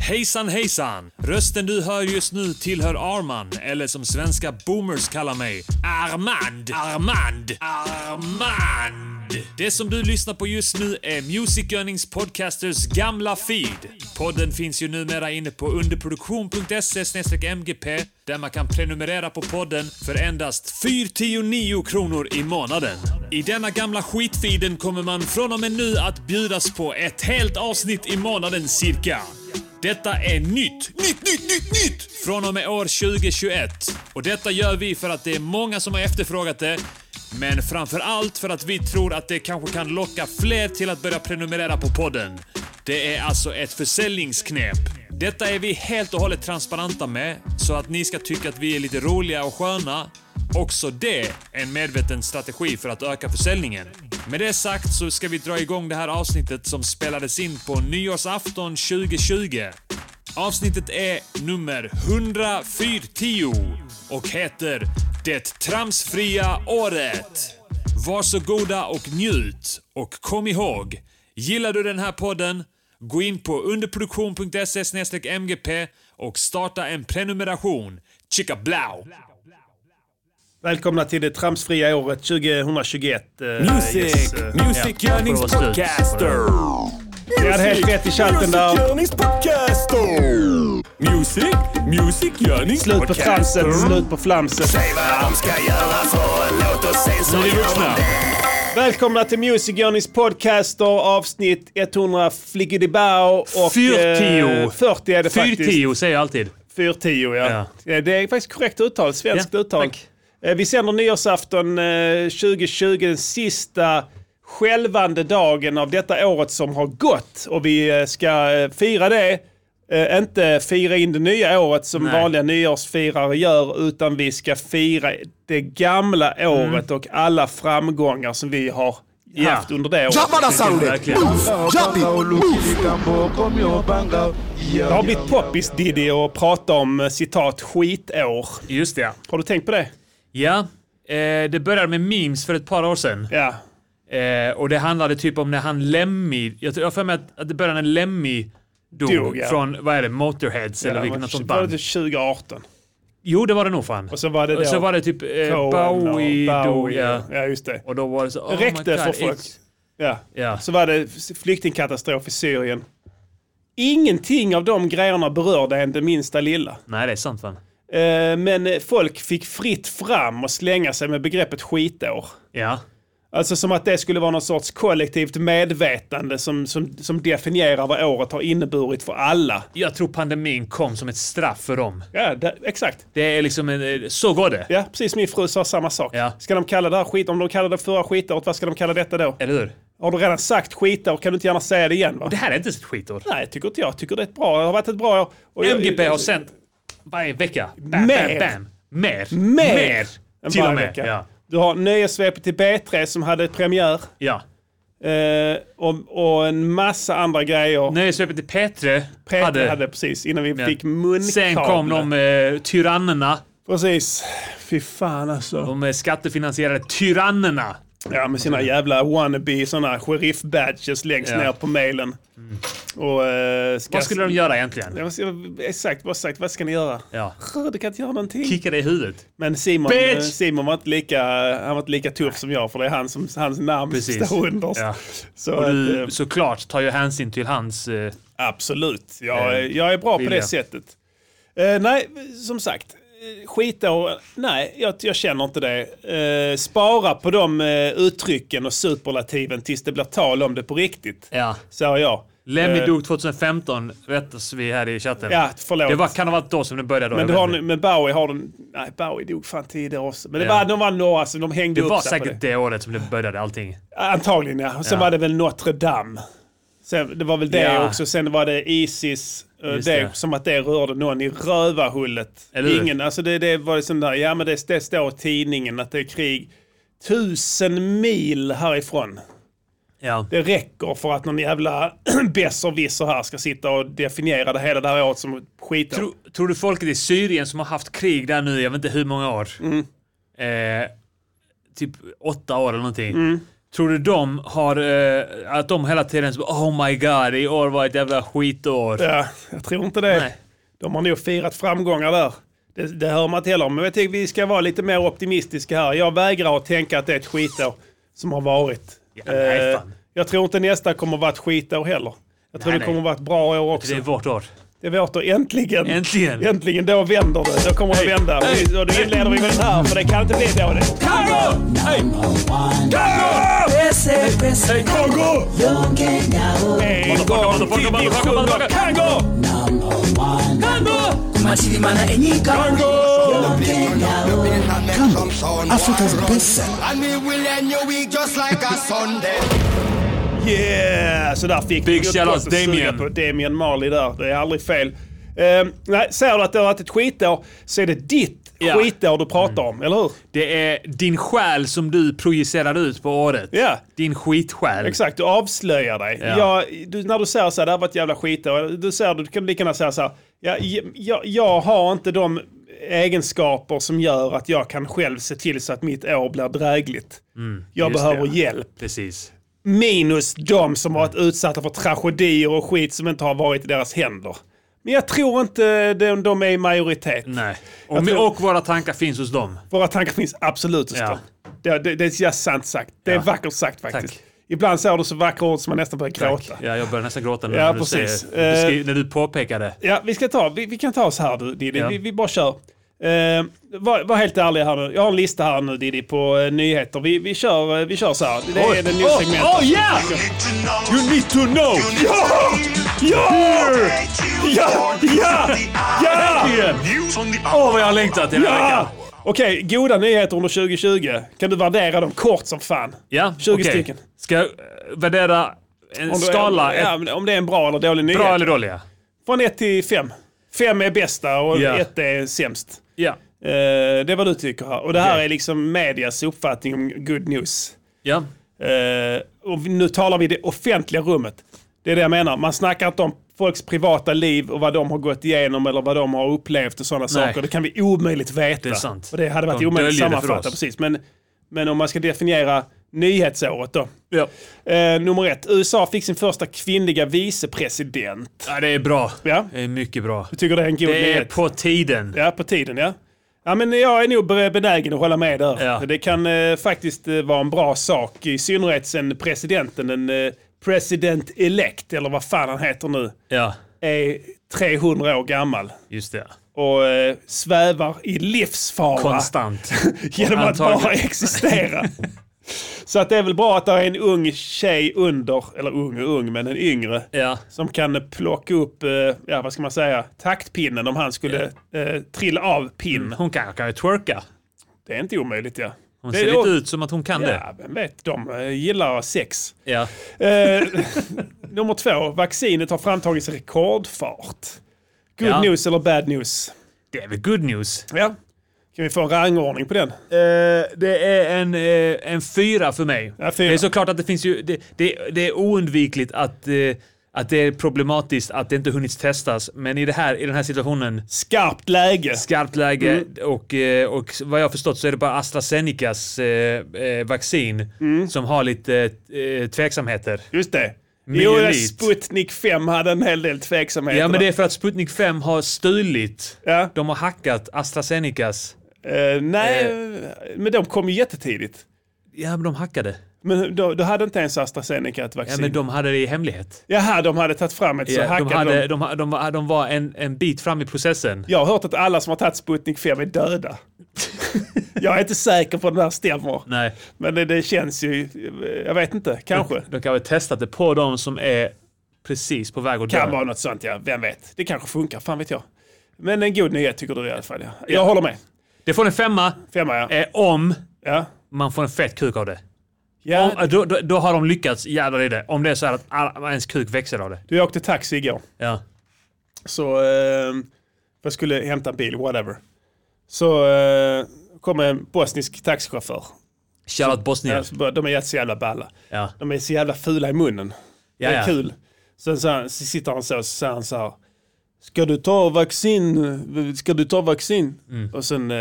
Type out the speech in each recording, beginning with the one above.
Hejsan hejsan! Rösten du hör just nu tillhör Arman, eller som svenska boomers kallar mig, Armand! Armand! Armand! Det som du lyssnar på just nu är Music Earnings Podcasters gamla feed. Podden finns ju numera inne på underproduktion.se mgp där man kan prenumerera på podden för endast 409 kronor i månaden. I denna gamla skitfeeden kommer man från och med nu att bjudas på ett helt avsnitt i månaden cirka. Detta är nytt! Nytt, nytt, nytt, nytt! Från och med år 2021. Och detta gör vi för att det är många som har efterfrågat det. Men framför allt för att vi tror att det kanske kan locka fler till att börja prenumerera på podden. Det är alltså ett försäljningsknep. Detta är vi helt och hållet transparenta med, så att ni ska tycka att vi är lite roliga och sköna. Också det är en medveten strategi för att öka försäljningen. Med det sagt så ska vi dra igång det här avsnittet som spelades in på nyårsafton 2020. Avsnittet är nummer 104 och heter Det tramsfria året. Varsågoda och njut och kom ihåg, gillar du den här podden Gå in på underproduktion.se mgp och starta en prenumeration. Chicka blau! Välkomna till det tramsfria året 2021. eh, yes, eh, Music Yearnings Podcaster! Ni hade helt rätt i chatten där. Yearnings Podcaster! Music, Music Yearnings Slut på tramset, Mm. slut på flamset. Säg vad de ska göra för en låt och sen så Nu är vi gör vuxna. de det. Välkomna till Music Journeys podcaster avsnitt 100 flickidibao och... 40. 40 är det faktiskt. 410 säger jag alltid. 410 ja. Ja. ja. Det är faktiskt korrekt uttal, svenskt Ja, uttal. tack. Eh, Vi sänder nyårsafton eh, 2020, den sista skälvande dagen av detta året som har gått. Och vi eh, ska eh, fira det. Eh, Inte fira in det nya året som Nej. vanliga nyårsfirare gör, utan vi ska fira det gamla Mm. året och alla framgångar som vi har haft under det året. Jump on that sound it. Verkligen. Move. Jump it. Move. Det har blivit poppis Diddy att prata om eh, citat skitår. Just det. Har du tänkt på det? Ja. Eh, det började med memes för ett par år sedan. Ja. Eh, och det handlade typ om när han Lemmy... Jag tror- jag har för mig att, att det började när Lemmy dog. Dog, ja. Från, vad är det, Motorheads eller Ja, vilket men något sånt Var band. det 2018? Jo, det var det nog fan. Och så var det då... Och så var det typ eh, Cohen och Bowie dog. Bowie. Ja. ja, just det. Och då var det så... Oh Räckte my God, för folk. X. Ja. Ja. Så var det flyktingkatastrof i Syrien. Ingenting av de grejerna berörde en det minsta lilla. Nej, det är sant fan. Eh, Men eh, folk fick fritt fram och slänga sig med begreppet skitår. Ja. Alltså som att det skulle vara någon sorts kollektivt medvetande som, som, som definierar vad året har inneburit för alla. Jag tror pandemin kom som ett straff för dem. Ja, det, exakt. Det är liksom en... eh, Så går det. Ja, precis. Min fru sa samma sak. Ja. Ska de kalla det här skit, om de kallade det förra skitåret, vad ska de kalla detta då? Eller hur? Har du redan sagt skitår kan du inte gärna säga det igen va? Det här är inte ett skitår. Nej, tycker inte jag. Tycker det är ett bra, det har varit ett bra år. Och jag- MGP har sänt varje vecka. Bam, Mer. bam, bam. Mer. Mer! än Till och varje med. vecka. Ja. Du har Nöjesvepet till B3 som hade premiär. ja. Eh, och, och en massa andra grejer. Nöjesvepet till Petre P3 hade, hade... precis, innan vi Ja. fick munkavle. Sen kom de eh, tyrannerna. Precis. Fy fan alltså. De eh, skattefinansierade tyrannerna. Ja, med sina jävla wannabe sådana sheriff-badges längst Ja. Mm. ner på mailen. Och, eh, ska- Vad skulle de göra egentligen? Ja, vad ska- Exakt, vad sagt, vad ska ni göra? Ja. Du kan inte göra någonting. Kicka dig i huvudet. Men Simon, eh, Bitch! Simon var, inte lika, han var inte lika tuff som jag för det är han som, hans namn Precis. står under. Ja. Så Och att, du eh, såklart tar ju hänsyn till hans... Eh, absolut, jag, Eh, jag är bra på vilja. det sättet. Eh, nej, som sagt. eh, Skitår, nej jag, jag känner inte det. Eh, spara på de eh, uttrycken och superlativen tills det blir tal om det på riktigt. ja. Säger jag. Lemmy Eh, dog 2015, rättas vi här i chatten. Ja, förlåt. Det var, kan ha varit då som det började. Då, men, jag du vet har, inte. nu- men Bowie har den... Nej, Bowie dog fan tidigare också. Men det Ja. var, de var några som de hängde det upp var sig på det. säkert det året som det började allting. Antagligen ja. Och sen Ja. var det väl Notre Dame. Sen, det var väl det Ja. också. Sen var det Isis. eh, Det, Just det. Som att det rörde någon i rövarhullet. Eller hur? Ingen, alltså det, det var liksom där, ja men det, det står i tidningen att det är krig. Tusen mil härifrån. Ja. Det räcker för att någon jävla besserwisser här ska sitta och definiera det hela det här året som skit. Tror, tror du folket i Syrien som har haft krig där Mm. Mm. nu, jag vet inte hur många år. Eh, typ åtta år eller någonting. Tror du de har, eh, att de hela tiden så, oh my god, i år var ett jävla skitår. Ja, jag tror inte det. Nej. De har nog firat framgångar där. Det, det hör man inte heller om. Men jag tycker vi ska vara lite mer optimistiska här. Jag vägrar att tänka att det är ett skitår som har varit. nej, Eh, fan. jag tror inte nästa kommer vara ett skitår heller. Jag tror Nej, det nej. kommer vara ett bra år också. Det är vårt år. Det är vårt år. Äntligen! Äntligen! Äntligen, då vänder det. Då kommer det vända. Och, och då inleder vi med den här, för det kan inte bli dåligt. En gång till vi sjunger Kango! Africa's best set. Yeah! Så där fick Big vi shout out gott att suga Damien. på Damien Marley där. Det är aldrig fel. Ehm, nej, säger du att det har varit ett skitår så är det ditt Ja. Mm. skitår du pratar om, eller hur? Det är din själ som du projicerar ut på året. Ja. Din skitsjäl. Exakt, du avslöjar dig. Ja. Ja, du, när du säger så här, det här var ett jävla skitår. Du, säger, du kan lika gärna säga så här, ja, jag, jag har inte de egenskaper som gör att jag kan själv se till så att mitt år blir drägligt. jag Mm, just behöver det. hjälp. Precis. Minus de som varit utsatta för tragedier och skit som inte har varit i deras händer. Men jag tror inte de, de är i majoritet. Nej. Jag Och, tror- och våra tankar finns hos dem. Våra tankar finns absolut hos Ja. dem. Det, det, det är sant sagt. Det är Ja. vackert sagt faktiskt. Tack. Ibland säger du så vackra ord som man nästan börjar gråta. Ja, jag börjar nästan gråta nu Ja, när, du precis. säger, Eh. du skri- när du påpekar det. Ja, vi, ska ta, vi, vi kan ta oss här du, Diddy. Ja. Vi, vi bara kör. Eh, var, var helt ärlig här nu. Jag har en lista här nu Diddy på eh, nyheter. Vi, vi, kör, eh, vi kör så här. Det är det nya segmentet. oh yeah! You need to know! Ja! Ja! Ja! Ja! Ja! Åh, vad jag har längtat hela ja! veckan! Okej, goda nyheter under 2020. Kan du värdera dem kort som fan? Ja, 20 okej. stycken. Ska jag eh, värdera en Om du- skala, ja, ett men om det är en bra eller dålig nyhet. bra eller dåliga? Från 1 till 5. 5 är bästa och Ja. 1 är sämst. Ja. Eh, det är vad du tycker här. Och det här Okej. är liksom medias uppfattning om good news. Ja. Eh, och vi- nu talar vi det offentliga rummet. Det är det jag menar. Man snackar inte om folks privata liv och vad de har gått igenom eller vad de har upplevt och sådana saker. Det kan vi omöjligt veta. Det är sant. Och det hade varit De omöjligt att döljer det för sammanfatta. oss. Precis. Men, men om man ska definiera nyhetsåret då. Ja. Eh, nummer ett. USA fick sin första kvinnliga vicepresident. det är bra. Ja. Det är mycket bra. Du tycker det är en god Det är nyhet? på tiden. Ja, på tiden ja. Ja, men jag är nog be- benägen att hålla med där. Ja. Det kan eh, faktiskt eh, vara en bra sak, i synnerhet sen presidenten, den eh, president-elect, eller vad fan han heter nu, Ja, är 300 år gammal just det. och eh, svävar i livsfara Konstant. genom att Antagligen. bara existera. Så att det är väl bra att det är en ung tjej under, eller ung och ung, men en yngre, Ja. som kan plocka upp, eh, ja vad ska man säga, taktpinnen om han skulle eh, trilla av pinn. Hon kan, kan ju twerka. Det är inte omöjligt ja. Hon det ser är lite också- ut som att hon kan det. Ja, vem vet. De eh, gillar sex. Ja. Eh, nummer två. Vaccinet har framtagits i rekordfart. Good Ja. news eller bad news? Det är väl good news? Ja. Kan vi få en rangordning på den? det är en, eh, en fyra för mig. Ja, fyra. Det är såklart att det finns ju... Det, det, det är oundvikligt att, eh, att det är problematiskt att det inte hunnits testas. Men i, det här, i den här situationen, Skarpt läge. skarpt läge Mm. och, eh, och vad jag har förstått så är det bara AstraZenecas eh, eh, vaccin Mm. som har lite eh, tveksamheter. Just det. Jo, Myelit. ja, Sputnik 5 hade en hel del tveksamheter. Ja men det är för att Sputnik 5 har stulit. Ja. De har hackat AstraZenecas. Eh, nej, Eh. men de kom ju jättetidigt. Ja men de hackade. Men då, då hade inte ens AstraZeneca ett Ja vaccin. men de hade det i hemlighet. Jaha, de hade tagit fram ett så Ja, de, hackade hade, de. de, ha- de, var- de var en, en bit fram i processen. Jag har hört att alla som har tagit Sputnik 5 är döda. jag är inte säker på om det här stämmer. Nej. Men det, det känns ju, jag vet inte, kanske. De kan väl testat det på de som är precis på väg att Kan dö. vara något sånt, ja. Vem vet? Det kanske funkar, fan vet jag. Men en god nyhet tycker du i alla fall, ja. Jag håller med. Det får en femma Femma, ja. eh, om Ja, man får en fet kuk av det. ja. Om, eh, då, då, då har de lyckats, jävlar i det. Om det är så här att all, ens kuk växer av det. Du jag åkte taxi igår. Ja. Så eh, jag skulle hämta en bil, whatever. Så eh, kom en bosnisk taxichaufför. Shoutout Bosnien. Alltså, bara- De är så jävla balla. Ja. De är så jävla fula i munnen. Ja, det är ja. kul. Sen så, så sitter han så, så säger han så här. Ska du ta vaccin? Ska du ta vaccin? Mm. Och sen, eh,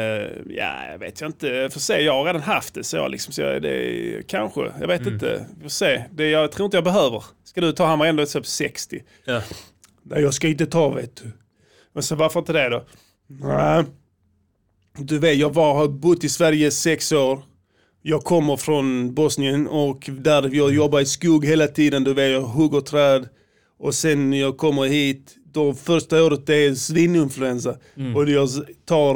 ja jag vet jag inte, jag får se, jag har redan haft det så jag liksom, så jag, det är, kanske, jag vet Mm. inte, vi får se. Det, jag tror inte jag behöver. Ska du ta, han var ändå typ 60. Ja. Nej jag ska inte ta vet du. Men så varför inte det då? Nej. Du vet, jag var, har bott i Sverige i sex år. Jag kommer från Bosnien och där jag jobbar i skog hela tiden. Du vet, jag hugger träd. Och sen när jag kommer hit, då första året det är svininfluensa. Och jag tar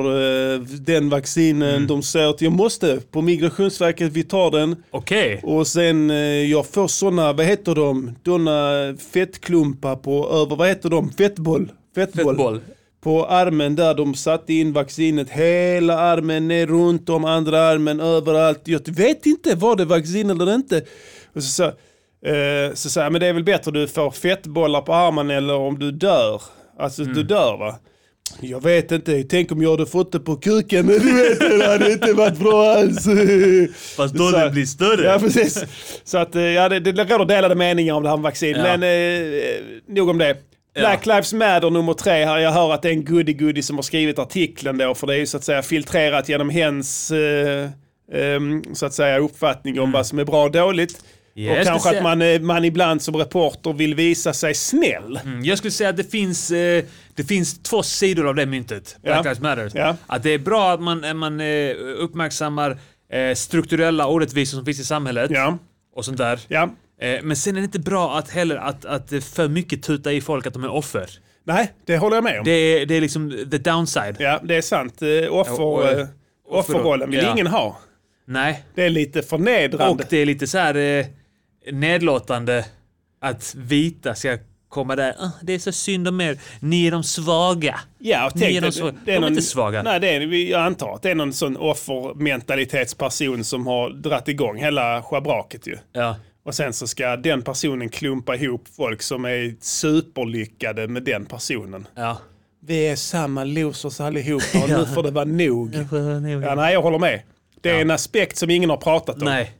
eh, den vaccinen. De säger att jag måste på Migrationsverket, vi tar den. Okej. Och sen eh, jag får sådana, vad heter de, sådana fettklumpar på över, vad heter de, fettboll? Fettboll. Fettboll. På armen där, de satte in vaccinet hela armen, ner runt om andra armen, överallt. Jag vet inte, var det vaccin eller inte? Och så sa eh, så sa jag, men det är väl bättre du får fettbollar på armen eller om du dör. Alltså du Mm. dör va? Jag vet inte, tänk om jag hade fått det på kuken, men du vet det hade inte varit bra alls. Fast då Så- det blir större. Ja, precis. Så att, eh, ja, det, det råder delade meningar om det här med vaccin, Ja. men eh, eh, nog om det. Black Lives Matter nummer tre här, jag hör att det är en goodie-goodie som har skrivit artikeln då, för det är ju så att säga filtrerat genom hens eh, ehm, så att säga uppfattning om vad som är bra och dåligt. Mm. Yes, och kanske det att man, eh, man ibland som reporter vill visa sig snäll. Mm, Jag skulle säga att det finns, eh, det finns två sidor av det myntet, Black Ja. Lives Matter. Ja. Att det är bra att man, eh, man eh, uppmärksammar eh, strukturella orättvisor som finns i samhället Ja. och sånt där. ja. Eh, Men sen är det inte bra att heller att, att eh, för mycket tuta i folk att de är offer. Nej, det håller jag med om. Det är, det är liksom the downside. Ja, det är sant. Eh, Offer, Ja, och, eh, eh, offerrollen vill Ja. ingen ha. Nej. Det är lite förnedrande. Och det är lite så här eh, nedlåtande att vita ska komma där. "Ah, det är så synd om er. Ni är de svaga. Ja, och Ni tänk är de dig, svaga. det De är inte svaga. Nej, det är, vi- jag antar att det är någon sån offermentalitetsperson som har dratt igång hela schabraket ju. Ja. Och sen så ska den personen klumpa ihop folk som är superlyckade med den personen. Ja. Vi är samma losers allihopa och nu får det vara nog. Ja, nej, jag håller med. Det är en aspekt som ingen har pratat om. Nej.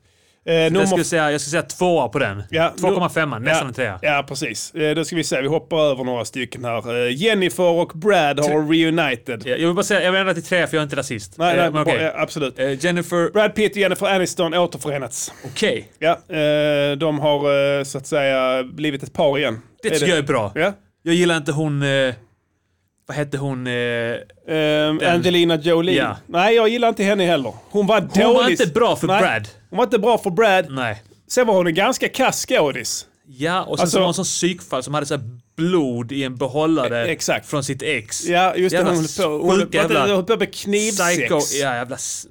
Eh, Jag nummer skulle, säga, jag skulle säga tvåa på den. Ja, 2,5, nu- nästan ja, en trea. Ja, precis. Eh, Då ska vi se, vi hoppar över några stycken här. Eh, Jennifer och Brad har reunited. Jag vill bara säga, jag vill ändra till trea för jag är inte rasist. Nej, Eh, nej, men okej. bra, ja, absolut. Eh, Jennifer, Brad Pitt och Jennifer Aniston återförenats. okej. Ja, eh, de har eh, så att säga blivit ett par igen. Det tycker jag är bra. Ja. Jag gillar inte hon... Eh, vad hette hon? Eh, hon Ehm, Angelina Jolie. Ja. Nej, jag gillar inte henne heller. Hon var dålig. var inte bra för Nej, Brad. Hon var inte bra för Brad. Nej. Sen var hon en ganska kass skådis. Ja, och sen Alltså- så var hon sån psykfall som hade så här blod i en behållare E- exakt. från sitt ex. Ja, just det. Jävla Hon höll på, hon höll sjuka på, hon jävla höll på med knivsex. psycho. Ja, jävla s-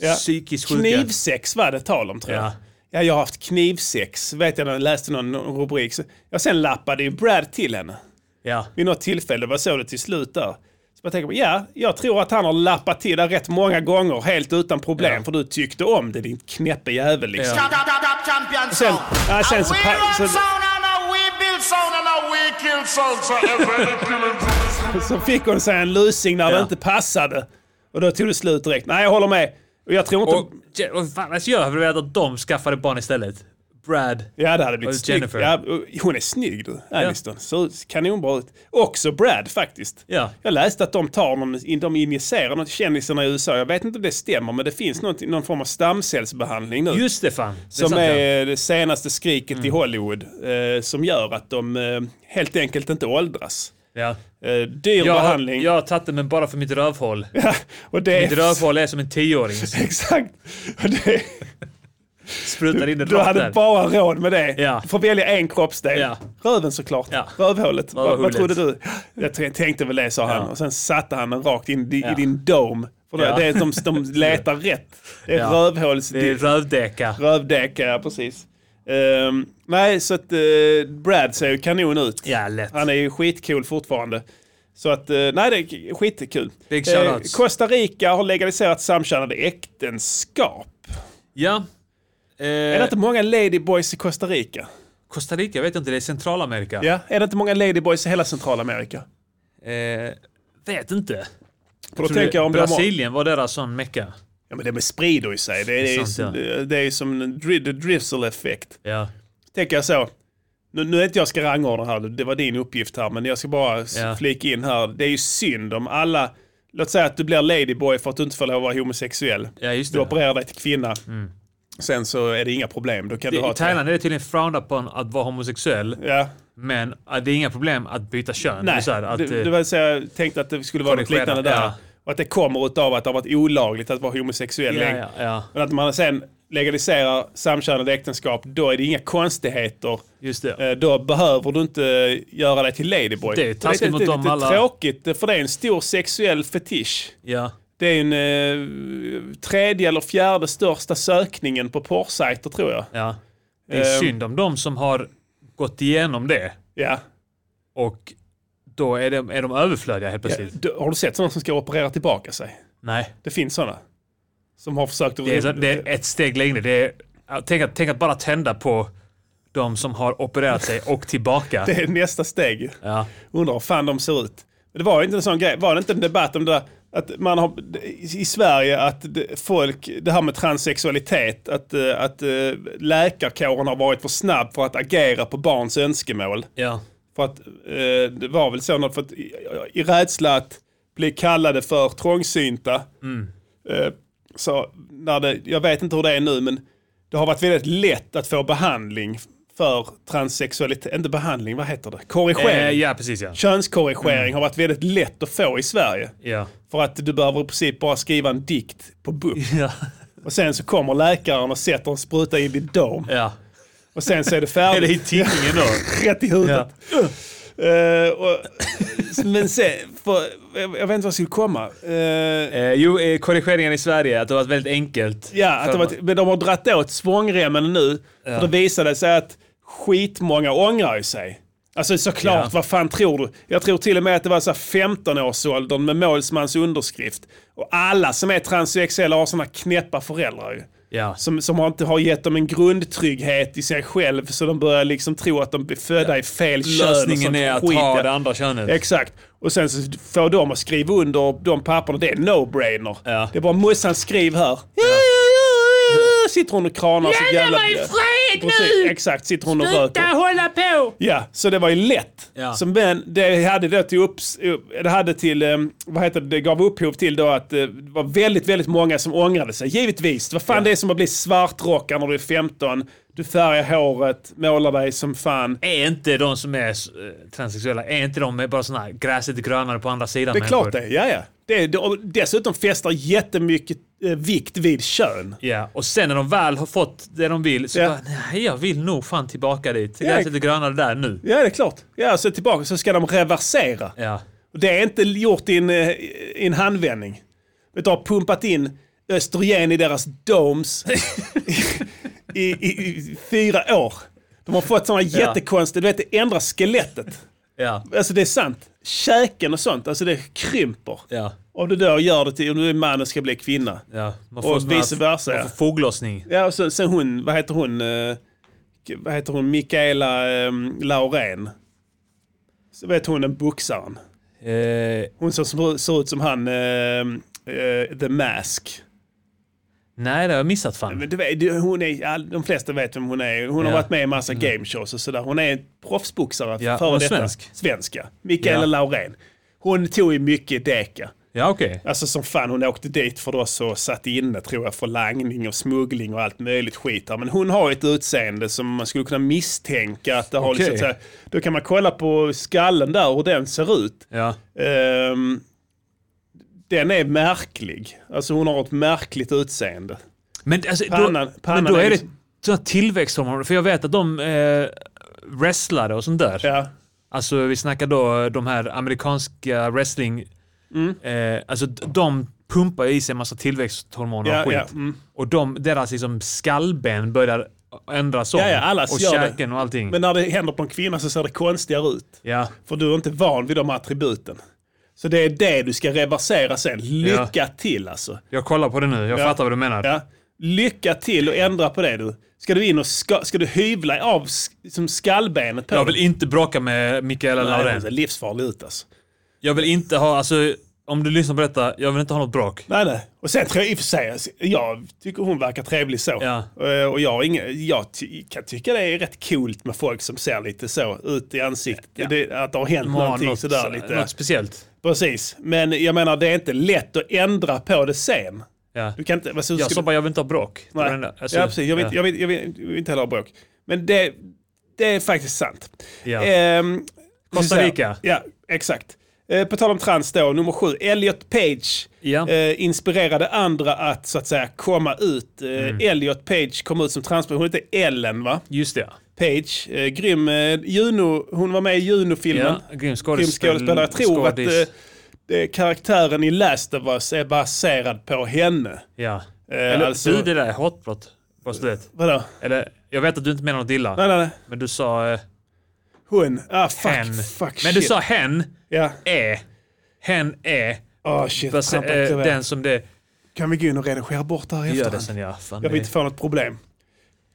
Ja. psykiskt sjuka. Knivsex var det tal om tror jag. Ja. Ja. jag har haft knivsex, vet jag när jag läste någon rubrik. Så- Jag sen lappade ju Brad till henne Ja. vid något tillfälle, vad såg det till slut där? Så jag tänker, på, ja, jag tror att han har lappat till det rätt många gånger helt utan problem för du tyckte om det din knäppe jävel liksom. Da, da, da, da, champion Sen, sound. ja, sen And så, we pa- run så, sound and a we build sound and a we kill sound. So everybody killing sound. så fick hon sig en lusing när det Ja. inte passade. Och då tog det slut direkt. Nej, jag håller med. Och jag tror inte... Och, Je- och fan, alltså jag hade velat att de skaffade barn istället. Brad. Ja, det hade blivit Och snyggt. Jennifer. Ja, och hon är snygg du, Aniston. Ser ut kanonbra ut. Också Brad faktiskt. Ja. Jag läste att de tar någon, de injicerar något kändisarna i USA. Jag vet inte om det stämmer, men det finns något, någon form av stamcellsbehandling nu. Just det fan. Det som sant, ja. är det senaste skriket i Hollywood. Eh, som gör att de eh, helt enkelt inte åldras. Ja. Eh, dyr Jag, har- behandling. jag har tagit det men bara för mitt rövhål. och det Mitt rövhål är som en tioåring. Exakt. Och det, Sprutar in det du rakt hade där. bara råd med det. Ja. Du får välja en kroppsdel. Ja. Röven såklart. Ja. Rövhålet. Vad, vad Rövhålet. trodde du? Jag t- tänkte väl det, sa han. Och sen satte han den rakt in i, i din dome. För det- Ja. det är som de letar rätt. Det är Ja. rövhåls... Det är rövdeka. Rövdäck, ja precis. Ehm, nej, så att eh, Brad ser ju kanon ut. Ja, lätt. Han är ju skitcool fortfarande. Så att, eh, nej det är k- skitkul. Big Eh, shoutouts. Costa Rica har legaliserat samkönade äktenskap. Ja. Eh, Är det inte många ladyboys i Costa Rica? Costa Rica, jag vet inte. Det är Centralamerika. Ja, är det inte många ladyboys i hela Centralamerika? Eh, vet inte. För då Tror du tänker jag om de har... Brasilien var deras sån mecka. Ja men det sprider ju sig. Det är, det är, sant, ju- det är ju som en dri- the drizzle effekt. Ja. Tänker jag så. Nu, nu är inte jag ska rangordna här, det var din uppgift här, men jag ska bara s- Ja. flika in här. Det är ju synd om alla, låt säga att du blir ladyboy för att du inte får lov att vara homosexuell. Ja, just Du det. opererar dig till kvinna. Sen så är det inga problem, då kan du ha I ett- Thailand är det tydligen frowned upon att vara homosexuell, Ja. men eh, det är inga problem att byta kön. Det är Nej, så här, att, du, eh, du var så jag tänkte att det skulle vara det något liknande skedet, där. ja. Och att det kommer utav att det har varit olagligt att vara homosexuell ja, länge. ja, ja, Men att man sen legaliserar samkönade äktenskap, då är det inga konstigheter. just det. Eh, Då behöver du inte eh, göra dig till ladyboy. Det är Och taskigt mot lite, dem lite alla. tråkigt, eh, för det är en stor sexuell fetisch. Ja. Det är en eh, tredje eller fjärde största sökningen på porrsajter tror jag. Ja. Det är Ehm. synd om de som har gått igenom det Ja. och då är de, är de överflödiga helt plötsligt. Du, har du sett sådana som ska operera tillbaka sig? Nej, Det finns sådana. Som har försökt att... det är, så- det är ett steg längre. Det är, ja, tänk, att, tänk att bara tända på de som har opererat sig och tillbaka. Det är nästa steg. Ja. Undrar hur fan de ser ut. Men det var ju inte en sån grej. Var det inte en debatt om det där att man har i Sverige att det- folk, det här med transsexualitet, att, eh, att eh, läkarkåren har varit för snabb för att agera på barns önskemål. Ja. För att eh, det var väl så något för att i, i rädsla att bli kallade för trångsynta. Mm. Eh, så när det, jag vet inte hur det är nu men det har varit väldigt lätt att få behandling för transsexualitet, inte behandling, vad heter det? Korrigering. Eh, ja, Mm. precis ja. Könskorrigering har varit väldigt lätt att få i Sverige. Ja. För att du behöver i princip bara skriva en dikt på BUP. Ja. Och sen så kommer läkaren och sätter en spruta in i ditt dom. ja. Och sen så är det Är det i färdigt. tidningen då? Rätt i huvudet. Ja. Eh, och, men sen, för, jag, jag vet inte vad jag skulle komma. Eh, Eh, jo, eh, korrigeringen i Sverige, att det var väldigt enkelt. Ja, att de, För- var, men de har dratt åt svångremmen nu. För det visade sig att skitmånga ångrar ju sig. Alltså såklart, Ja. vad fan tror du? Jag tror till och med att det var så här 15-årsåldern med målsmans underskrift. Och alla som är transsexuella har sådana knäppa föräldrar ju. Ja. Som, som har inte har gett dem en grundtrygghet i sig själv så de börjar liksom tro att de blir födda i fel kön. och Lösningen sånt är att skit, ha ja. det andra könet. Exakt. Och sen så får de att skriva under de papperna. Det är no-brainer. Ja. Det är bara morsan skriv här. Ja, ja, ja, ja. Sitter hon och kranar sitt jävla... Lämna mig fred nu! Exakt, sitter hon och röker. Sluta hålla på! Ja, så det var ju lätt. Ja. Så, men det hade då till upps, upp, det hade till, eh, vad heter det, det gav upphov till då att eh, det var väldigt, väldigt många som ångrade sig. Givetvis, vad fan det är som att bli svartrockad när du är 15. Du färgar håret, målar dig som fan. Är inte de som är eh, transsexuella, är inte de bara såna här gräset är grönare på andra sidan? Det är klart människor? det, ja ja. Det, är- det, och dessutom fäster jättemycket eh, vikt vid kön. Ja, och sen när de väl har fått det de vill så Ja. bara, nej jag vill nog fan tillbaka dit. Ja. Gräset är grönare där nu. Ja, det är klart. Ja, så tillbaka så ska de reversera. Ja. Och Det är inte gjort i en, eh, i en handvändning. Utan har pumpat in östrogen i deras domes i, i, i fyra år. De har fått sådana jättekonstiga, du vet det ändrar skelettet. Ja. Alltså det är sant. Käken och sånt, alltså det krymper. Ja. Om du då gör det till, om du är man och ska bli kvinna. ja. Man Och såna här- vice versa, Man ja. får foglossning. Ja, och sen, sen hon, vad heter hon? eh, vad heter hon? Mikaela eh, Laurén. Så vet hon den boxaren. Eh, Hon som ser, ser ut som han, eh, eh, The Mask. nej, det har jag missat fan. Men du vet, du, hon är, all, de flesta vet vem hon är. Hon har Ja. Mm. varit med i massa gameshows och sådär. Hon är en proffsboxare. Ja, före hon är detta. svensk. Svenska. Mikaela Ja. Laurén. Hon tog ju mycket deka. Ja, okej. Alltså som fan, hon åkte dit för då så satt inne tror jag för langning och smuggling och allt möjligt skit här. Men hon har ett utseende som man skulle kunna misstänka att det har Okej. liksom, så här, Då kan man kolla på skallen där hur den ser ut. Ja. Ehm, den är märklig. Alltså hon har ett märkligt utseende. Men, alltså, Pannan- då, pannan men då är är det liksom- såna tillväxthormoner. För jag vet att de eh, wrestlare och sånt där. Ja, Alltså vi snackar då de här amerikanska wrestling... Mm. Eh, alltså d- de pumpar i sig en massa tillväxthormoner Ja, och skit. ja, mm. Och de, deras liksom skallben börjar ändras om. Ja, ja, alla och gör det. käken och allting. men när det händer på en kvinna så ser det konstigare ut. ja. För du är inte van vid de attributen. Så det är det du ska reversera sen. Lycka till alltså. Jag kollar på det nu, jag Ja. fattar vad du menar. Ja. Lycka till och ändra på det du. Ska du in och ska, ska du hyvla av sk- som skallbenet på Jag dig? vill inte bråka med Mikaela Nej, det Laurén. ser livsfarligt ut alltså. Jag vill inte ha, alltså om du lyssnar på detta, jag vill inte ha något bråk. Nej, nej. Och sen tror jag i och för sig, alltså, jag tycker hon verkar trevlig så. Ja. Eh, Och jag, har inga, jag ty kan tycka det är rätt coolt med folk som ser lite så ut i ansiktet. Det, att det har hänt Ha någonting något, sådär lite. något speciellt. Precis. Men jag menar, det är inte lätt att ändra på det sen. Ja. Du kan inte, alltså, Jag ska sa du- bara, jag vill inte ha bråk. Det var Nej. den där- alltså, ja, precis. Jag vill, ja. jag vill, jag vill, jag vill inte heller ha bråk. Men det, det är faktiskt sant. Ja. Ehm, Costa så här. Rica. Ja, exakt. Eh, på tal om trans då, nummer sju, Elliot Page Ja. eh, inspirerade andra att så att säga komma ut. Eh, Mm. Elliot Page kom ut som transperson, hon hette Ellen va? Just det. Page, eh, grym. Eh, Juno, hon var med i Juno-filmen. Ja, grym Grym skådespel- skådespelare. Jag tror att eh, skådis. det- karaktären i Last of Us är baserad på henne. Ja. Eh, Eller alltså- du, det där är hatbrott. Fast du vet. Vadå? Eller, jag vet att du inte menar något illa. Nej, nej, nej. Men du sa eh, Hon. Ah, fuck, hen. fuck men shit. du sa hen Ja. är. Hen är. Åh shit, Fast, trampa eh, inte den som det... Kan vi gå in och redigera bort det här i Gör efterhand? det sen ja. Jag Fan, det- vill inte få något problem.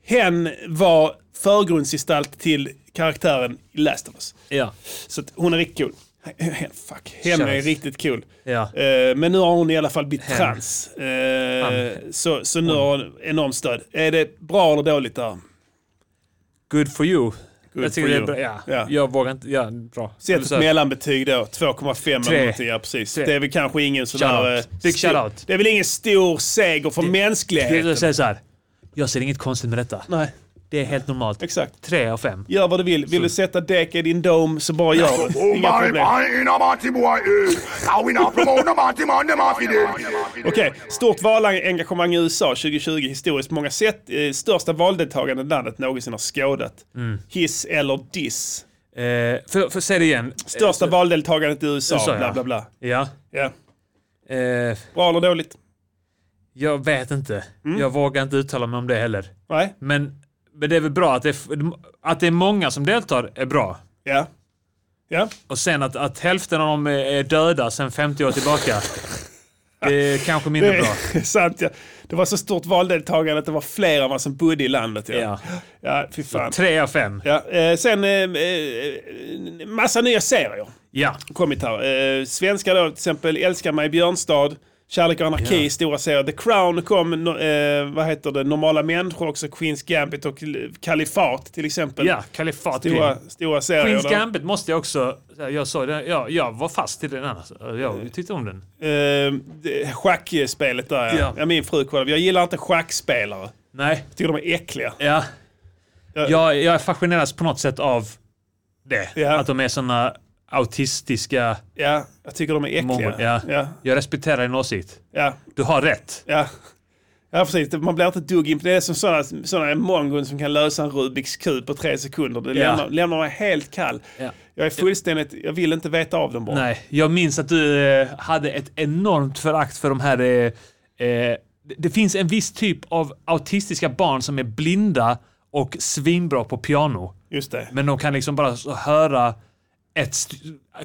Hen var förgrundsgestalt till karaktären i Last of Us. ja. Så att hon är riktigt cool. Hen, fuck. Hen är Känns. riktigt cool. Ja. Eh, men nu har hon i alla fall blivit Hen. trans. Eh, Fan. så, så nu har hon enormt stöd. Är det bra eller dåligt där? Good for you. jag tycker for det är you. bra. Ja. Ja. Jag vågar inte. Ja, bra. Sätt ett Så- mellanbetyg då, 2,5 eller Tre. någonting. Ja, precis. Tre. Det är väl kanske ingen sån där... Shout out. eh, Big stor- shout out. Det är väl ingen stor seger för mänskligheten? Jag säger så här. Jag ser inget konstigt med detta. Nej, Det är helt normalt. exakt. Tre av fem. Gör vad du vill. Vill du sätta däck i din dome så bara gör det. Inga problem. Okej, stort valengagemang i USA 2020 historiskt på många sätt. Eh, största valdeltagande landet någonsin har skådat. Hiss eller diss. Mm. Eh, för, för säg det igen. Största valdeltagandet i USA, USA, ja. bla bla bla. Ja. Ja. Eh, Bra eller dåligt? jag vet inte. Mm. Jag vågar inte uttala mig om det heller. Nej? Men, men det är väl bra att det är, f- att det är många som deltar är bra. Ja. Ja. Och sen att, att hälften av dem är- är döda sen 50 år tillbaka. Det är kanske mindre bra. Det är sant ja. Det var så stort valdeltagande att det var fler än vad som bodde i landet. Ja, Ja. ja fy fan. Tre av fem. Ja, eh, sen eh, eh, massa nya serier. Ja. kommit här. Eh, svenskar då till exempel Älskar mig Björnstad, Kärlek och anarki, Ja. stora serier. The Crown kom, no, eh, vad heter det, Normala människor också, Queens Gambit och L- Kalifat till exempel. Ja, kalifat. Stora, grym. stora serier. Queens då. Gambit måste jag också... Jag, såg den, jag, jag var fast i den annars. Jag tyckte om den. Eh, det- schackspelet där ja. Ja. ja. Min fru kollade. Jag gillar inte schackspelare. Nej. Jag tycker de är äckliga. Ja. Jag, jag fascineras på något sätt av det. Ja. Att de är såna autistiska... Ja, jag tycker de är äckliga. Många, ja. Ja, Jag respekterar din åsikt. ja, Du har rätt. ja. Ja, precis. Man blir inte ett dugg imponerad. Det är som sådana, sådana mongon som kan lösa en Rubiks kub på tre sekunder. Det lämnar, lämnar mig helt kall. Ja. Jag är fullständigt, jag vill inte veta av dem bara. Nej, jag minns att du eh, hade ett enormt förakt för de här... Eh, eh, det- det finns en viss typ av autistiska barn som är blinda och svinbra på piano. Just det. Men de kan liksom bara så höra ett st-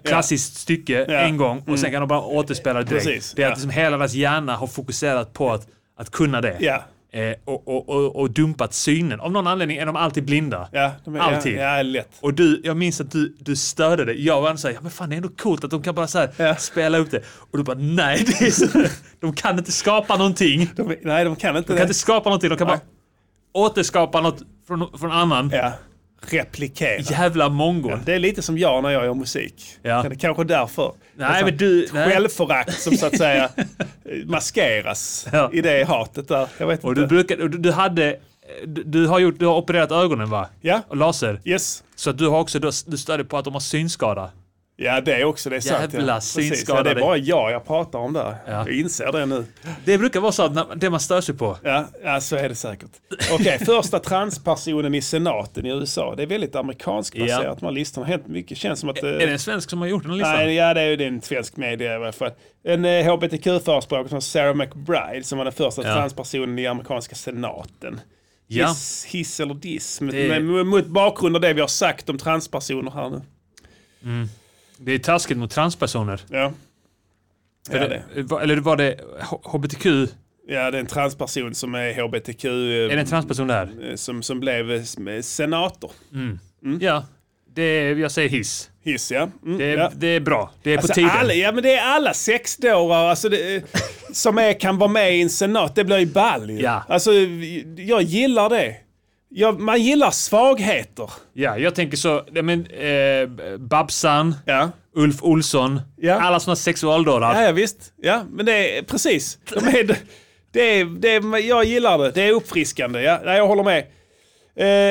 klassiskt stycke Ja. Mm. en gång och sen kan de bara återspela det direkt. Precis, Det är ja. att liksom hela deras hjärna har fokuserat på att, att kunna det. Ja. Eh, och, och, och, och dumpat synen. Av någon anledning är de alltid blinda. Ja, de är, Alltid. Ja, ja, lätt. Och du, jag minns att du, du störde dig. Jag var såhär, ja men fan det är ändå coolt att de kan bara såhär Ja. spela upp det. Och du bara, nej det är så, de kan inte skapa någonting. De De, är- nej, de kan inte kan det. inte skapa någonting, de kan Nej. bara återskapa något från, från annan. Ja. Replikera. Jävla mongon. Det är lite som jag när jag gör musik. Ja. Men det är kanske därför. Nej, Det är så men du- ett nej. Självförakt som så att säga eh, maskeras Ja. i det hatet där. Jag vet Och inte. du, brukar, och du, du hade... Du, du, har gjort, du har opererat ögonen va? Ja. Och laser. Yes. Så att du har också, du, du stödjer på att de har synskada. Ja, det är också. Det är sant. Jävla ja. Precis. ja, Det synskadade. är bara jag jag pratar om där. Ja. Jag inser det nu. Det brukar vara så att när, det man stör sig på. Ja, ja, så är det säkert. Okej, första transpersonen i senaten i USA. Det är väldigt amerikansk baserat Ja. de här listorna. Helt mycket känns som att... eh, Är det en svensk som har gjort den listan? Nej, ja, det är ju det är en svensk media i alla fall. En eh, hbtq-förespråkare som Sarah McBride som var den första Ja. transpersonen i amerikanska senaten. Ja. Hiss, hiss eller diss, mot, Det- men- mot bakgrund av det vi har sagt om transpersoner här nu. Det är taskigt mot transpersoner. Ja, För Ja, det, va- eller var det H- HBTQ? ja det är en transperson som är hbtq, Är det en transperson Mm. där? eh, som, som blev eh, senator. Ja. Det, är- jag säger hiss. Hiss ja. Mm, Det är, ja. det är bra. Det är på Alltså, tiden. alla, ja men det är alla sexdårar alltså, det, som är, kan vara med i en senat. Det blir ju ball ju. Ja. Alltså, jag gillar det. Jag, man gillar svagheter. Ja, jag tänker så. nej, Men, eh, Babsan, Ja. Ulf Olsson, Ja. alla såna sexualdårar. Ja, ja visst. Ja, men det är precis. De är, det är, det är, jag gillar det. Det är uppfriskande. Ja, Nej, jag håller med.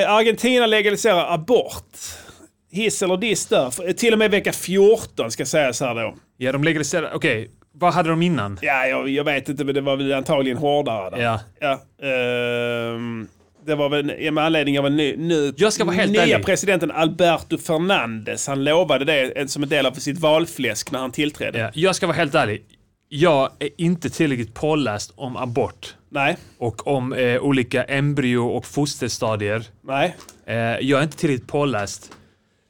Eh, Argentina legaliserar abort. Hiss eller diss där. F- Till och med vecka 14 ska sägas här då. Ja, de legaliserar... Okej, vad hade de innan? Ja, jag, jag vet inte, men det var väl antagligen hårdare där. Ja. ehm, det var väl ja, med anledning av en ny, ny Jag ska vara helt nya ärlig. presidenten Alberto Fernandez. Han lovade det eh, som en del av sitt valfläsk när han tillträdde. Ja, jag ska vara helt ärlig. Jag är inte tillräckligt påläst om abort Nej, och om eh, olika embryo och fosterstadier. nej. Eh, jag är inte tillräckligt påläst.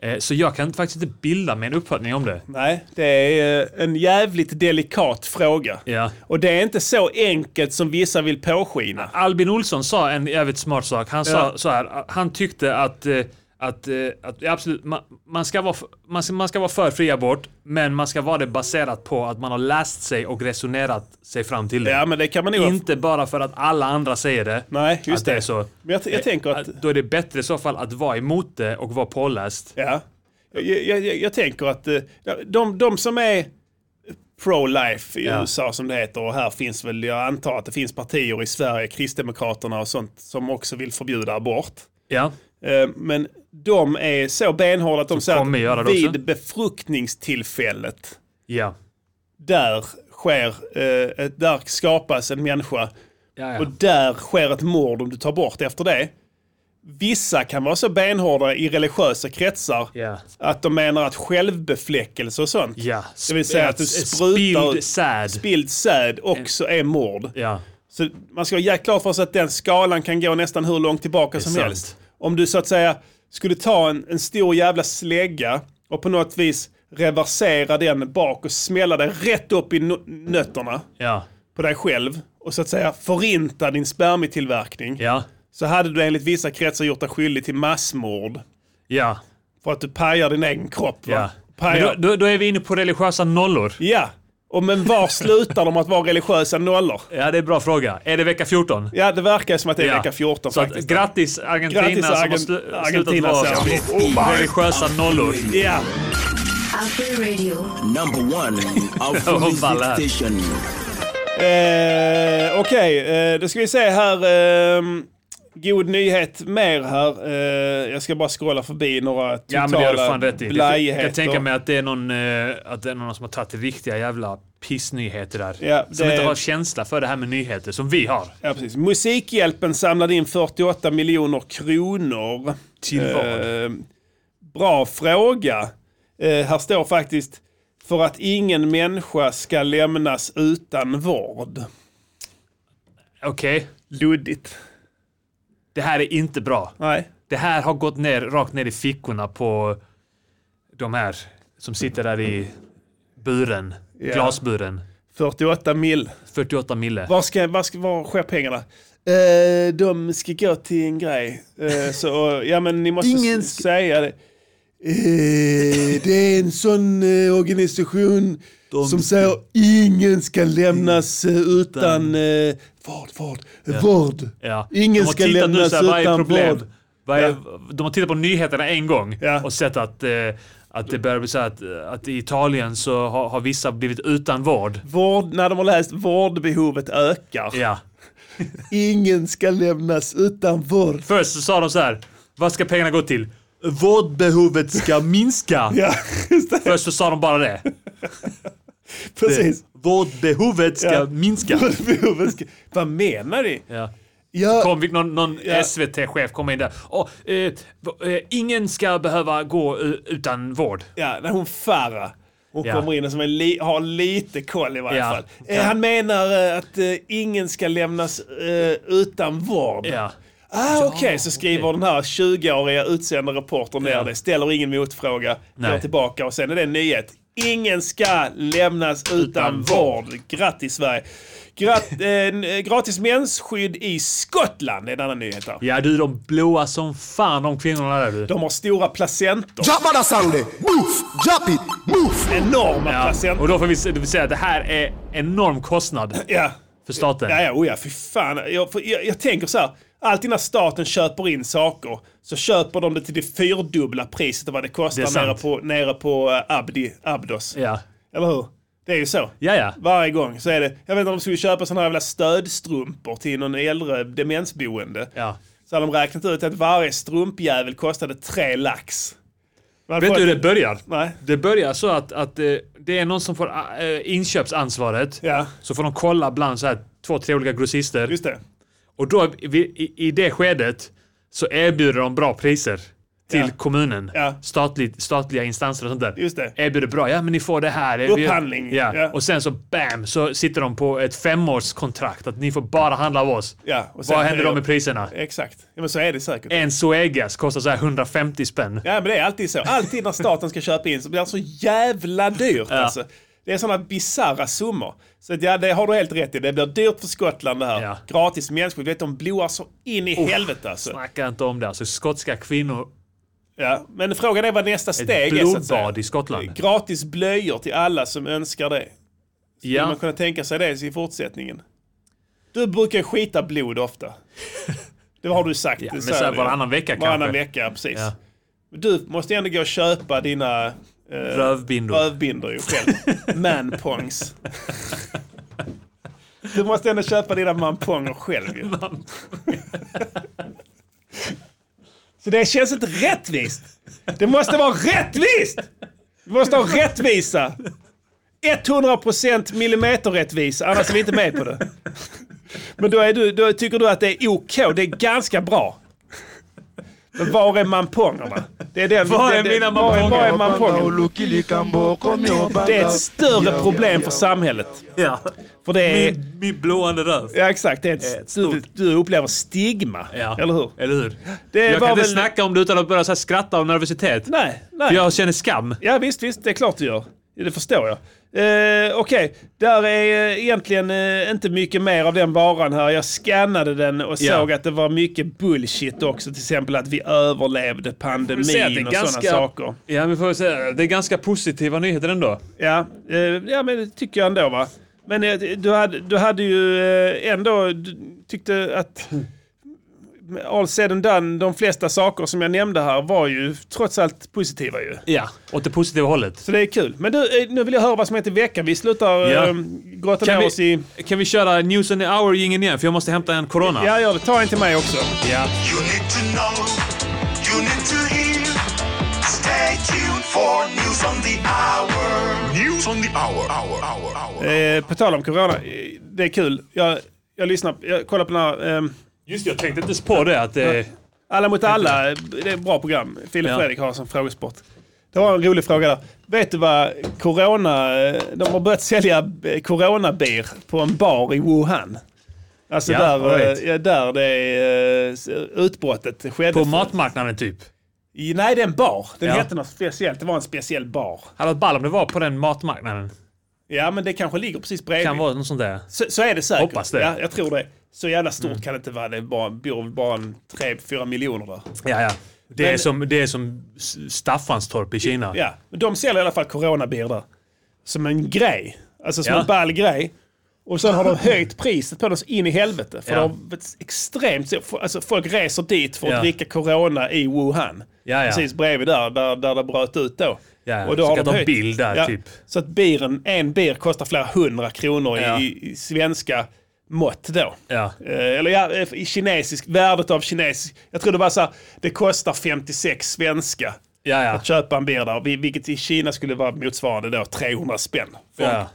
Eh, så jag kan faktiskt inte bilda mig en uppfattning om det. Nej, det är eh, en jävligt delikat fråga. Ja. Och det är inte så enkelt som vissa vill påskina. Albin Olsson sa en jävligt smart sak. Han sa så här, att han tyckte att, eh, att, eh, att ja, absolut, man, man, ska vara, f- man, ska, man ska vara för fri abort, men man ska vara det baserat på att man har läst sig och resonerat sig fram till det. Ja, men det kan man nog... Inte bara för att alla andra säger det. Nej, just att det. det. är så. Men jag, jag tänker att... Då är det bättre i så fall att vara emot det och vara påläst. Ja. Jag, jag, jag, jag tänker att eh, de, de som är pro-life i Ja. USA som det heter och här finns väl, jag antar att det finns partier i Sverige, Kristdemokraterna och sånt, som också vill förbjuda abort. Ja. Eh, Men de är så benhårda att de kommer säger göra att det också. vid befruktningstillfället Ja. där sker, eh, ett- där skapas en människa Ja, ja. och där sker ett mord om du tar bort efter det. Vissa kan vara så benhårda i religiösa kretsar Ja. att de menar att självbefläckelse och sånt, ja. det vill säga att du sprutar Spilled ut sad. spilld säd också är mord. ja. Så man ska ha jäkligt klart för sig att den skalan kan gå nästan hur långt tillbaka som sant. helst. Om du så att säga skulle ta en, en stor jävla slägga och på något vis reversera den bak och smälla dig rätt upp i nö- nötterna Ja. på dig själv och så att säga förinta din spermietillverkning. Ja. Så hade du enligt vissa kretsar gjort dig skyldig till massmord Ja. för att du pajar din egen kropp. Va? ja. Men Pajar. då, då, då är vi inne på religiösa nollor. ja. Och men var slutar de att vara religiösa nollor? Ja, det är en bra fråga. Är det vecka 14? Ja, det verkar som att det är Ja. vecka 14 Så att, faktiskt. grattis Argentina Grattis, som har Argen- slu- slutat Argentina, Oh vara Serbien. religiösa nollor. Ja. After Radio. Number one Oh, of Ballard. music station. Eh, Okej, eh, då ska vi se här. Eh, god nyhet mer här. Eh, jag ska bara scrolla förbi några Ja, men det gör du totala fan rätt i. Det- Jag blajheter. kan tänka mig att det är någon, eh, att det är någon som har tagit riktiga jävla pissnyheter där. Ja, Som det- inte har känsla för det här med nyheter, som vi har. Ja, precis. Musikhjälpen samlade in 48 miljoner kronor. Till vad? Eh, bra fråga. Eh, här står faktiskt för att ingen människa ska lämnas utan vård. Okej, Luddigt. det här är inte bra. Nej. Det här har gått ner, rakt ner i fickorna på de här som sitter där i buren, glasburen. 48 mil. 48 mille. Var, ska, var, ska, var sker pengarna? Eh, de ska gå till en grej. Eh, så, ja, men ni måste Ingen s- ska- säga det. Eh, det är en sån eh, organisation som säger ingen ska lämnas eh, utan eh, vård, vård, vård. Ja. Ingen de har ska tittat nu lämnas så här, vad är utan problem? vård. Vad är, Ja. De har tittat på nyheterna en gång Ja. och sett att, eh, att det börjar bli så här att, att i Italien så har, har vissa blivit utan vård. Vård, när de har läst vårdbehovet ökar. Ja. Ingen ska lämnas utan vård. Först så sa de så här, vad ska pengarna gå till? Vårdbehovet ska minska. Ja, just det. Först så sa de bara det. Precis. Vårdbehovet ska Ja. minska. Vårdbehovet ska- Vad menar ni? Ja. Ja, Kom, fick någon, någon Ja. SVT-chef komma in där. Åh, eh, v- eh, ingen ska behöva gå eh, utan vård. Ja, när hon Farah. Hon Ja. kommer in som en li- har lite koll i varje Ja. fall. Eh, Ja. Han menar eh, att eh, ingen ska lämnas eh, utan vård. Ja. Ah, Okej, så skriver den här 20-åriga utsända reportern ner Ja. det, ställer ingen motfråga, går Nej. tillbaka och sen är det en nyhet. Ingen ska lämnas utan, vård. Grattis Sverige! Grat, eh, gratis mensskydd i Skottland är en annan nyhet här. Ja du, de blåa som fan de kvinnorna där du. De har stora placentor. Drop that sound there. Move. Drop it. Move. Enorma Ja. Och placentor. då får vi, se- det vill säga att det här är enorm kostnad Ja. för staten. Ja, ja, oh ja, fy fan. Jag, för, jag, jag tänker så här. Alltid när staten köper in saker så köper de det till det fyrdubbla priset av vad det Det är kostar sant. nere på, nere på eh, Abdi, Abdos. Ja, Eller hur? Det är ju så. ja. ja. Varje gång så är det, jag vet inte om de skulle köpa sådana här jävla stödstrumpor till någon äldre demensboende. ja. Så hade de räknat ut att varje strumpjävel kostade tre lax. Man Vet får du hur ett- det börjar? Nej. Det börjar så att, att eh, det är någon som får eh, inköpsansvaret. Ja. Så får de kolla bland så här två, tre olika grossister. Just det. Och då i, i, i det skedet så erbjuder de bra priser till Ja. kommunen. Ja. Statligt, statliga instanser och sånt där. Just det. Erbjuder bra. Ja, men ni får det här. Vi- Upphandling. Ja. Ja. Och sen så bam så sitter de på ett femårskontrakt att ni får bara handla av oss. Ja, och sen Vad händer då höjer- med priserna? Exakt. Ja, men så är det säkert. En Zoegas kostar så här 150 spänn. Ja, men det är alltid så. Alltid när staten ska köpa in så blir det så jävla dyrt. Alltså. Det är sådana bisarra summor. Så att, ja, det har du helt rätt i. Det blir dyrt för Skottland det här. Ja. Gratis mensskydd. Du vet, de blåar så in i helvete alltså. Snacka inte om det. Alltså skotska kvinnor Ja. Men frågan är vad nästa steg är. så att säga. blodbad i Skottland. Gratis blöjor till alla som önskar det. Skulle Ja. man kunna tänka sig det i fortsättningen? Du brukar ju skita blod ofta. Det har du sagt. Ja, det men säger så här du. varannan vecka Varannan kanske. vecka, precis. Ja. Men Du måste ändå gå och köpa dina eh, Rövbindor. rövbindor ju själv. Manpongs. Du måste ändå köpa dina mamponger själv ju. Så det känns inte rättvist. Det måste vara rättvist! Vi måste ha rättvisa. 100% millimeterrättvisa, annars är vi inte med på det. Men då, är du, då tycker du att det är OK, det är ganska bra. Men var är mampongerna? Det är den, Var är det, det- mina var är- Var är Bamba mampongerna? ulukili kambo komi obanda. Det är ett större problem för samhället. Ja. För det är... Min, min blåande röv. Ja exakt, det är ett, Ett du, stort- du upplever stigma, Ja. eller hur? Eller hur? Det var jag kan inte väl- snacka om det utan att börja så här skratta av nervositet. Nej, nej. För jag känner skam. Ja visst, visst, det är klart du gör. Det förstår jag. Eh, Okej, där är eh, egentligen eh, inte mycket mer av den varan här. Jag scannade den och Ja. såg att det var mycket bullshit också. Till exempel att vi överlevde Jag säger att det är pandemin och ganska- sådana saker. Ja, men får jag säga, det är ganska positiva nyheter ändå. Ja, eh, ja, men det tycker jag ändå va. Men eh, du hade, du hade ju eh, ändå du tyckte att all said and done, de flesta saker som jag nämnde här var ju trots allt positiva ju. Ja. Åt det positiva hållet. Så det är kul. Men du, eh, nu vill jag höra vad som heter veckan. Vi slutar Ja. ja. grotta Kan ner vi- oss i... Kan vi köra news and the hour gingen igen? För jag måste hämta en corona. Ja, gör det. Ta en till mig också. Ja. You need to know, you need to hear. Stay tuned for news on the hour. News on the hour, hour, hour, hour. Eh, på tal om corona, eh, det är kul. Jag, jag lyssnar, jag kollar på den här... ehm, Just det, jag tänkte inte ens på det. Att, eh, Alla mot alla, det är ett bra program. Filip Ja. Fredrik har som frågesport. Det var en rolig fråga där. Vet du vad corona... eh, De har börjat sälja eh, coronabeer på en bar i Wuhan. Alltså Ja, där, all eh, right. ja, där det eh, s- utbrottet skedde. på först. matmarknaden typ. I- Nej, det är en bar. Den Ja. hette något speciellt. Det var en speciell bar. Hade varit ball om det var på den matmarknaden. Ja, men det kanske ligger precis bredvid. Kan vara något sånt där. Så, så är det säkert. Hoppas det. Mm. Ja, jag tror det. Så jävla stort kan det inte vara. Det är bara, bor bara en 3-4 miljoner där. Ja, ja. Det, är Men- som, det är som S- Staffanstorp i Kina. Ja, men de säljer i alla fall coronabier där. Som en grej. Alltså som Ja. en ball grej. Och sen har de höjt priset på den så in i helvete. För Ja. det har varit extremt... Alltså folk reser dit för att Ja. dricka corona i Wuhan. Ja, ja. Precis bredvid där, där, där det bröt ut då. ja. Så kan ta bild där, typ. Så att biren, en bir kostar flera hundra kronor Ja. i, i svenska mått då. Ja. Eh, Eller ja, eh, i kinesisk, värdet av kinesisk. Jag tror det var så här, det kostar 56 svenska Ja, ja. att köpa en bil där, vi- vilket i Kina skulle vara motsvarande då 300 spänn. För Ja.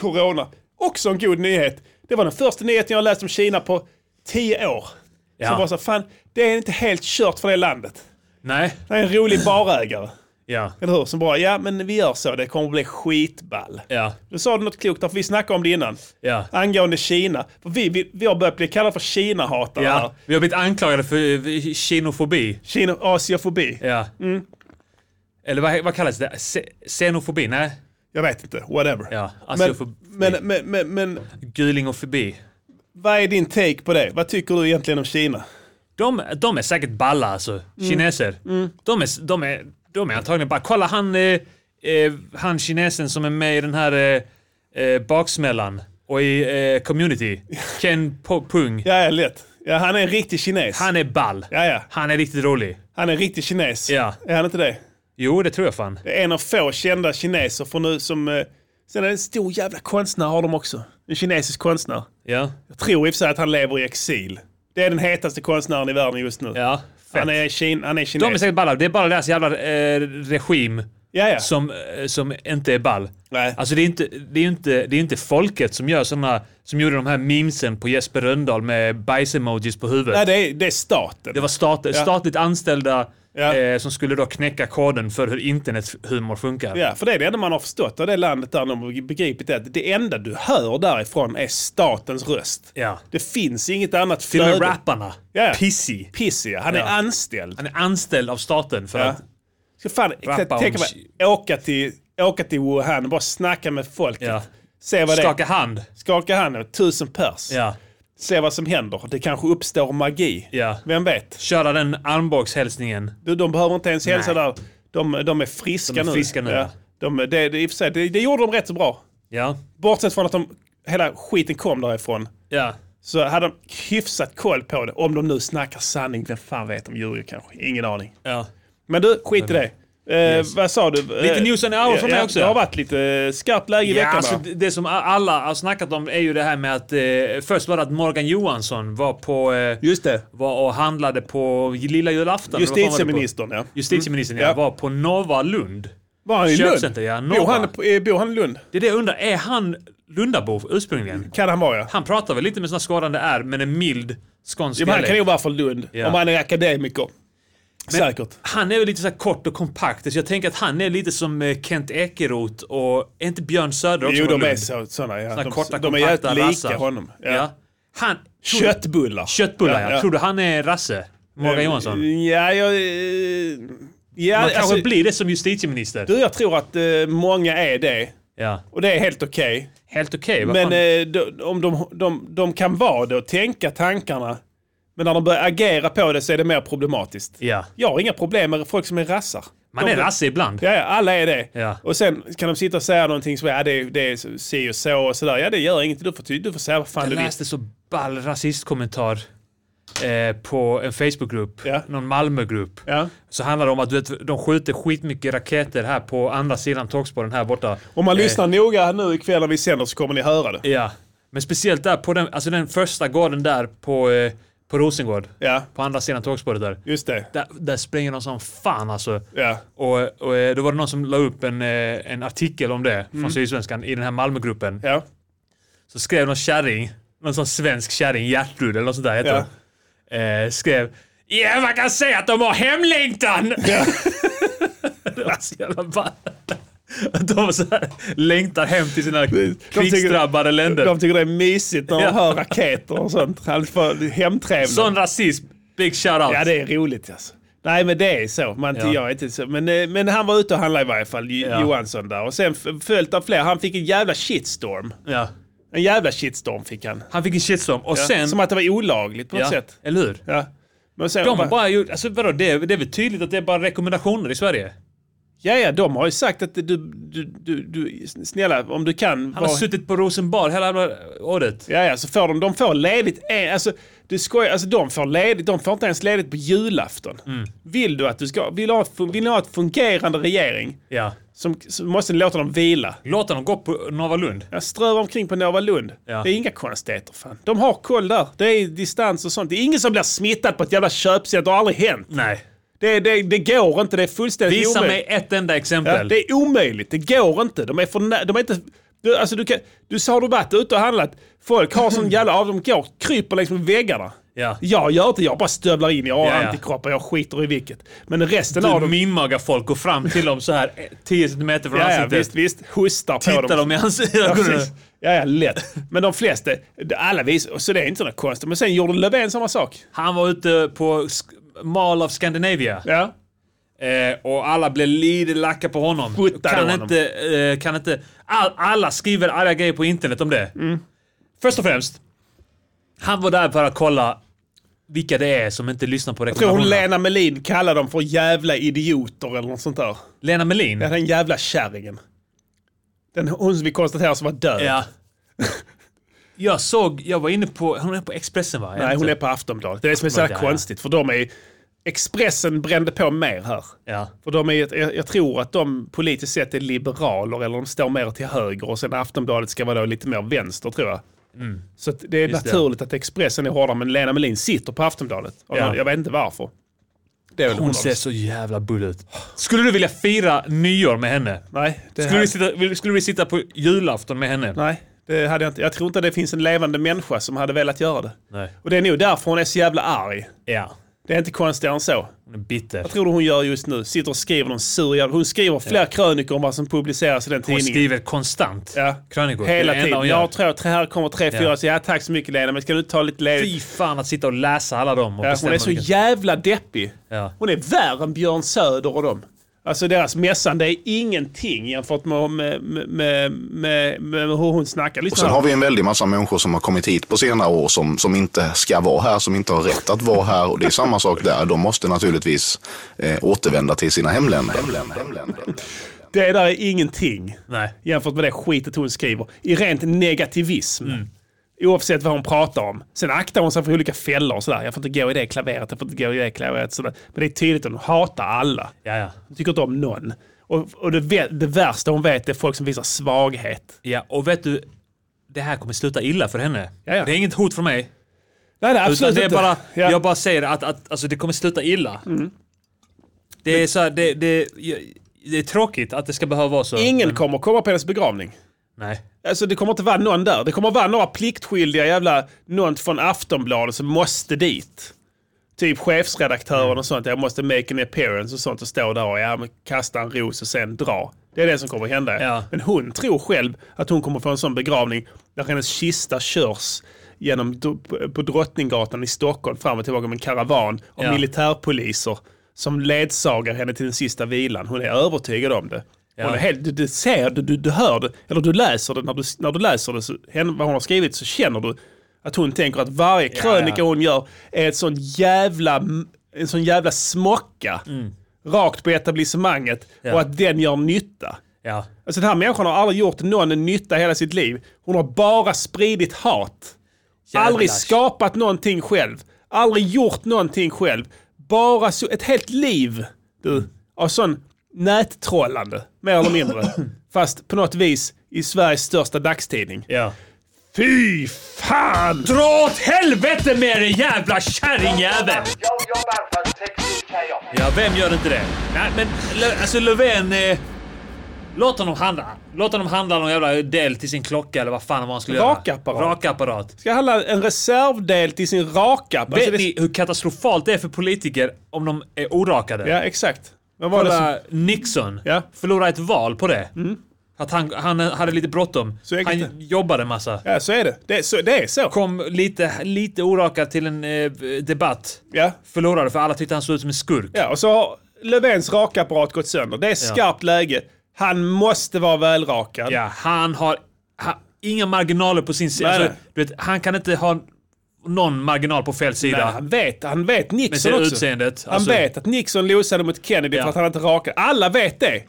Corona. Också en god nyhet. Det var den första nyheten jag läst om Kina på 10 år. Ja. Som var så, fan, det är inte helt kört för det landet. Nej. Det är en rolig barägare, Ja. eller hur? Som bara, ja men vi gör så, det kommer bli skitball. Ja. Då sa du något klokt där, för vi snackade om det innan. Ja. Angående Kina. För vi, vi, vi har börjat bli kallade för Kina-hatare här. Ja, vi har blivit anklagade för eh, kinofobi. Kina, asiafobi. Ja. Eller vad, vad kallas det? Se- Xenofobi? Nej. Jag vet inte, whatever. Ja, alltså men, jag får- men, men, men, men Guling och förbi. vad är din take på det? Vad tycker du egentligen om Kina? De, de är säkert balla alltså, Mm. kineser. De, är, de, är, de är antagligen bara, kolla han, eh, eh, han kinesen som är med i den här eh, eh, baksmällan och i eh, community, Ken Po- Pung. Ja, ja, lätt. Ja, han är en riktig kines. Han är ball. Ja, ja. Han är riktigt rolig. Han är en riktig kines. Ja. Är han inte det? Jo, det tror jag fan. Det är en av få kända kineser från nu som... eh, Sen är det en stor jävla konstnär har de också. En kinesisk konstnär. Ja. Jag tror i och för sig att han lever i exil. Det är den hetaste konstnären i världen just nu. ja fett. Han är, kin- han är kines. De är säkert balla. Det är bara deras jävla eh, regim ja, ja. som, eh, som inte är ball. Nej. Alltså det är inte, det är inte, det är inte folket som gör såna, som gjorde de här memesen på Jesper Rönndahl med bajs-emojis på huvudet. Nej, det, är, det är staten. Det var stat, statligt anställda Ja. eh, som skulle då knäcka koden för hur internethumor funkar. Ja, för det är det enda man har förstått av det landet där de har begripit att det enda du hör därifrån är statens röst. Ja. Det finns inget annat Till och flöde. med rapparna. Ja. Pissy. Pissy, ja. han är Ja. anställd. Han är anställd av staten för Ja. att... Ska fan Rappa om tänka mig åka till, åka till Wuhan och bara snacka med folket. Ja. Se vad det Skaka är. hand. Skaka hand och tusen pers. Ja. Se vad som händer. Det kanske uppstår magi. Ja. Vem vet? Köra den armbågshälsningen. Du, de behöver inte ens hälsa Nej. där. De, de är friska De är nu. friska nu, Ja. ja. De, det, det, i och för sig, det, det gjorde de rätt så bra. Ja. Bortsett från att de, hela skiten kom därifrån. Ja. Så hade de hyfsat koll på det. Om de nu snackar sanning. Vem fan vet om ljuger kanske? Ingen aning. ja. Men du, skit i det. Eh, Vad sa du? Eh, Lite news on the hour från mig också. Det har varit lite eh, skarpt läge i Ja, veckan alltså, va? det- det som a- alla har snackat om är ju det här med att eh, först var det att Morgan Johansson var på eh, Just det. var och handlade på lilla julafton. Justitieministern ja. Eller vad fan var det på? Justitieministern Mm. ja, Ja. var på Nova Lund. Var han i Lund? Köpcenter, ja. Bor han, Nova. på- eh, bor han i Lund? Det är det jag undrar, är han Lundabo ursprungligen? Kan han vara ja. Han pratar väl lite med såna skådande är men en mild skånsk ja men han kan dialekt. ju vara från Lund. Ja. Om han är akademiker. Säkert. Han är väl lite så här kort och kompakt, så jag tänker att han är lite som eh, Kent Ekeroth och är inte Björn Söder också Jo från de är Lund? så, sådana ja. Såna De, korta, de är kompakta jävligt lika rassar. honom. Ja. Ja. Han, tror du- Köttbullar. Köttbullar ja. Ja, ja. Tror du han är rasse? Morgan Johansson? Man Ja, jag... eh, Ja, kanske alltså, blir det som justitieminister. du, jag tror att eh, många är det. ja. Och det är helt okej. Helt okej. vad Men fan. eh, de, om de, de, de kan vara det och tänka tankarna. Men när de börjar agera på det så är det mer problematiskt. ja. Jag har inga problem med folk som är rassar. Man de, är rasse ibland. Ja, ja, alla är det. Ja. Och sen kan de sitta och säga någonting som ja, det, är- det är si och så och sådär. Ja, det gör inget. Du får, ty- du får säga vad fan Jag du vill. läste så ball rasistkommentar eh, på en Facebookgrupp, Ja. någon Malmögrupp. Ja. Så handlar det om att du vet, de skjuter skitmycket raketer här på andra sidan tågspåren här borta. Om man lyssnar noga nu ikväll när vi sänder så kommer ni höra det. Ja. Men speciellt där på den, alltså den första gården där på, eh, på Rosengård. Ja. På andra sidan tågspåret där. Just det. Där, där springer de som fan alltså. Ja. Och, och eh, då var det någon som la upp en, eh, en artikel om det Mm. från Sydsvenskan i den här Malmögruppen. Ja. Så skrev någon kärring, någon sån svensk kärring, Gertrud eller något sånt där heter hon. eh, Skrev Ja, man kan säga att de har hemlängtan! det var så jävla ball. Att de så här längtar hem till sina tycker- krigsdrabbade länder. De tycker det är mysigt när de Ja. hör raketer och sånt. Alltså, för Hemtrevnad. Sån rasism, big shout-out. Ja, det är roligt alltså. Nej, men det är så. Man, Ja. jag är inte så. Men, eh, men han var ute och handlade i varje fall, J- Ja. Johansson där. Och sen f- följt av fler. Han fick en jävla shitstorm. Ja. En jävla shitstorm fick han. Han fick en shitstorm och Ja. sen... Som att det var olagligt på något ja, sätt. eller hur? Ja. Men sen, De har bara gjort, alltså vadå, det är, det är väl tydligt att det är bara rekommendationer i Sverige? ja, ja, de har ju sagt att du, du, du, du snälla, om du kan. Han har suttit på Rosenbad hela jävla året. Ja, ja, så får de, de får ledigt. en- Alltså, du skojar, alltså de får ledigt, de får inte ens ledigt på julafton. Mm. Vill du att du ska, vill du ha, vill du ha ett fungerande regering Ja. som, så måste ni låta dem vila. Låt honom gå på Nova Lund. Jag strövar omkring på Nova Lund. Ja. Det är inga konstigheter fan. De har koll där. Det är distans och sånt. Det är ingen som blir smittad på ett jävla köpcenter. Det har aldrig hänt. Nej. Det, det, det går inte. Det är fullständigt Visa omöjligt. mig ett enda Ja, exempel. det är omöjligt. Det går inte. De är för nä- De är inte... Du, alltså du, kan, du sa har du varit ute och handlat. Folk har sån jävla av de går, kryper längs med väggarna. Ja. Typ Jag gör inte, jag bara stövlar in, jag har Ja, ja. antikroppar, jag skiter i vilket. Men resten av Du dem, mimmagar folk, går fram till dem så här eh, 10 centimeter från ja, ja, ansiktet. visst, visst, hostar på Tittar dem. dem i Ja, ansiktet. precis. Ja, ja, lätt. Men de flesta, alla vis, så det är inte något konstigt. Men sen gjorde Löfven samma sak. Han var ute på Sk- Mall of Scandinavia. Ja. Eh, och alla blir lite lacka på honom. Skuttade kan, honom. Inte, eh, kan inte... All, alla skriver arga grejer på internet om det. Mm. Först och främst, han var där för att kolla vilka det är som inte lyssnar på Jag tror hon rekommendationerna. Lena Melin kallar dem för jävla idioter eller något sånt där. Lena Melin? Ja, Den jävla kärringen. Den hon som vi konstaterar som var död. Ja. Jag såg, jag var inne på, hon är på Expressen va? Nej, hon är på Aftonbladet. Det är det som är så jävla Aftonbladet, ja, ja. konstigt. För de är... Expressen brände på mer här. Ja. För de är, jag, jag tror att de politiskt sett är liberaler eller de står mer till höger och sen Aftonbladet ska vara då lite mer vänster tror jag. Så att det är Mm. Just det. naturligt att Expressen är hårdare men Lena Melin sitter på Aftonbladet. Och Ja. jag- Jag vet inte varför. Det är väl Hon ser så jävla bull ut. Skulle du vilja fira nyår med henne? Nej, det Skulle här- du, sitta, vill- skulle du sitta på julafton med henne? Nej, det hade jag inte. Jag tror inte att det finns en levande människa som hade velat göra det. Nej. Och det är nog därför hon är så jävla arg. Ja. Det är inte konstigare än så. Hon är bitter. Vad tror du hon gör just nu? Sitter och skriver någon sur jävla... Hon skriver fler krönikor om vad som publiceras i den Hon tidningen. skriver konstant Ja. krönikor. Det är Hela det enda tiden. hon gör. Jag tror att här kommer tre, fyra. Ja. Så ja, tack så mycket Lena, men ska du inte ta lite ledigt? Fy fan att sitta och läsa alla dem och Ja, hon bestämma är så vilka- jävla deppig. Ja. Hon är värre än Björn Söder och dem. Alltså deras mässande är ingenting jämfört med, med, med, med, med, med hur hon snackar. Och Lyssna sen här. har vi en väldig massa människor som har kommit hit på senare år som, som inte ska vara här, som inte har rätt att vara här. Och det är samma sak där. De måste naturligtvis eh, återvända till sina hemländer. Det där är ingenting. Nej. jämfört med det skitet hon skriver. I rent negativism. Mm. Oavsett vad hon pratar om. Sen aktar hon sig för olika fällor och sådär. Jag får inte gå i det klaveret, jag får inte gå i det klaveret. Sådär. Men det är tydligt att hon hatar alla. Ja, ja. Hon tycker inte om någon. Och, och det, vä- det värsta hon vet är folk som visar svaghet. ja, och vet du? Det här kommer sluta illa för henne. Ja, ja. Det är inget hot från mig. Nej, nej Utan absolut det är inte. bara, ja. Mm. Jag bara säger att, att alltså, det kommer sluta illa. Det, är så här, det, det, det är tråkigt att det ska behöva vara så. Ingen kommer komma på hennes begravning. Nej. Alltså det kommer inte vara någon där. Det kommer vara några pliktskyldiga jävla, någon från Aftonbladet som måste dit. Typ chefsredaktören och sånt. Jag måste make an appearance och sånt och stå där och ja, men kasta en ros och sen dra. Det är det som kommer att hända. Ja. Men hon tror själv att hon kommer få en sån begravning där hennes kista körs genom, på Drottninggatan i Stockholm fram och tillbaka med en karavan av Ja. militärpoliser som ledsagar henne till den sista vilan. Hon är övertygad om det. Hon är helt, du, du ser det, du, du hör det, eller du läser det. När du, när du läser det, så, henne, vad hon har skrivit, så känner du att hon tänker att varje krönika hon gör är ett sån jävla, en sån jävla smocka rakt på etablissemanget Mm. Ja. och att den gör nytta. Ja. Alltså den här människan har aldrig gjort någon nytta i hela sitt liv. Hon har bara spridit hat. Aldrig skapat någonting själv. Aldrig gjort någonting själv. Bara så, ett helt liv du, av sån nättrollande, mer eller mindre. Fast på något vis i Sveriges största dagstidning. Ja. Fy fan! Dra åt helvete med dig jävla kärringjävel! Jag jobbar för teknisk chaos. Ja, vem gör inte det? Nej, men Lö- alltså Löfven... Eh, låt honom handla. Låt honom handla någon jävla del till sin klocka eller vad fan vad han skulle Rakapparat. göra. Rakapparat. Ska handla en reservdel till sin rakapp. Alltså, Vet det- ni hur katastrofalt det är för politiker om de är orakade? Ja, exakt. Vad var det som... Kolla Nixon. Ja. Förlorade ett val på det. Att han, han hade lite bråttom. Mm. Så enkelt Han jobbade massa. Ja, så är det. Det, är så, det är så. Kom lite, lite orakad till en eh, debatt. Ja. Förlorade för alla tyckte han såg ut som en skurk. Ja, och så har Löfvens rakapparat gått sönder. Det är skarpt läge. Han måste vara välrakad. Ja, han har ha, inga marginaler på sin sida. Nej, Alltså, du vet, han kan inte ha någon marginal på fel Nej, sida. han vet, han vet Med Nixon det också. utseendet. Alltså, Han vet att Nixon losade mot Kennedy Ja. för att han inte rakade. Alla vet det.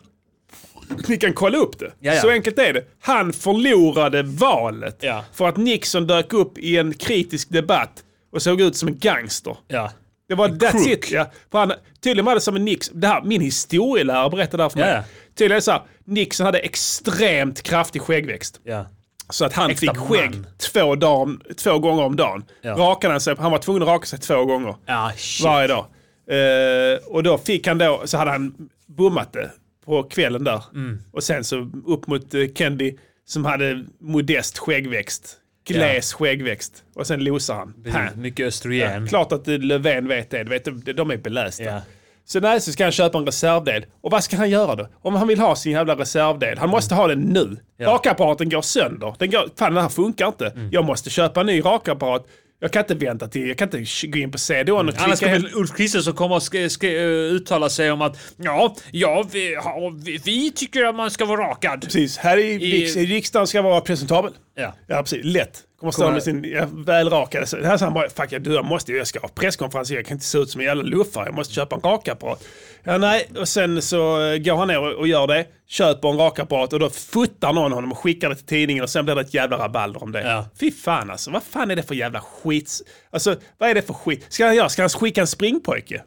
Ni kan kolla upp det. Ja, ja. Så enkelt är det. Han förlorade valet Ja. för att Nixon dök upp i en kritisk debatt och såg ut som en gangster. Ja. Det var that's crook. it. Ja. För han, tydligen var det som en Nixon. Det här, min historielärare berättade det här för mig. Ja, ja. Tydligen är det så här, Nixon hade extremt kraftig skäggväxt. Ja. Så att han Äkta fick skägg man. två, dagar, två gånger om dagen. Ja. Rakade han sig, han var tvungen att raka sig två gånger Ja, shit. varje dag. Eh, och då fick han då, så hade han bommat det på kvällen där. Mm. Och sen så upp mot uh, Kennedy som hade modest skäggväxt. Gles skäggväxt. Och sen losar han. Precis, Pang. Mycket östrogen. Klart att eh, Löfven vet det. Du vet, de, de är belästa. Ja. Så nej, så ska han köpa en reservdel. Och vad ska han göra då? Om han vill ha sin jävla reservdel, han måste ha den Mm. nu. Rakapparaten går sönder. Den går, fan, den här funkar inte. Jag måste köpa en ny rakapparat. Jag kan inte vänta till, jag kan inte sh- gå in på CDON och Mm. klicka Annars kommer hem. väl Ulf Kristersson komma och sk- sk- eh, uttala sig om att ja, ja, vi, ja vi, vi tycker att man ska vara rakad. Precis, här i, riks- i riksdagen ska vara presentabel. Ja. Ja, precis. Lätt. Kommer stå Kommer- med sin ja, välrakade... Så det här sa han bara, fuck jag, du, jag måste ju, jag ska ha presskonferens, jag kan inte se ut som en jävla luffare, jag måste köpa en rakapparat. Ja, nej, och sen så eh, går han ner och, och gör det, köper en rakapparat och då fotar någon honom och skickar det till tidningen och sen blir det ett jävla rabalder om det. Ja. Fy fan alltså, vad fan är det för jävla skit? Alltså, vad är det för skit? Ska han göra? Ska han skicka en springpojke?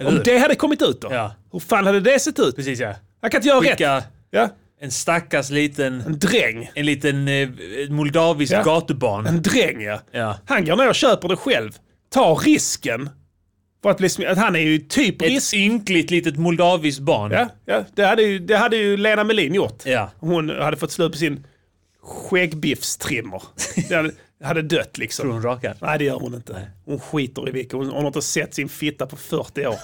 Om hur? det hade kommit ut då? Ja. Hur fan hade det sett ut? Precis ja. Han kan inte göra rätt. Skicka Ja, en stackars liten, en dräng. en liten eh, moldavisk Ja. gatubarn. En dräng ja. Ja. Han går ner och köper det själv. Tar risken. För att bli sm- att han är ju typ Ett risk... ynkligt litet moldaviskt barn. Ja, ja. Det, hade ju, det hade ju Lena Melin gjort. Ja. Hon hade fått slut på sin skäggbiffstrimmer. Det hade, hade dött liksom. Tror hon rakad? Nej, det gör hon inte. Hon skiter i vilka. Hon, hon har inte sett sin fitta på 40 år.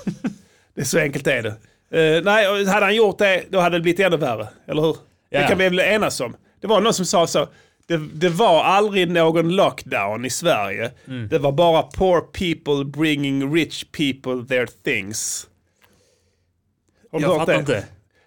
det är så enkelt är det. Eh, nej, och hade han gjort det, då hade det blivit ännu värre. Eller hur? Det Ja. kan vi väl enas om. Det var någon som sa så. Det, det var aldrig någon lockdown i Sverige. Mm. Det var bara poor people bringing rich people their things. Har du Jag hört fattar det? inte.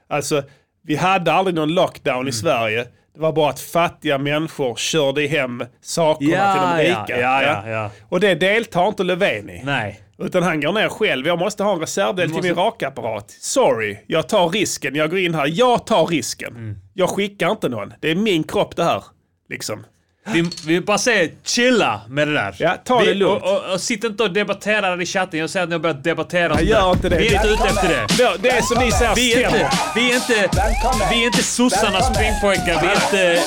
Alltså, vi hade aldrig någon lockdown Mm. i Sverige. Det var bara att fattiga människor körde hem sakerna Ja, till de ja, rika. ja, ja, ja. Och det deltar inte Löfven i. Nej. Utan han går ner själv. Jag måste ha en reservdel till min rakapparat. Sorry, jag tar risken. Jag går in här. Jag tar risken. Mm. Jag skickar inte någon. Det är min kropp det här. Liksom. Vi, vi bara säger chilla med det där. Ja, ta vi, det lugnt. Och, och, och sitt inte och debattera i chatten. Jag säger att ni har börjat debattera. och sånt gör där. inte det. Vi är inte ute efter det. Det- Det är som ni säger Vi är stämmer. inte, vi är inte, vi är inte sossarnas springpojkar. Vi är inte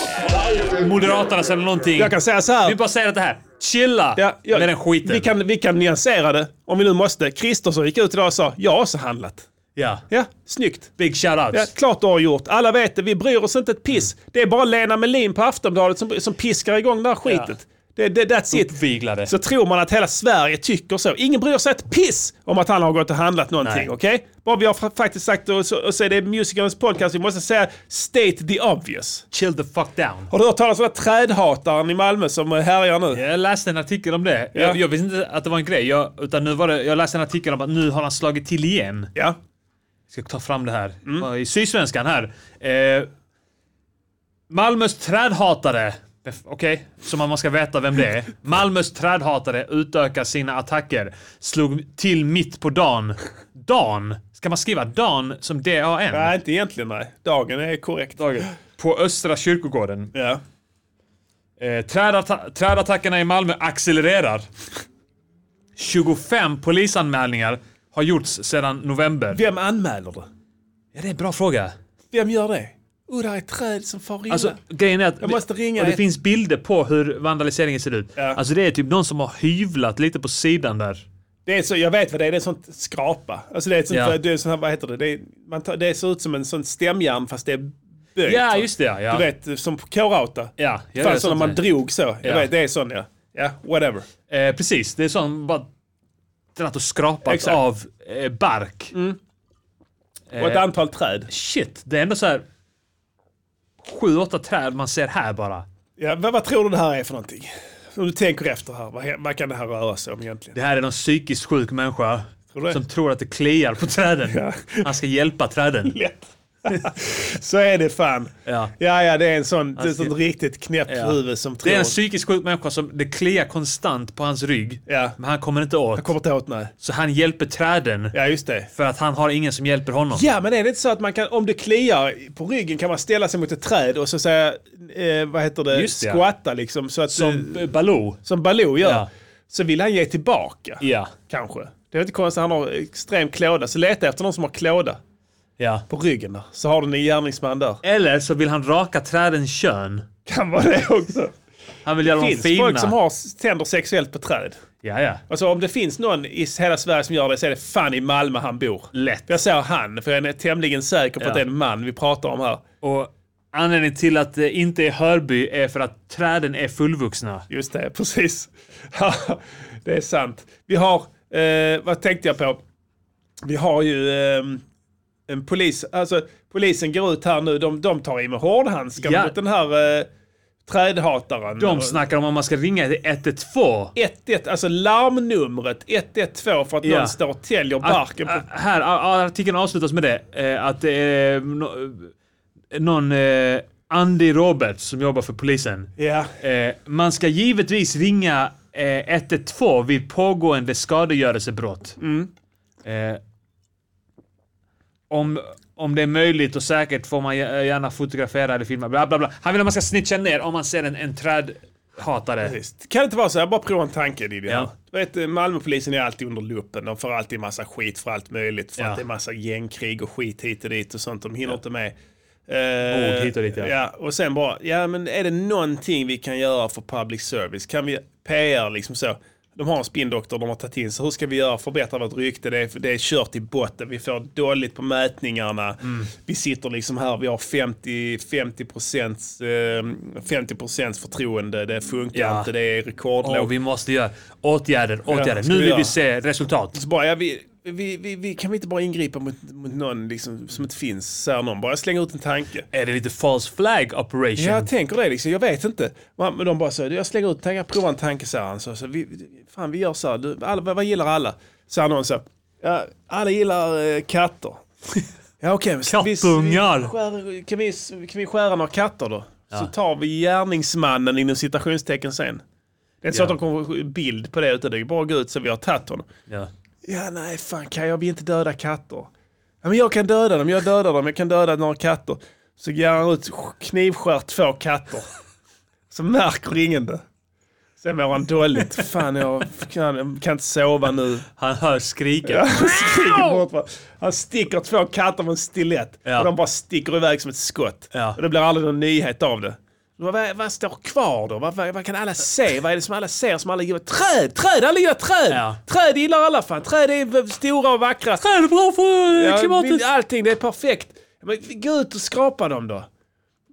eh, moderaternas eller någonting. Jag kan säga så Vi här. bara säger det här. Chilla Ja, jag- med den skiten. vi, kan, vi kan nyansera det om vi nu måste. Kristersson gick ut idag och sa jag har också handlat. ja. Ja, snyggt. Big shoutouts. Ja, klart du har gjort. Alla vet det. Vi bryr oss inte ett piss. Mm. Det är bara Lena Melin på Aftonbladet som, som piskar igång det här skitet. Det, det, that's it. Uppviglade. Så tror man att hela Sverige tycker så. Ingen bryr sig ett piss om att han har gått och handlat någonting. Nej. Okej? Bara vi har fa- faktiskt sagt, och så, och så är det musikernas podcast, vi måste säga state the obvious. Chill the fuck down. Har du hört talas om den här trädhataren i Malmö som eh, härjar nu? Jag läste en artikel om det. Ja. Jag, jag visste inte att det var en grej. Jag, utan nu var det, jag läste en artikel om att nu har han slagit till igen. Ja. ska ta fram det här. I Sydsvenskan här. Eh, Malmös trädhatare. Okej, så man ska veta vem det är. Malmös trädhatare utökar sina attacker. Slog till mitt på dagen. Dan? Ska man skriva dan som D-A-N? Nej, inte egentligen nej. Dagen är korrekt. Dagen. På Östra kyrkogården. Ja. Eh, trädatta- trädattackerna i Malmö accelererar. 25 polisanmälningar har gjorts sedan november. Vem anmäler det? Ja, det är en bra fråga. Vem gör det? Oh, där är ett träd som far illa. Alltså, grejen är att Jag måste ringa och det ett- finns bilder på hur vandaliseringen ser ut. Ja. Alltså det är typ någon som har hyvlat lite på sidan där. Det är så, jag vet vad det är, det är sånt skrapa. Alltså det är ett sånt, Ja. det är sån här, vad heter det? Det, är, man tar, det ser ut som en sån stämjärn fast det är böjt. Ja, just det ja. ja. Du vet, som på K-Rauta. Ja, ja, det är Fanns sådana sånt man där. drog så. Jag Ja. vet, det är sån ja. Ja, whatever. Eh, precis, det är sån bara dratt och skrapat Exakt. av eh, bark. Och ett antal träd. Shit, det är ändå så här sju, åtta träd man ser här bara. Ja, vad, vad tror du det här är för någonting? Om du tänker efter här, vad, vad kan det här röra sig om egentligen? Det här är någon psykiskt sjuk människa Tror du det? som tror att det kliar på träden. Han ska hjälpa träden. lätt. så är det fan. Ja. ja, ja, det är en sån, det är ett Alltså, sånt riktigt knäppt Ja. huvud som tror... Det är en psykiskt sjuk människa som det kliar konstant på hans rygg. Ja. Men han kommer inte åt. Jag kommer inte åt, nej. Så han hjälper träden Ja, just det. för att han har ingen som hjälper honom. Ja, men är det inte så att man kan, om det kliar på ryggen kan man ställa sig mot ett träd och så säga, eh, vad heter det, Just det, ja. squatta liksom. Så att, som, Som eh, Baloo. som Baloo gör. Ja. Så vill han ge tillbaka, Ja. kanske. Det är inte konstigt, han har extrem klåda. Så leta efter någon som har klåda ja. på ryggen där. Så har du en gärningsman där. Eller så vill han raka trädens kön. Kan vara det också. Han vill göra dem finns fina. folk som har s- tänder sexuellt på träd. Ja, ja. Alltså om det finns någon i hela Sverige som gör det så är det fan i Malmö han bor. Lätt. Jag säger han, för jag är tämligen säker på Ja. att det är en man vi pratar om här. Och anledningen till att det inte är Hörby är för att träden är fullvuxna. Just det, precis. Ja, det är sant. Vi har, eh, vad tänkte jag på? Vi har ju ehm, en polis, alltså polisen går ut här nu, de, de tar i med hårdhandskar Ja. mot den här eh, Trädhataren. De snackar om att man ska ringa 112. 112, alltså larmnumret 112 för att Ja. någon står och täljer barken på... Ah, Här, ah, artikeln avslutas med det. eh, Att det är no- eh, någon eh, Andy Roberts som jobbar för polisen. Ja. Eh, Man ska givetvis ringa eh, 112 vid pågående skadegörelsebrott. Mm. Eh, Om, om det är möjligt och säkert får man gär- gärna fotografera eller filma. Bla, bla, bla. Han vill att man ska snitcha ner om man ser en, en trädhatare. Visst. Kan det inte vara så här? Bara prova en tanke din ja. Eh, Ja. Du vet, eh, Malmöpolisen är alltid under luppen. De får alltid massa skit för allt möjligt. För Ja. att det är massa gängkrig och skit hit och dit och sånt. De hinner inte med. Ord hit och dit, ja. ja. Och sen bara, ja men är det någonting vi kan göra för public service? Kan vi PR liksom så? De har en spindoktor de har tagit in, så hur ska vi göra för att förbättra vårt rykte? Det är, det är kört i botten, vi får dåligt på mätningarna. Mm. Vi sitter liksom här, vi har 50, 50, procents, eh, 50 procents förtroende, det funkar Ja. inte, det är rekordlågt. Åh, vi måste göra åtgärder, åtgärder. ska nu vi vill göra? vi se resultat. Så bara, ja, vi, vi, vi, vi, kan vi inte bara ingripa mot, mot någon liksom, som inte finns? Säger någon. Bara slänga ut en tanke. Är det lite false flag operation? Ja, jag tänker det liksom. Jag vet inte. Va, Men de bara så, jag slänger ut tankar, provar en tanke, säger han. Så, så vi, fan, vi gör så här. Du, alla, vad, vad gillar alla? Säger någon så. Ja, alla gillar eh, katter. Ja, okej. men så vi- Kattungar. vi skär- Kan vi, kan vi skära några katter då? Så tar vi gärningsmannen inom citationstecken sen. Det är inte så Ja. att de kommer bild på det utan det är bara att gå ut så vi har tagit honom. Ja. Ja, nej, fan kan jag vill inte döda katter. Ja, men jag kan döda dem, jag dödar dem, jag kan döda några katter. Så ger han ut knivskär två katter. Så märker ingen det. Sen mår han dåligt. Fan, jag kan, kan inte sova nu. Han hör skriken. Han skriker bort va. Han sticker två katter med en stilett. Ja. Och de bara sticker iväg som ett skott. Ja. Och det blir aldrig någon nyhet av det. Vad, vad, vad står kvar då? Vad, vad, vad kan alla se? Vad är det som alla ser som alla gillar? Träd! Träd! Alla gillar träd! Ja. Träd gillar alla fan. Träd är v- stora och vackra. Det är bra för eh, Ja, klimatet. vi- Allting, det är perfekt. Men gå ut och skrapa dem då.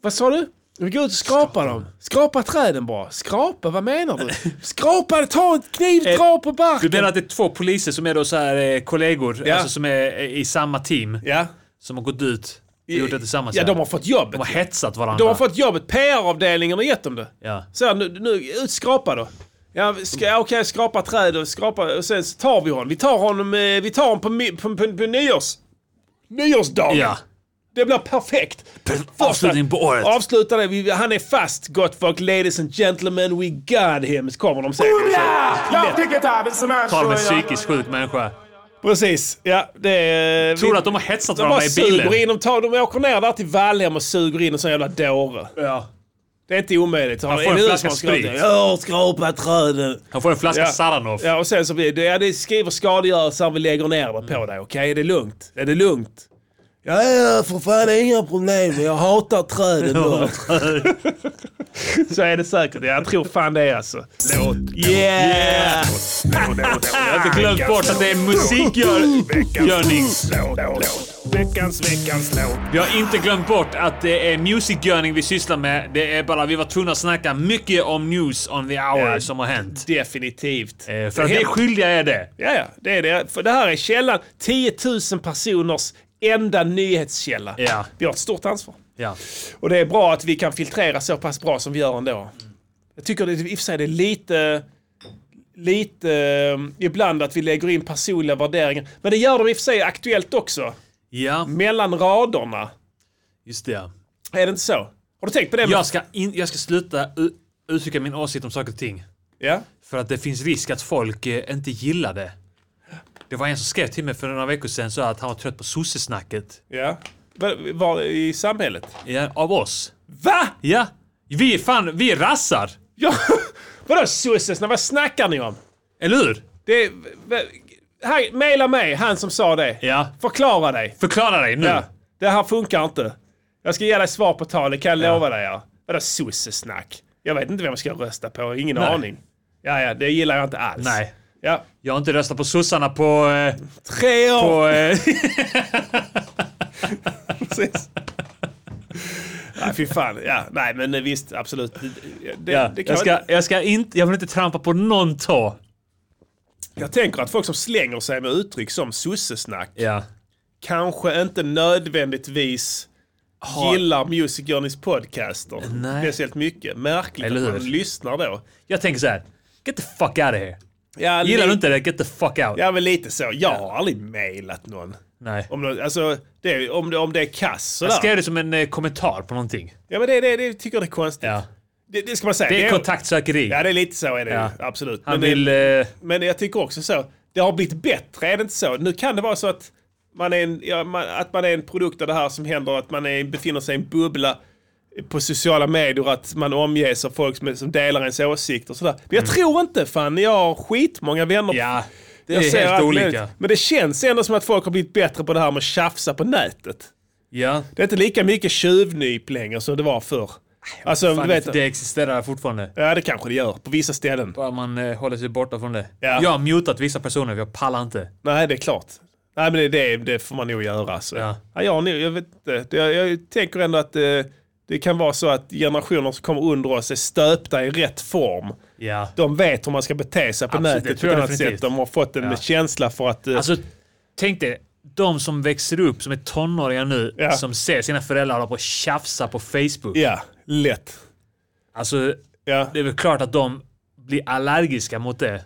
Vad sa du? Gå ut och skrapa dem. Skrapa träden bara. Skrapa? Vad menar du? Skrapa, ta en kniv, dra på Du barken. menar att Eh, det är två poliser som är då så här, eh, kollegor, Ja. alltså som är eh, i samma team, Ja. som har gått ut och gjort det tillsammans? Ja, de har fått jobbet. de har hetsat varandra. De har fått jobbet. PR-avdelningen har gett dem det. Ja. Mm. Så här, nu, nu ut skrapa då. Ja, ska, ja, okej, skrapa träd och skrapa och sen så tar vi honom. Vi tar honom, eh, vi tar honom på, mi- på, på, på nyårs... Nyårsdagen. Ja. Det blir perfekt. Första- Avslutning på året. Avsluta det. Vi- Han är fast, gott folk. Ladies and gentlemen, we got him. Så kommer de sen. Tar de en psykiskt sjuk människa. Precis. Ja, det är... eh, Tror du att de har hetsat De bara varandra i bilen? suger in, de, tar, de åker ner där till Valhem och suger in en sån jävla dåre. Ja. Det är inte omöjligt. Har Han får en LU flaska som har skrivit sprit. det? Ja, skrapa träden. Han får en flaska Saranov. Ja, och sen så blir det, ja det skriver skadegörelsen, vi lägger ner det Mm. på dig. Okej, är det lugnt? Är det lugnt? Ja, ja, för fan, det är inga problem. Jag hatar träden. då. så är det säkert. Ja, Jag tror fan det är alltså. Låt. Yeah! Jag har inte glömt bort att det är musikgörning. Veckans, veckans låt. Vi har inte glömt bort att det är musikgörning vi sysslar med. Det är bara vi var tvungna att snacka mycket om news on the hour Ja. som har hänt. Definitivt. Eh, För att vi är skyldiga är det. Ja, ja, det är det. För det här är källan. 10 000 personers enda nyhetskälla. Ja. Vi har ett stort ansvar. Ja. Och det är bra att vi kan filtrera så pass bra som vi gör ändå. Jag tycker det, i och för sig det är lite... Lite eh, ibland att vi lägger in personliga värderingar. Men det gör de i och för sig aktuellt också. Ja, Mellan raderna. just det. ja. Är det inte så? Har du tänkt på det? Jag ska, in, jag ska sluta u- uttrycka min åsikt om saker och ting. Ja. För att det finns risk att folk eh, inte gillar det. Det var en som skrev till mig för några veckor sedan så att han var trött på sossesnacket. ja. Var, var, I samhället? Ja, av oss. Va? Ja. Vi är fan, vi är rassar. Ja. Vadå sossesnack? Vad snackar ni om? Eller hur? Det är, v- här, maila mig, han som sa det. Ja. Förklara dig. Förklara dig nu. Ja. Det här funkar inte. Jag ska ge dig svar på tal, det kan jag lova dig. Ja. Vadå sossesnack? Jag vet inte vem jag ska rösta på, ingen Nej. aning. Ja, ja, det gillar jag inte alls. Nej. Ja. Jag har inte röstat på sossarna på... Eh, Tre år! på eh, Precis. Nej, fy fan. Ja, nej, men visst, absolut. Det, ja. det kan jag, jag, ska, jag, ska inte, jag vill inte trampa på någon tå. jag tänker att folk som slänger sig med uttryck som sossesnack Ja. kanske inte nödvändigtvis gillar Music Journeys podcaster Nej. speciellt mycket. Märkligt Eller att hur? man lyssnar då. Jag tänker så här. Get the fuck out of here. Ja, Gillar li- du inte det? Get the fuck out. Ja, men lite så. Jag har aldrig mejlat någon. Nej. Om, någon- alltså, det, är- om, det- om det är kass sådär. Jag skrev det som en eh, kommentar på någonting. Ja, men det, det, det tycker jag det är konstigt. Ja. Det, det ska man säga. Det är kontaktsökeri. Ja, det är lite så är det Ja. ju. Absolut. Han det- vill... eh, Men jag tycker också så, det har blivit bättre, är det inte så? Nu kan det vara så att man är en, ja, man, att man är en produkt av det här som händer, att man är, befinner sig i en bubbla på sociala medier, att man omges av folk som, som delar ens åsikter och sådär. Men jag Mm. tror inte fan, jag har skitmånga vänner. ja. Det Jag ser är helt allt olika. möjligt. Men det känns ändå som att folk har blivit bättre på det här med att tjafsa på nätet. Ja. Det är inte lika mycket tjuvnyp längre som det var förr. Alltså, du Fan, vet, det existerar fortfarande. Ja, det kanske det gör på vissa ställen. Bara man eh, håller sig borta från det. Ja. Jag har mutat vissa personer, för jag pallar inte. Nej, det är klart. Nej, men det, det, det får man nog göra. Alltså. Ja. Ja. jag, har nog- jag, vet, inte. Det- jag, jag tänker ändå att eh, det kan vara så att generationer som kommer under oss är stöpta i rätt form. Ja. De vet hur man ska bete sig på Absolut, det nätet på tror ett jag annat definitivt. sätt. De har fått en Ja. känsla för att... eh, Alltså, tänk dig. De som växer upp, som är tonåringar nu, Ja. som ser sina föräldrar hålla på och tjafsa på Facebook. ja, lätt. Alltså, Ja. det är väl klart att de blir allergiska mot det.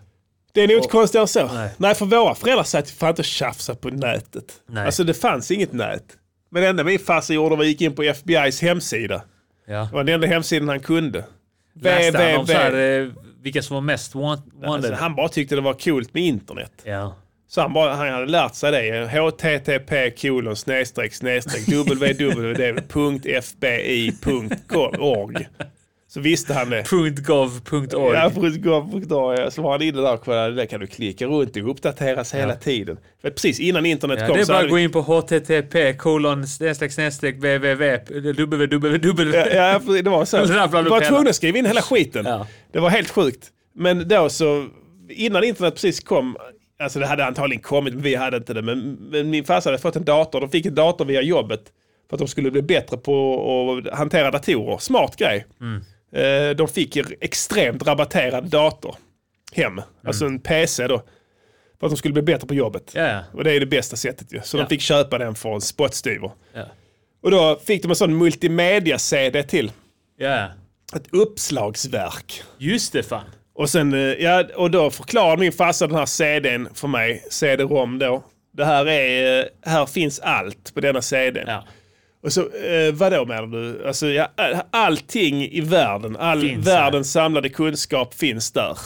Det är nog inte konstigare än så. Nej. Nej. för våra föräldrar satt ju fan inte och tjafsade på nätet. Nej. Alltså det fanns inget nät. Men det enda min farsa gjorde var att gick in på FBI's hemsida. Ja. Det var den enda hemsidan han kunde. Läste han om www. så här, eh, vilka som var mest want- wanted? Alltså, han bara tyckte det var coolt med internet. Ja. Så han, bara, han hade lärt sig det. http kolon snedstreck snedstreck www.fbi.org. Så visste han det. .gov.org. Ja, precis. Gå- gå- ja, Så var han inne där och kollade. Där kan du klicka runt och uppdateras hela tiden. För precis innan internet Ja, kom det är så bara hade att vi- gå in på http kolon snedstreck snedstreck www www. Ja, Ja, precis, det var så. Eller rabblar du Du var upp hela. tvungen att skriva in hela skiten. Ja. Det var helt sjukt. Men då så, innan internet precis kom, alltså det hade antagligen kommit, men vi hade inte det. Men, men min farsa hade fått en dator, de fick en dator via jobbet för att de skulle bli bättre på att hantera datorer. Smart grej. Eh, De fick en extremt rabatterad dator hem, alltså en PC då, för att de skulle bli bättre på jobbet. Ja, ja. Och det är det bästa sättet ju. Så Ja. de fick köpa den för en spottstyver. Ja. Och då fick de en sån multimedia-CD till. Ja, Ett uppslagsverk. just det fan. Och, sen, eh, ja, och då förklarade min farsa den här CDn för mig, CD-ROM då. Det här, är, eh, här finns allt på denna CDn. Ja. Och så, eh, vadå menar du? Alltså, ja, all- allting i världen, all Finns Mm. där. världens samlade kunskap finns där.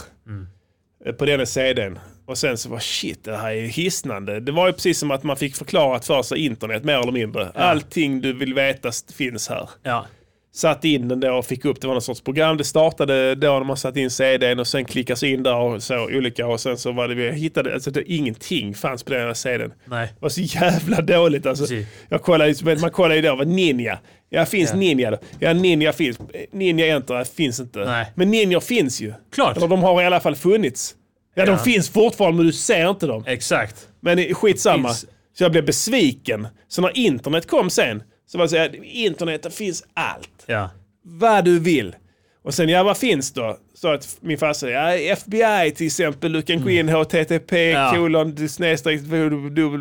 Eh, På denna CDn. Och sen så var shit, det här är ju hisnande. Det var ju precis som att man fick förklarat för sig internet mer eller mindre. Allting du vill veta st- finns här Ja. satt in den då och fick upp, det var någon sorts program. Det startade då när man satte in CDn och sen klickades in där och så olika och sen så var det vi hittade, alltså det, ingenting fanns på den här CDn. Nej. Det var så jävla dåligt alltså. Precis. Jag kollade, ju- men man kollade ju då, vad Ninja? Ja, finns Ja. Ninja då? Ja, Ninja finns. Ninja Enter finns inte. Nej. Men Ninja finns ju. Klart. Eller de har i alla fall funnits. Ja, Ja. de finns fortfarande men du ser inte dem. Exakt. Men eh, skitsamma. Finns. Så jag blev besviken. Så när internet kom sen, så var det så här, internet, det finns allt Ja. vad du vill. Och sen, ja vad finns då? Så att min farsa, ja FBI till exempel, du kan gå in http Mm. Ja. kolon snedstreck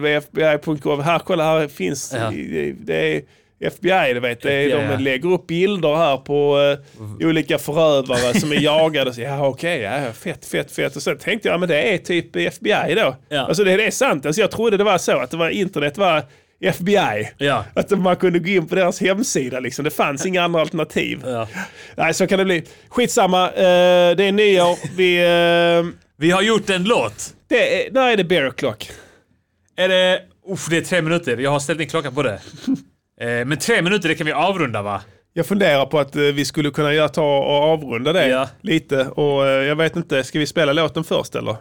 www.fbi.gov. Här, kolla här finns, Ja. det är FBI du vet. Det är, FBI, ja. De lägger upp bilder här på eh, olika förövare som är jagade. Så, ja okej, ja, fett, fett, fett. Och sen tänkte jag, ja, men det är typ FBI då. Ja. Alltså det, det är sant. Alltså, jag trodde det var så att det var internet var FBI. Ja. Att man kunde gå in på deras hemsida liksom. Det fanns inga andra alternativ. Ja. Nej, så kan det bli. Skitsamma, eh, det är nyår. Vi, eh, Vi har gjort en låt. det är, när är det bear o'clock? Är det... Uff, det är tre minuter. Jag har ställt in klockan på det. Eh, Men tre minuter, det kan vi avrunda va? Jag funderar på att eh, vi skulle kunna göra, ta och avrunda det Ja. lite. Och eh, jag vet inte, ska vi spela låten först eller?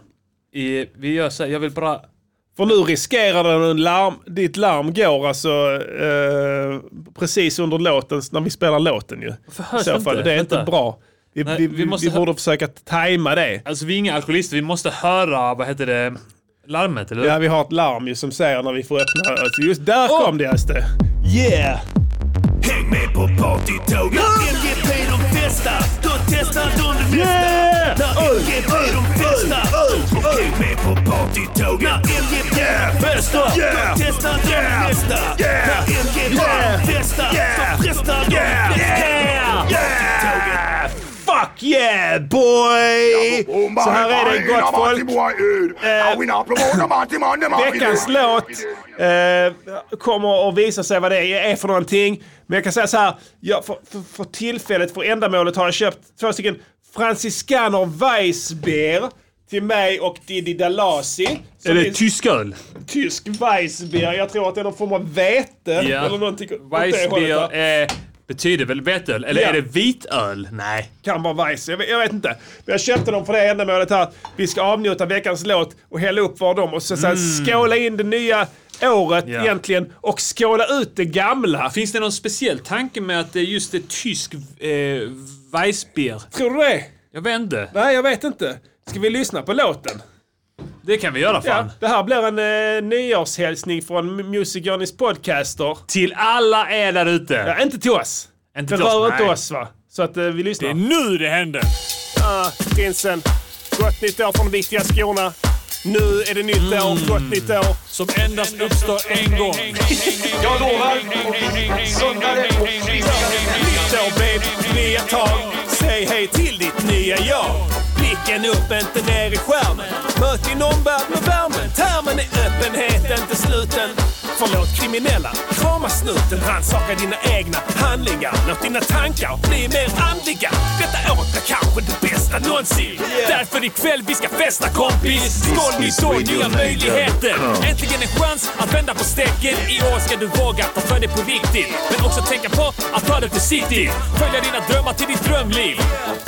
I, vi gör så här, jag vill bara... För nu riskerar den en larm, ditt larm går alltså eh, precis under låten, när vi spelar låten ju. hörs I så inte? fall, Det är inte Vänta. bra. Vi, Nej, vi, vi vi, måste vi hö- borde försöka tajma det. Alltså vi är inga alkoholister, vi måste höra, vad heter det, larmet eller? Ja, vi har ett larm ju som säger när vi får öppna. Alltså, just där kom det just det. Yeah! Ah! Häng med på partytåget! MGP de bästa, de testar de bästa! Yeah! När MGP de bästa, häng med på partytåget! När MGP de testa, yeah! de testar de yeah! nästa. Yeah! När MG yeah! festar, yeah! så frestar de yeah! flesta. Yeah! Fuck yeah boy! Så här är det gott folk. Veckans låt eh, kommer att visa sig vad det är för någonting. Men jag kan säga så här, jag, för, för, för tillfället, för ändamålet har jag köpt två stycken Franziskaner Weissbier till mig och Didi Dalasi. Som Är det tysk öl? tysk Weissbier? Jag tror att det är någon form av vete Ja. eller någonting åt det hållet, va? Weissbier eh, betyder väl vetöl? Eller Ja. är det vitöl? Nej. kan vara Weiss. Jag, vet- jag vet inte. Men jag köpte dem för det ändamålet här. Vi ska avnjuta veckans låt och hälla upp var dem och så, så här, skåla in det nya året Mm. Ja. egentligen och skåla ut det gamla. F- Finns det någon speciell tanke med att det är just ett tysk eh, Weissbier? Tror du det? Jag vet inte. Nej, jag vet inte. Ska vi lyssna på låten? Det kan vi göra fan. Ja, det här blir en eh, nyårshälsning från M- Music Journeys podcaster. Till alla er där ute. Ja, inte till oss. Inte Det till oss, rör inte nej. oss va? Så att eh, vi lyssnar. Nu det händer! Ah, prinsen. Gott nytt år från viktiga skorna. Nu är det nytt Mm. år, gott nytt år. Som endast uppstår en gång. Jag lovar. Sundare och friskare. med nya tag. Säg hej till ditt nya jag. Blicken upp, inte ner i skärmen. Möt din omvärld med värmen. Termen är öppenhet, inte sluten. Förlåt kriminella, krama snuten. Rannsaka dina egna handlingar. Låt dina tankar bli mer andliga. Detta året är kanske det bästa någonsin. Därför ikväll vi ska festa kompis. Skål nytt år, nya möjligheter. Äntligen en chans att vända på strecket. I år ska du våga ta för dig på riktigt. Men också tänka på att ta det försiktigt. Följa dina drömmar till ditt drömliv.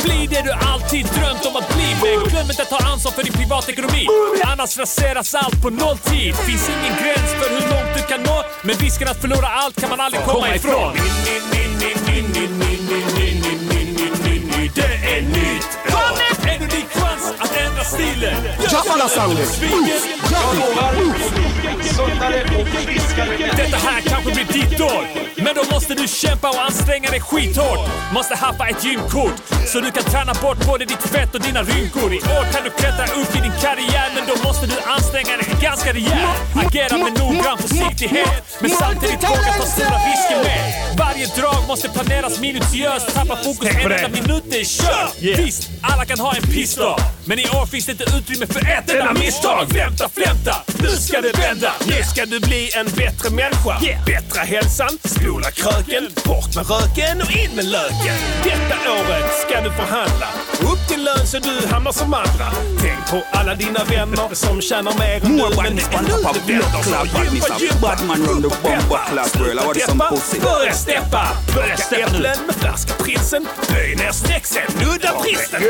Bli det du alltid drömt om att bli. Men glöm inte att ta ansvar för din privatekonomi. Annars raseras allt på nolltid. Finns ingen gräns för hur långt du kan nå. Men risken att förlora allt kan man aldrig komma ifrån. Det är nytt år. En unik chans att ändra stilen. Jaffala soundet. Detta här kanske blir ditt år. Men då måste du kämpa och anstränga dig skithårt. Måste haffa ett gymkort så du kan träna bort både ditt fett och dina rynkor. I år kan du klättra upp i din karriär men då måste du anstränga dig ganska rejält. Agera med noggrann försiktighet men samtidigt våga ta stora risker med. Varje drag måste planeras minutiöst. Tappa fokus en enda minut, det är kört. Visst, alla kan ha en pissdag. Men i år finns det inte utrymme för ett enda misstag. Flämta, flämta, nu ska det vända. Nu ska du bli en bättre människa. Yeah. Bättra hälsan, spola kröken, bort med röken och in med löken. Detta året ska du förhandla. Upp till lön så du hamnar som andra. Tänk på alla dina vänner som tjänar mer än du. Men det är nu det vänder. Så Gympa, gympa, upp och peppa. Sluta deppa, börja steppa. Plocka äpplen med färska prinsen. Böj ner snäcksen, nudda bristen.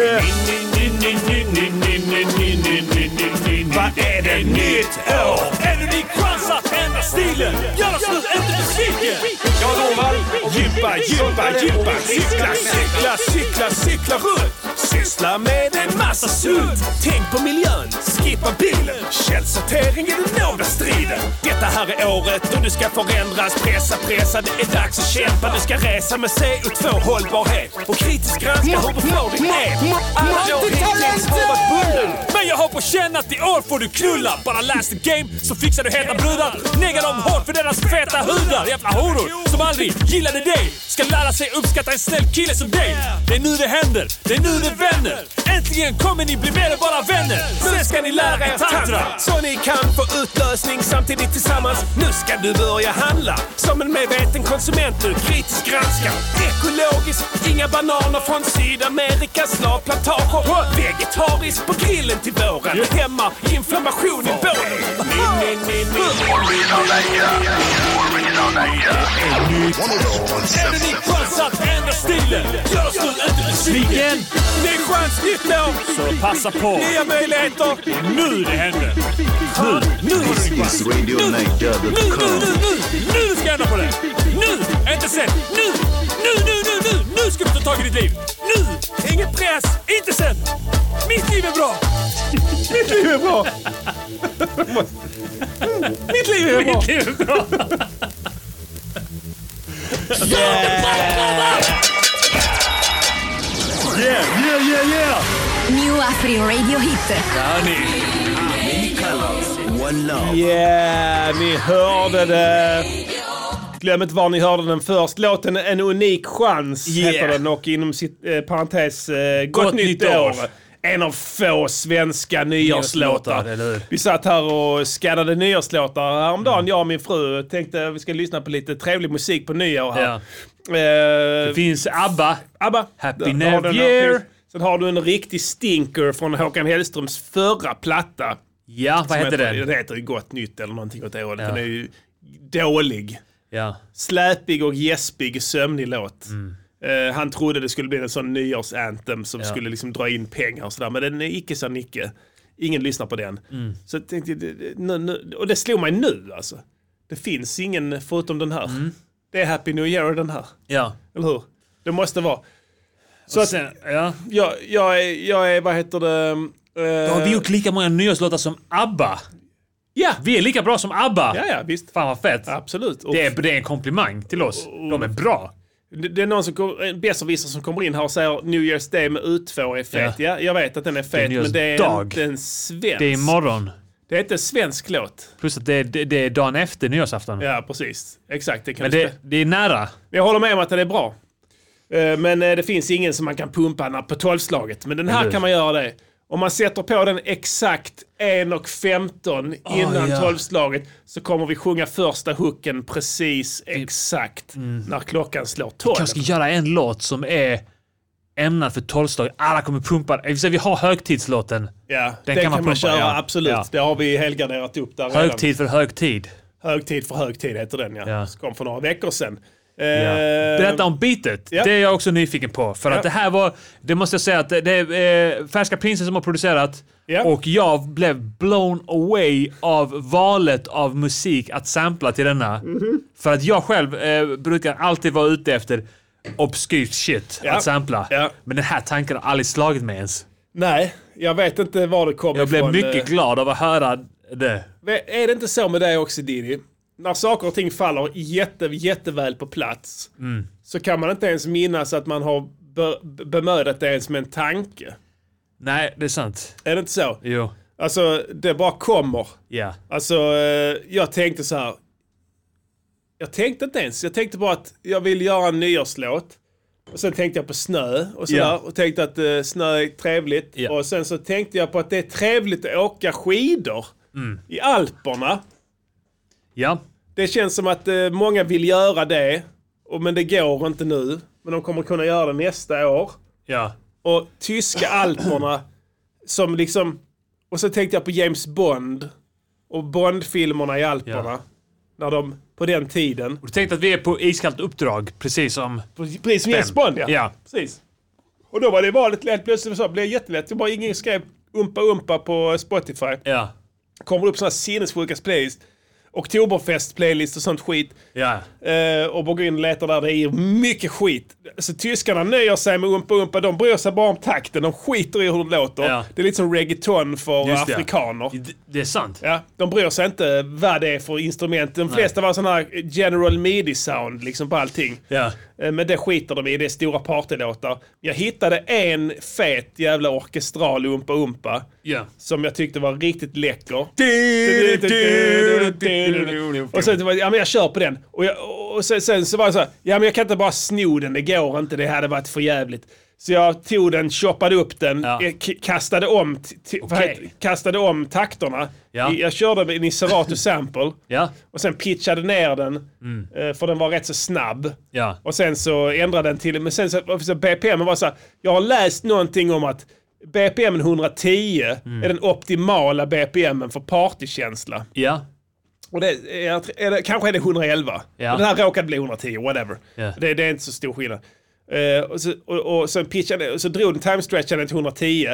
Vad är det nytt år? En unik chans att ändra stilen. Gör oss nu inte besviken. Jag lovar! Gympa, gympa, gympa! Cykla, cykla, cykla, cykla runt! Syssla med en massa sunt! Tänk på miljön, skippa bilen! Källsortering är den nåda striden! Detta här är året då du ska förändras. Pressa, pressa, det är dags att kämpa. Du ska resa med CO2 hållbarhet och kritiskt granska hur du får din el. Alla år hittills har varit bunden. Men jag har på känn att i år får du knulla. Bara läs the game så fixar du heta brudar. Negga dem hårt för deras feta hudar. Jävla horor som aldrig gillade dig. Ska lära sig uppskatta en snäll kille som dig. Det är nu det händer, det är nu det vänder. Äntligen kommer ni bli mer än bara vänner. Sen ska ni lära er tantra. Så ni kan få utlösning samtidigt tillsammans Nu ska du börja handla Som en medveten konsument du kritiskt granskar Ekologiskt, inga bananer från Sydamerika Slavplantager och vegetariskt på grillen till våren Hämmar inflammation i bålen En unik chans att ändra stilen. Gör oss nu inte besviken. Ny chans, nytt år! Så passa på. Nya möjligheter! Nu det händer. Nu är det This is radioneggar.com. Nu, nu ska jag ändra på det! Nu! Inte sen! Nu! Nu, nu, nu, nu! Nu ska du ta tag i ditt liv! Nu! Ingen press! Inte sen! Mitt liv är bra! bra! Mitt liv är bra! Yeah, yeah, yeah, yeah! New Afri Radio Hit. Hörni, Ja, yeah, ni hörde det. Glöm inte var ni hörde den först. Låten En unik chans Yeah. heter den och inom sitt, eh, parentes eh, Gott, Gott nytt nytt år. år. En av få svenska nyårslåtar. Nyårslåtar, eller hur? Vi satt här och skannade nyårslåtar häromdagen, jag och min fru. Tänkte att vi ska lyssna på lite trevlig musik på nyår här. Ja. Eh, Det finns ABBA. ABBA. Happy Där New har du den. Year. Sen har du en riktig stinker från Håkan Hellströms förra platta. Ja, vad Som heter den? Det heter ju Gott Nytt eller någonting åt det hållet. Ja. Den är ju dålig. Ja. Släpig och gäspig, sömnig låt. Mm. Eh, han trodde det skulle bli en sån nyårsantem som skulle liksom dra in pengar och sådär. Men den är icke så Nicke. Ingen lyssnar på den. Mm. Så jag tänkte, det- det- nu, nu, och det slog mig nu alltså. Det finns ingen förutom den här. Mm. Det är Happy New Year och den här. Ja. Eller hur? Det måste vara. Så Och att sen, ja. jag, jag, är, jag är, vad heter det? eh, Har vi gjort lika många nyårslåtar som ABBA? Ja, Vi är lika bra som ABBA! ja, ja visst. Fan vad fett! Absolut. Och Det är, det är en komplimang till oss. De är bra. Det det är någon som kom, en besserwisser som kommer in här och säger New Year's Day med U2 är fet. Ja. jag vet att den är fet, New Year's men det är dag. inte en svensk. Det är imorgon. Det är inte en svensk låt. Plus att det är, det, det är dagen efter nyårsafton. Ja, precis. Exakt. Det kan Men du spela. det, det är nära. Men jag håller med om att den är bra. Eh, Men eh, det finns ingen som man kan pumpa när- på tolvslaget. Men den här Eller hur? kan man göra det. Om man sätter på den exakt 1.15 innan Ah, ja. tolvslaget så kommer vi sjunga första hooken precis exakt när klockan slår tolv. Typ. Mm. Kanske ska göra en låt som är ämnad för tolvslag. Alla kommer pumpa. I och för sig, Vi har högtidslåten. Ja, den, Den kan kan man, man pumpa, köra, ja. absolut. Ja. Det har vi helgarderat upp där redan. Högtid för högtid. Högtid för högtid heter den ja. Ja. Som kom för några veckor sedan. Ja. Eh, Berätta om beatet. ja. Det är jag också nyfiken på. För att det här var, det måste jag säga att det- det är eh, Färska Prinsen som har producerat Ja. och jag blev blown away av valet av musik att sampla till denna. Mhm. För att jag själv eh, brukar alltid vara ute efter obskyrt shit Ja. att sampla. Ja. Men den här tanken har aldrig slagit mig ens. Nej, jag vet inte var det kom Jag blev ifrån. mycket glad av att höra det. Eh, Är det inte så med dig också Diddy? När saker och ting faller jätte, jätteväl på plats Mm. så kan man inte ens minnas att man har be- be- bemödat det ens med en tanke. Nej, det är sant. Är det inte så? Jo. Alltså, det bara kommer. Ja. Alltså, eh, jag tänkte så här. Jag tänkte inte ens. Jag tänkte bara att jag vill göra en nyårslåt. Och sen tänkte jag på snö och sådär. Ja. Och tänkte att eh, snö är trevligt. Ja. Och sen så tänkte jag på att det är trevligt att åka skidor Mm. i Alperna. Ja. Det känns som att eh, många vill göra det. Och, men det går inte nu. Men de kommer kunna göra det nästa år. Ja. Och tyska alperna som liksom... Och så tänkte jag på James Bond och Bond-filmerna i Alperna. Ja. När de, på den tiden. Och du tänkte att vi är på iskallt uppdrag, precis som... Precis som James Bond ja. Ja. Precis. Och då var det valet lätt plötsligt så blev det jättelätt. Det bara ingen skrev umpa umpa på Spotify. Ja. Kommer upp sådana sinnessjuka playlists. Oktoberfest-playlist och sånt skit. Ja. Eh, och bara går in och letar där. Det är mycket skit. Så tyskarna nöjer sig med umpa umpa. De bryr sig bara om takten. De skiter i hur det låter. Ja. Det är lite som reggaeton för Just det. afrikaner. Det- Det är sant. Ja, de bryr sig inte vad det är för instrument. De flesta var sådana här general midi-sound liksom på allting. Ja. Eh, Men det skiter de i, det är stora partylåtar. Jag hittade en fet jävla orkestral Umpa Umpa. Ja. Som jag tyckte var riktigt läcker. Och sen var det, ja men jag kör på den. Och, jag, och sen, sen så var det så här, ja men jag kan inte bara sno den, det går inte, det hade varit för jävligt. Så jag tog den, choppade upp den, Ja. eh, k- kastade om, t- t- vad Okej. heter- kastade om takterna. Ja. I- Jag körde med en Serato sample. Ja. Mm. Och sen pitchade ner den, eh, för den var rätt så snabb. Ja. Och sen så ändrade den till, men sen så, så BPM var så här, jag har läst någonting om att BPM 110 Mm. är den optimala BPM för partykänsla. Ja. Och det är, är det, kanske är det 111. Ja. Men Den här råkade bli 110, whatever. Ja. Det, det är inte så stor skillnad. Eh, och, så, och, och sen pitchade, och så drog den time-stretchade till 110.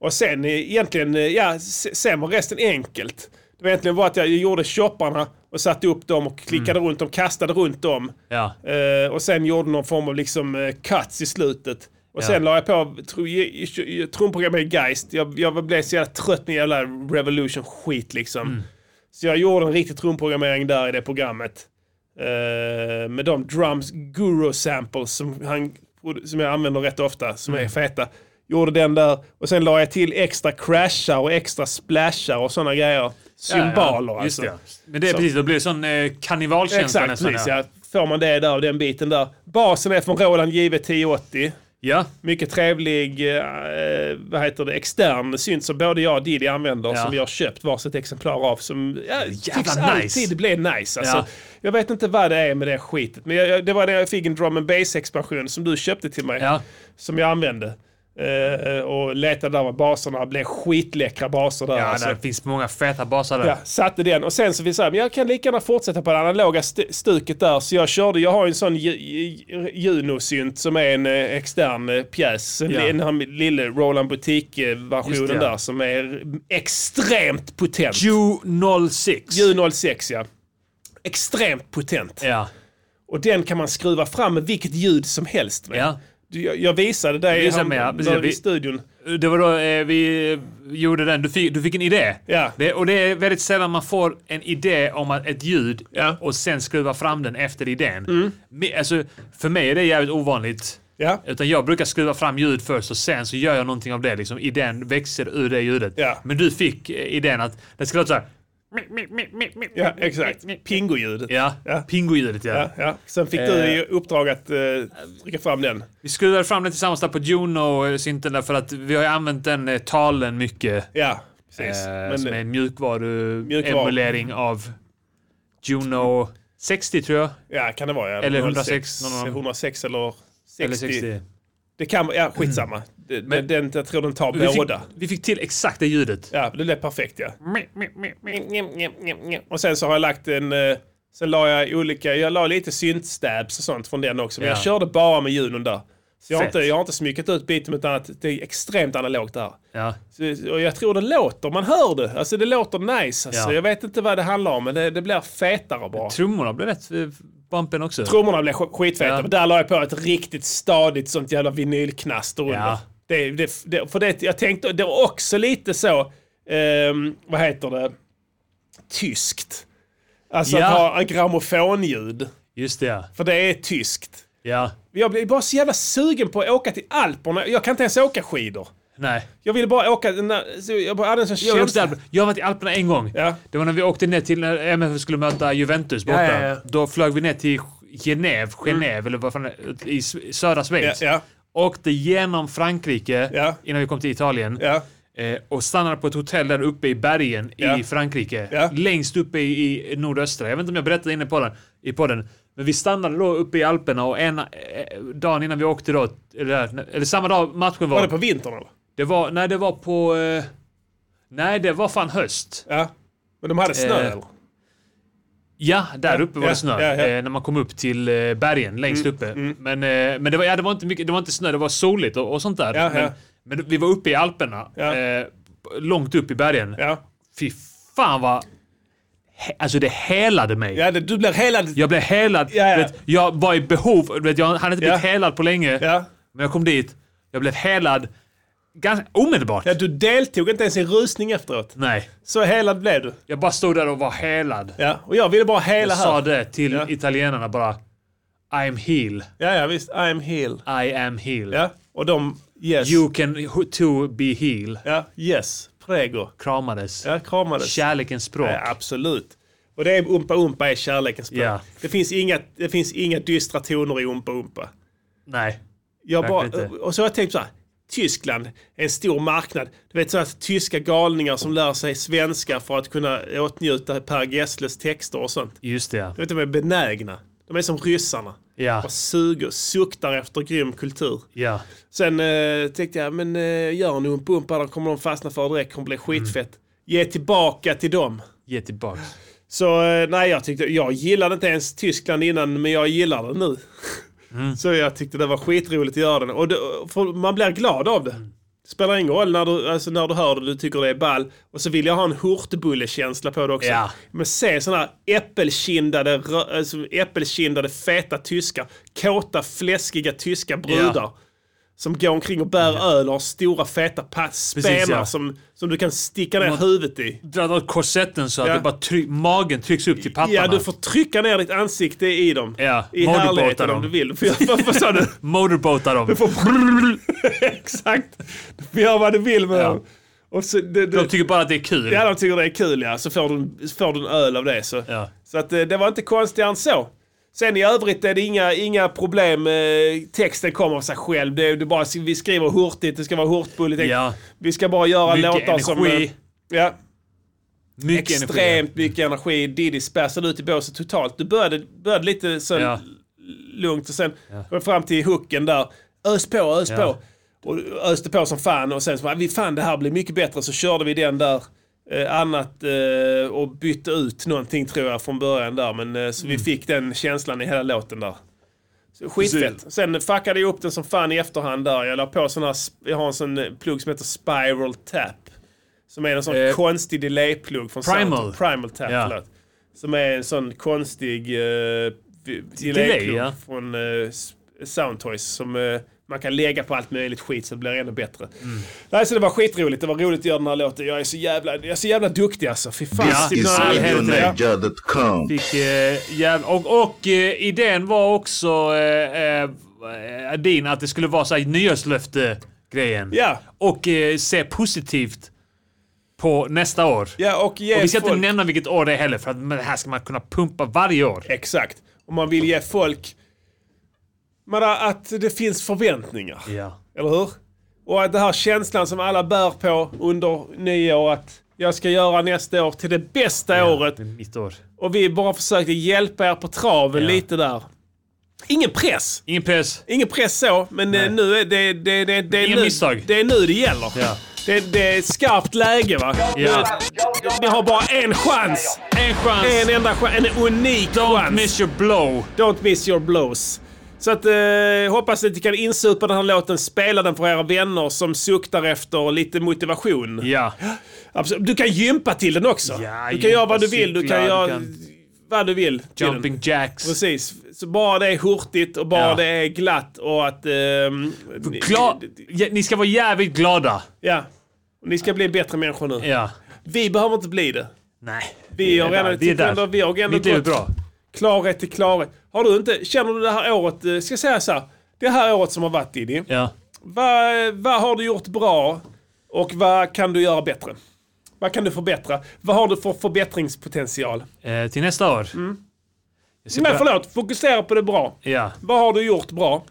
Och sen eh, egentligen, eh, ja, s- sen var resten enkelt. Det var egentligen bara att jag gjorde chopparna och satte upp dem och klickade Mm. runt dem, kastade runt dem. Ja. Eh, och sen gjorde någon form av liksom eh, cuts i slutet. Och sen la jag på tr- i- i- i- trumprogrammet i Geist. Jag, jag blev så jävla trött med jävla revolution-skit liksom. Mm. Så jag gjorde en riktig trumprogrammering där i det programmet. Eh, med Mm. de drums guru samples som, han, som jag använder rätt ofta, som är feta. Gjorde den där. Och sen la jag till extra crashar och extra splashar och sådana grejer. Symboler ja, just alltså. det. Men det är Så. precis, det blir det sån eh, karnevalkänsla Exakt, nästan. precis ja. Får man det där, den biten där. Basen är från Roland JV 1080. Ja. Mycket trevlig, eh, vad heter det, extern synt som både jag och Diddy använder Ja. som vi har köpt varsitt exemplar av som ja, tycks nice. alltid bli nice. Alltså, Ja. Jag vet inte vad det är med det skitet, men jag, jag, det var när jag fick en drum and bass expansion som du köpte till mig, som jag använde. Eh, och letade där med baserna, det blev skitläckra baser där. Ja, alltså. det finns många feta basar där. Ja, satte den och sen så vi sa, men jag kan lika gärna fortsätta på det analoga st- stuket där. Så jag körde, jag har ju en sån ju- ju- Juno-synt som är en eh, extern eh, pjäs. En, Ja. en, en lille Roland Boutique-versionen Just det, ja. där som är extremt potent. Ju06. Ju06 ja. Extremt potent. Ja. Och den kan man skruva fram med vilket ljud som helst med. Ja. Du, jag, jag visade dig Visa han- mig, ja, precis, där vi- i studion. Det var då eh, vi eh, gjorde den. Du fick, du fick en idé. Ja. Det, och det är väldigt sällan man får en idé om att- ett ljud och sen skruva fram den efter idén. Mm. Me- Alltså, för mig är det jävligt ovanligt. Ja. Utan jag brukar skruva fram ljud först och sen så gör jag någonting av det. Liksom. Idén växer ur det ljudet. Ja. Men du fick eh, idén att det ska låta så här. Ja, exakt. Pingo-ljudet. Ja, Ja. pingo-ljudet ja. Ja, ja. Sen fick du Eh. i uppdrag att eh, trycka fram den. Vi skruvade fram den tillsammans där på Juno-synten där för att vi har ju använt den eh, talen mycket. Ja, precis. Eh, Men som är en mjukvaruemulering Mjukvaru. av Juno 60 tror jag. ja, kan det vara. Ja. Eller 106, någon av dem. 106 eller 60. Eller 60. Det kan ja, skitsamma. Det- Men- den, jag tror den tar Vi fick, båda. vi fick till exakt det ljudet. Ja, det lät perfekt ja. Och sen så har jag lagt en... eh, Sen la jag olika, jag la lite syntstabs och sånt från den också. Men Ja. jag körde bara med ljudon där. Så jag har, Fett. inte, jag har inte smyckat ut biten utan att det är extremt analogt där. Ja. Så- Och jag tror det låter, man hör det. Alltså det låter nice. Alltså, Ja. Jag vet inte vad det handlar om men det, det blir fetare bara. Trummorna blev rätt eh, bumpen också. Trummorna blev sk- skitfeta, Ja. men där la jag på ett riktigt stadigt sånt jävla vinylknaster under. Ja. Det, det, det, för det, jag tänkte, det var också lite så, ehm, vad heter det, tyskt. Alltså Ja. att ha en grammofonljud, Just det ja. för det är tyskt. ja. Jag blev bara så jävla sugen på att åka till Alperna, jag kan inte ens åka skidor. Nej. Jag ville bara åka, den där- så jag bara hade en sån Jag har, också känsla. Alperna. jag har varit i Alperna en gång. Ja. Det var när vi åkte ner till när MFF skulle möta Juventus borta. Ja, ja, ja. Då flög vi ner till Genève, Genève eller vad fan det är, i s- södra Ja, Schweiz. ja, Åkte genom Frankrike Ja. innan vi kom till Italien. ja. Eh, och stannade på ett hotell där uppe i bergen Ja. i Frankrike. Ja. Längst uppe i, i nordöstra. Jag vet inte om jag berättade inne på den, i podden. Men vi stannade då uppe i Alperna och en, eh, dagen innan vi åkte då, eller, eller samma dag matchen var. Var det på vintern eller? det var nej, det var på... Eh, nej, det var fan höst. Ja. Men de hade snö Eh, eller? Ja, där Ja, uppe var det ja, snö. ja, Mm, ja. Eh, när man kom upp till eh, bergen längst uppe. Men, eh, men det, var, ja, det, var inte mycket, det var inte snö, det var soligt och, och sånt där. Ja, men, ja. men vi var uppe i Alperna. Ja. Eh, långt upp i bergen. Ja. Fy fan vad... he- Alltså det helade mig. Ja, det, du blir hela... Jag blev helad. Ja, ja. du Vet, jag var i behov. du Vet, jag hade inte blivit Ja. helad på länge. Ja. Men jag kom dit. Jag blev helad ganska omedelbart. Ja, du deltog inte ens i rusning efteråt. Nej. Så helad blev du. Jag bara stod där och var helad. Ja, och jag ville bara hela jag sa här. det till Ja. italienarna bara. I'm heal. Ja, ja, visst. I'm heal. I am heal. Ja, och de... Yes. You can ho- to be heal. Ja, yes. Prego. Kramades. Ja, kramades. Kärlekens språk. Ja, absolut. Och det är Umpa Umpa är kärlekens språk. Ja. Det, finns inga, det finns inga dystra toner i Umpa Umpa. Nej. Jag bara, Verkligen inte. och så har jag tänkt så här. Tyskland är en stor marknad. Du vet sådana tyska galningar som lär sig svenska för att kunna åtnjuta Per Gessles texter och sånt. Just det. Jag vet inte om de är benägna. De är som ryssarna. Ja. Och suger, suktar efter grym kultur. Ja. Sen eh, tänkte jag, men eh, gör en umpa umpa, då kommer de fastna för direkt, kommer bli skitfett. Ge tillbaka till dem. Ge tillbaks. Så eh, nej, jag tyckte, jag gillade inte ens Tyskland innan, men jag gillar det nu. Mm. Så jag tyckte det var skitroligt att göra den. Och det, för man blir glad av det. Mm. Det spelar ingen roll när du, alltså när du hör det, du tycker det är ball. Och så vill jag ha en hurtbullekänsla på det också. Ja. Men se sådana här äppelkindade, rö- alltså äppelkindade feta tyskar. Kåta, fläskiga tyska brudar. som går omkring och bär öl och har stora feta pa- spenar ja. som, som du kan sticka ner huvudet i. Dra åt korsetten så att Ja. det bara tryck, magen trycks upp till pattarna. Ja, du får trycka ner ditt ansikte i dem. Ja, I motorboatar härligheten om dem. du vill. För jag- vad, vad sa du? Motorbåta dem. Du får... Exakt. Du får göra vad du vill med Ja. dem. Och så, du, du... De tycker bara att det är kul. Ja, de tycker det är kul ja. Så får du, får du en öl av det. Så, Ja. så att, eh, det var inte konstigare än så. Sen i övrigt är det inga, inga problem. Eh, texten kommer av sig själv. Det är, det är bara, vi skriver hurtigt, det ska vara hurtbulligt. Ja. Vi ska bara göra Mycket låtar som... energi. eh, Ja, Mycket energi. extremt mycket energi. Diddy späsade ut i båset totalt. Du började, började lite så Ja. lugnt och sen kom fram till hooken där. Ös på, ös Ja. på. Och öste på som fan och sen så bara, vi fan det här blir mycket bättre så körde vi den där. Eh, annat eh, och bytte ut någonting tror jag från början där men eh, så Mm. vi fick den känslan i hela låten där. Så Skitfett. Sen fuckade jag upp den som fan i efterhand där. Jag la på sån här, sp- jag har en sån eh, plugg som heter Spiral Tap. Som är en sån Eh, konstig delay-plugg från Primal. Soundtrack. Primal Tap, Ja. förlåt. Som är en sån konstig uh, delay Delay, ja. från eh, S- Soundtoys som eh, man kan lägga på allt möjligt skit så det blir ännu bättre. Mm. Nej, så det var skitroligt. Det var roligt att göra den här låten. Jag är så jävla, jag är så jävla duktig alltså. Fy fan. Ja. Sitter någon all helvete. Radionaja.com. Fick, eh, jäv- och och eh, idén var också eh, eh, eh, din att det skulle vara så här nyårslöfte-grejen. Ja. Och eh, se positivt på nästa år. Ja, och, ge Och vi ska folk- inte nämna vilket år det är heller för att men det här ska man kunna pumpa varje år. Exakt. Om man vill ge folk... Men att det finns förväntningar. Ja. Eller hur? Och att den här känslan som alla bär på under nyår att jag ska göra nästa år till det bästa året. Det är mitt år. Och vi bara försökte hjälpa er på traven Ja. lite där. Ingen press. Ingen press. Ingen press så, men eh, nu är det, det, det, det, är Inga nu, misstag. det är nu det gäller. Ja. Det, det är ett skarpt läge va. Ja. Ni har bara en chans. En chans. En enda chans. En unik Don't chans. miss your blow. Don't miss your blows. Så att, eh, hoppas att ni kan insupa den här låten, spela den för era vänner som suktar efter lite motivation. Ja. Absolut. Du kan gympa till den också. Ja, du kan göra vad du gympa, vill. Du cykla, kan du göra kan- vad du vill. till den. Jumping jacks. Precis. Så bara det är hurtigt och bara Ja. det är glatt och att... ehm, ni- Gla- ja, ni ska vara jävligt glada. Ja. Ni ska bli bättre människor nu. Ja. Vi behöver inte bli det. Nej. Vi har är redan, där, vi är tycker där. ändå- vi har ändå Mitt liv är gått- bra. Klarhet till klarhet. Har du inte, känner du det här året, eh, ska jag säga så här. Det här året som har varit Diddy. Ja. Vad, vad har du gjort bra och vad kan du göra bättre? Vad kan du förbättra? Vad har du för förbättringspotential? Eh, till nästa år. Jag ska Men börja- förlåt, fokusera på det bra. Ja. Vad har du gjort bra?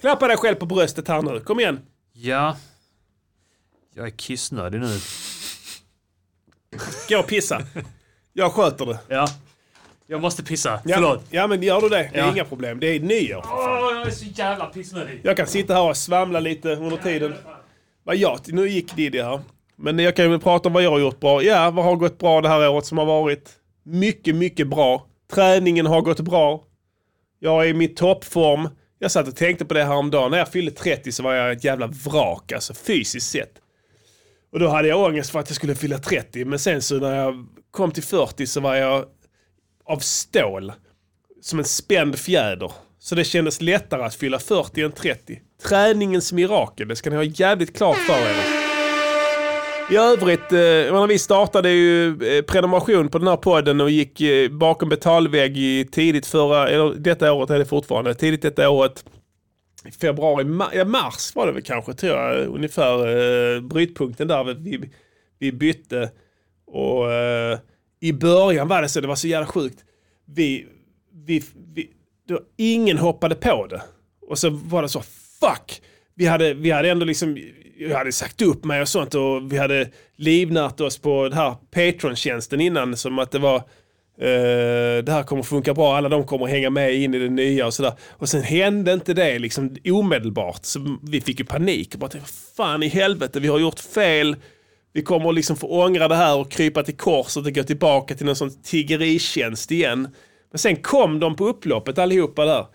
Klappa dig själv på bröstet här nu, kom igen. Ja. Jag är kissnödig nu. Gå och pissa. Jag sköter det. Ja. Jag måste pissa. Ja, Förlåt. Ja men gör du det, det är Ja. inga problem. Det är nyår. Åh, jag är så jävla pissnödig. Jag kan sitta här och svamla lite under tiden. Vad jag, nu gick Diddy här. Men jag kan ju prata om vad jag har gjort bra. Ja, vad har gått bra det här året som har varit? Mycket, mycket bra. Träningen har gått bra. Jag är i min toppform. Jag satt och tänkte på det här om dagen. När jag fyllde 30 så var jag ett jävla vrak, alltså fysiskt sett. Och då hade jag ångest för att jag skulle fylla 30. Men sen så när jag kom till 40 så var jag av stål som en spänd fjäder. Så det kändes lättare att fylla 40 än 30. Träningens mirakel, det ska ni ha jävligt klart för er. I övrigt, eh, jag menar, vi startade ju eh, prenumeration på den här podden och gick eh, bakom betalvägg i tidigt förra, eller detta året är det fortfarande, tidigt detta året. I Februari, ma- ja, mars var det väl kanske tror jag, ungefär eh, brytpunkten där vi, vi bytte. Och eh, i början var det så, det var så jävla sjukt. Vi, vi, vi, då ingen hoppade på det. Och så var det så, fuck! Vi hade, vi hade ändå liksom, jag hade sagt upp mig och sånt och vi hade livnärt oss på den här Patreon-tjänsten innan som att det var eh, det här kommer funka bra, alla de kommer hänga med in i det nya och sådär. Och sen hände inte det liksom omedelbart. Så vi fick ju panik och bara tänkte, "Vad fan i helvete, vi har gjort fel. Vi kommer liksom få ångra det här och krypa till korset och gå tillbaka till någon sån tiggeritjänst igen. Men sen kom de på upploppet allihopa där.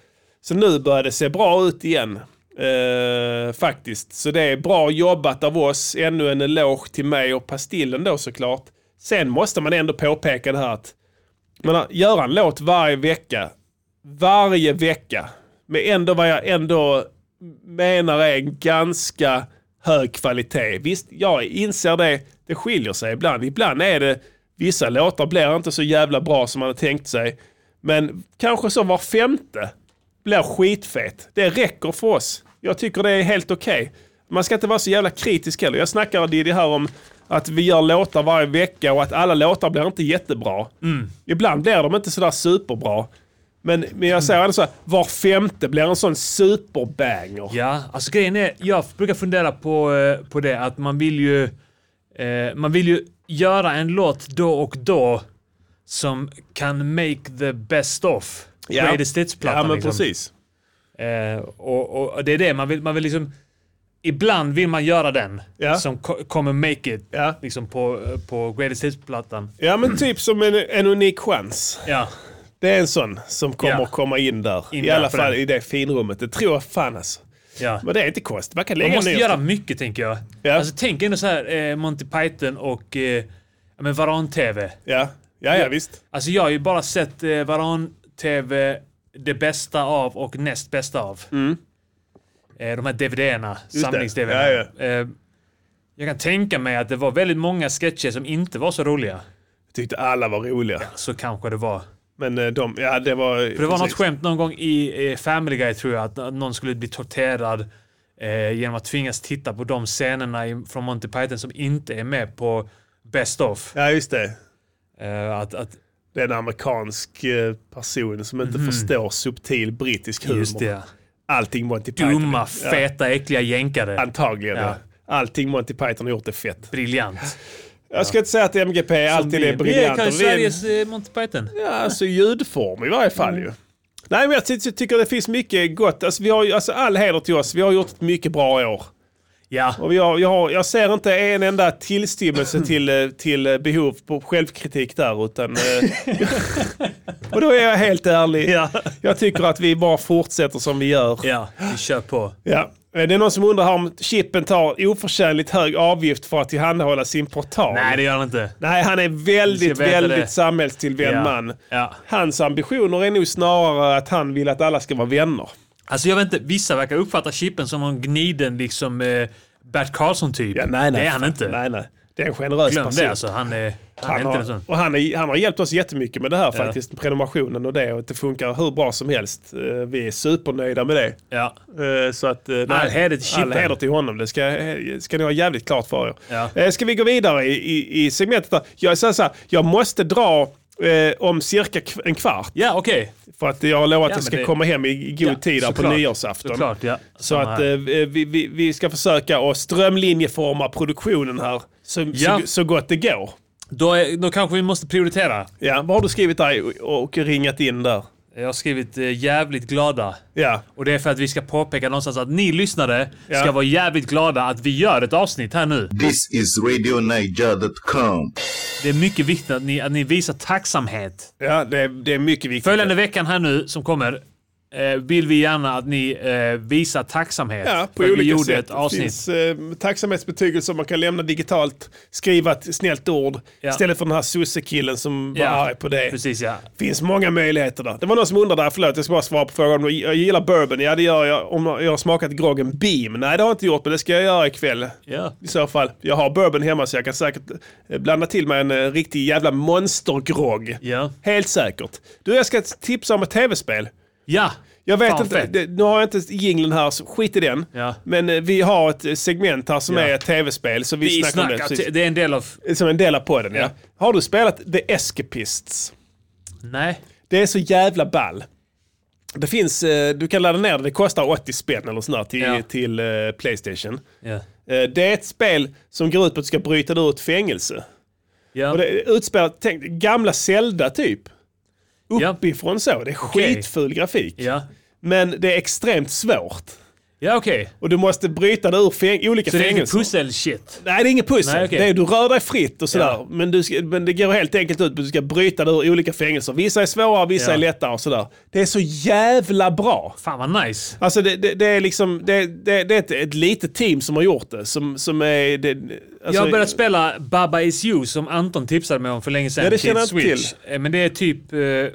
Så nu börjar det se bra ut igen. Eh, faktiskt. Så det är bra jobbat av oss. Ännu en eloge till mig och Pastillen då såklart. Sen måste man ändå påpeka det här att jag menar, göra en låt varje vecka. Varje vecka. Men ändå var jag ändå menar är en ganska hög kvalitet. Visst, jag inser det. Det skiljer sig ibland. Ibland är det vissa låtar blir inte så jävla bra som man hade tänkt sig. Men kanske så var femte blir skitfet. Det räcker för oss. Jag tycker det är helt okej. Man ska inte vara så jävla kritisk heller. Jag snackar Diddy här om att vi gör låtar varje vecka och att alla låtar blir inte jättebra. Ibland blir de inte sådär superbra. Men, men jag säger ändå så här, var femte blir en sån superbanger. Ja, alltså grejen är, jag brukar fundera på, eh, på det att man vill ju eh, man vill ju göra en låt då och då som kan make the best of. Ja. Greatest hits-plattan. Ja, men liksom. precis. Eh, och, och, och det är det, man vill, man vill liksom Ibland vill man göra den Ja. som ko- kommer make it liksom på, på Greatest Hits-plattan. Ja men typ som en, en unik chans. Ja. Det är en sån som kommer Ja. att komma in där. In I där alla på fall den. i det finrummet. Det tror jag fan alltså. Ja. Men det är inte konstigt. Man kan lägga Man måste en ny- göra mycket tänker jag. Alltså, tänk ändå så här eh, Monty Python och eh, ja, men Varan-TV. Ja. Ja, ja, visst. Alltså jag har ju bara sett eh, Varan-TV det bästa av och näst bästa av. Eh, de här DVD-erna, Mm. det. samlings-DVD. Ja, Eh, jag kan tänka mig att det var väldigt många sketcher som inte var så roliga. Jag tyckte alla var roliga. Så kanske det var. Men eh, de, ja det var... För det var något skämt någon gång i eh, Family Guy tror jag, att att någon skulle bli torterad eh, genom att tvingas titta på de scenerna i, från Monty Python som inte är med på Best of. Ja just det. Eh, att, att, Det är en amerikansk eh, person som inte förstår subtil brittisk humor. Mm-hmm. just det. Allting Monty Python. Dumma, Ja, feta, äckliga jänkare. Antagligen ja. Ja. Allting Monty Python har gjort är fett. Briljant. Jag ska inte säga att MGP alltid är briljant. Vi är och vi är- Sveriges eh, Monty Python. Ja, alltså ljudform i varje fall ju. Mm. Nej, men jag ty ty- tycker det finns mycket gott. Alltså, vi har, ju- alltså, all heder till oss. Vi har gjort ett mycket bra år. Ja. Och vi har, jag, har, jag ser inte en enda tillstymmelse till, eh, till eh, behov på självkritik där. Utan, eh, och då är jag helt ärlig. Ja. Jag tycker att vi bara fortsätter som vi gör. ja, vi kör på. Ja. Eh, Det är någon som undrar här om chippen tar oförtjänligt hög avgift för att tillhandahålla sin portal. Nej, det gör han inte. Nej, han är Ni väldigt, ska veta väldigt det. samhällstillvänd Ja. man. Ja. Hans ambitioner är nog snarare att han vill att alla ska vara vänner. Alltså jag vet inte, vissa verkar uppfatta Chippen som någon gniden liksom eh, Bert Karlsson typ. det är han inte. Nej, nej. Det är en generös Glöm person. det alltså, han är, han är Han inte en har, sån. och han, är, han har hjälpt oss jättemycket med det här faktiskt, prenumerationen och det. Och att det funkar hur bra som helst. Eh, Vi är supernöjda med det. Ja. Eh, Så att, eh, nej, All heder till Chippen. all heder till honom, det ska, eh, ska ni ha jävligt klart för er. Ja. Eh, Ska vi gå vidare i, i, i segmentet? Där? Jag, är så här, så här, jag måste dra eh, om cirka kv- en kvart. Ja, okej. För att jag har lovat att Ja, jag men ska det- komma hem i i god Ja, tid där på såklart. nyårsafton. Såklart, ja. Så Samma att eh, här. vi, vi, vi ska försöka att strömlinjeforma produktionen här så, Ja. så, så gott det går. Då, är, då kanske vi måste prioritera. Ja, vad har du skrivit där och, och ringat in där? Jag har skrivit eh, jävligt glada. Ja, Och det är för att vi ska påpeka någonstans att ni lyssnare Ja. ska vara jävligt glada att vi gör ett avsnitt här nu. This is RadioNiger.com. Det är mycket viktigt att ni, att ni visar tacksamhet. ja det, är- det är mycket viktigt. Följande veckan här nu som kommer eh, vill vi gärna att ni eh, visar tacksamhet. Ja, på för att olika vi gjorde sätt. ett avsnitt. Det finns eh, tacksamhetsbetygelser som man kan lämna digitalt, skriva ett snällt ord Ja. istället för den här sossekillen som var Ja, arg på det. Precis ja. finns många möjligheter där. Det var någon som undrade där, förlåt jag ska bara svara på frågan. om- Jag gillar bourbon, ja det gör jag. Om jag har smakat groggen Beam? Nej det har jag inte gjort, men det ska jag göra ikväll. Ja. I så fall. Jag har bourbon hemma så jag kan säkert eh, blanda till mig en eh, riktig jävla monstergrogg. Ja. Helt säkert. Du, jag ska tipsa om ett tv-spel. Ja. Jag vet Fan, inte, fett. det, nu har jag inte jingeln här, så skit i den. Ja. Men eh, vi har ett eh, segment här som Ja. är ett tv-spel, så vi, Vi snackar om det. snackar, precis. det är en del av... Som en del av podden, ja. Ja. Har du spelat The Escapists? Nej. Det är så jävla ball. Det finns, eh, du kan ladda ner det, det kostar 80 spänn eller sånt där till, Ja. till eh, Playstation. Ja. Eh, Det är ett spel som går ut på att du ska bryta dig ut fängelse. Ja. Och det är utspelat, tänk, gamla Zelda typ. Ja. Uppifrån så, det är Okej. skitful grafik. Ja. Men det är extremt svårt. Ja okej. Och du måste bryta dig ur fäng- olika Så det är inte fängelser. pussel-shit? Nej, det är inget pussel. Nej, okej. det är, du rör dig fritt och sådär. Ja. Men, du ska, men det går helt enkelt ut på att du ska bryta dig ur olika fängelser. Vissa är svårare, vissa Ja. är lättare och sådär. Det är så jävla bra. Fan vad nice. Alltså det, det, det är liksom, det, det, det är ett, ett litet team som har gjort det. Som, som är... Det, alltså, jag har börjat spela Baba Is You som Anton tipsade mig om för länge sedan. Ja, det till känner jag inte Switch. Eh, Men det är typ... eh, Jag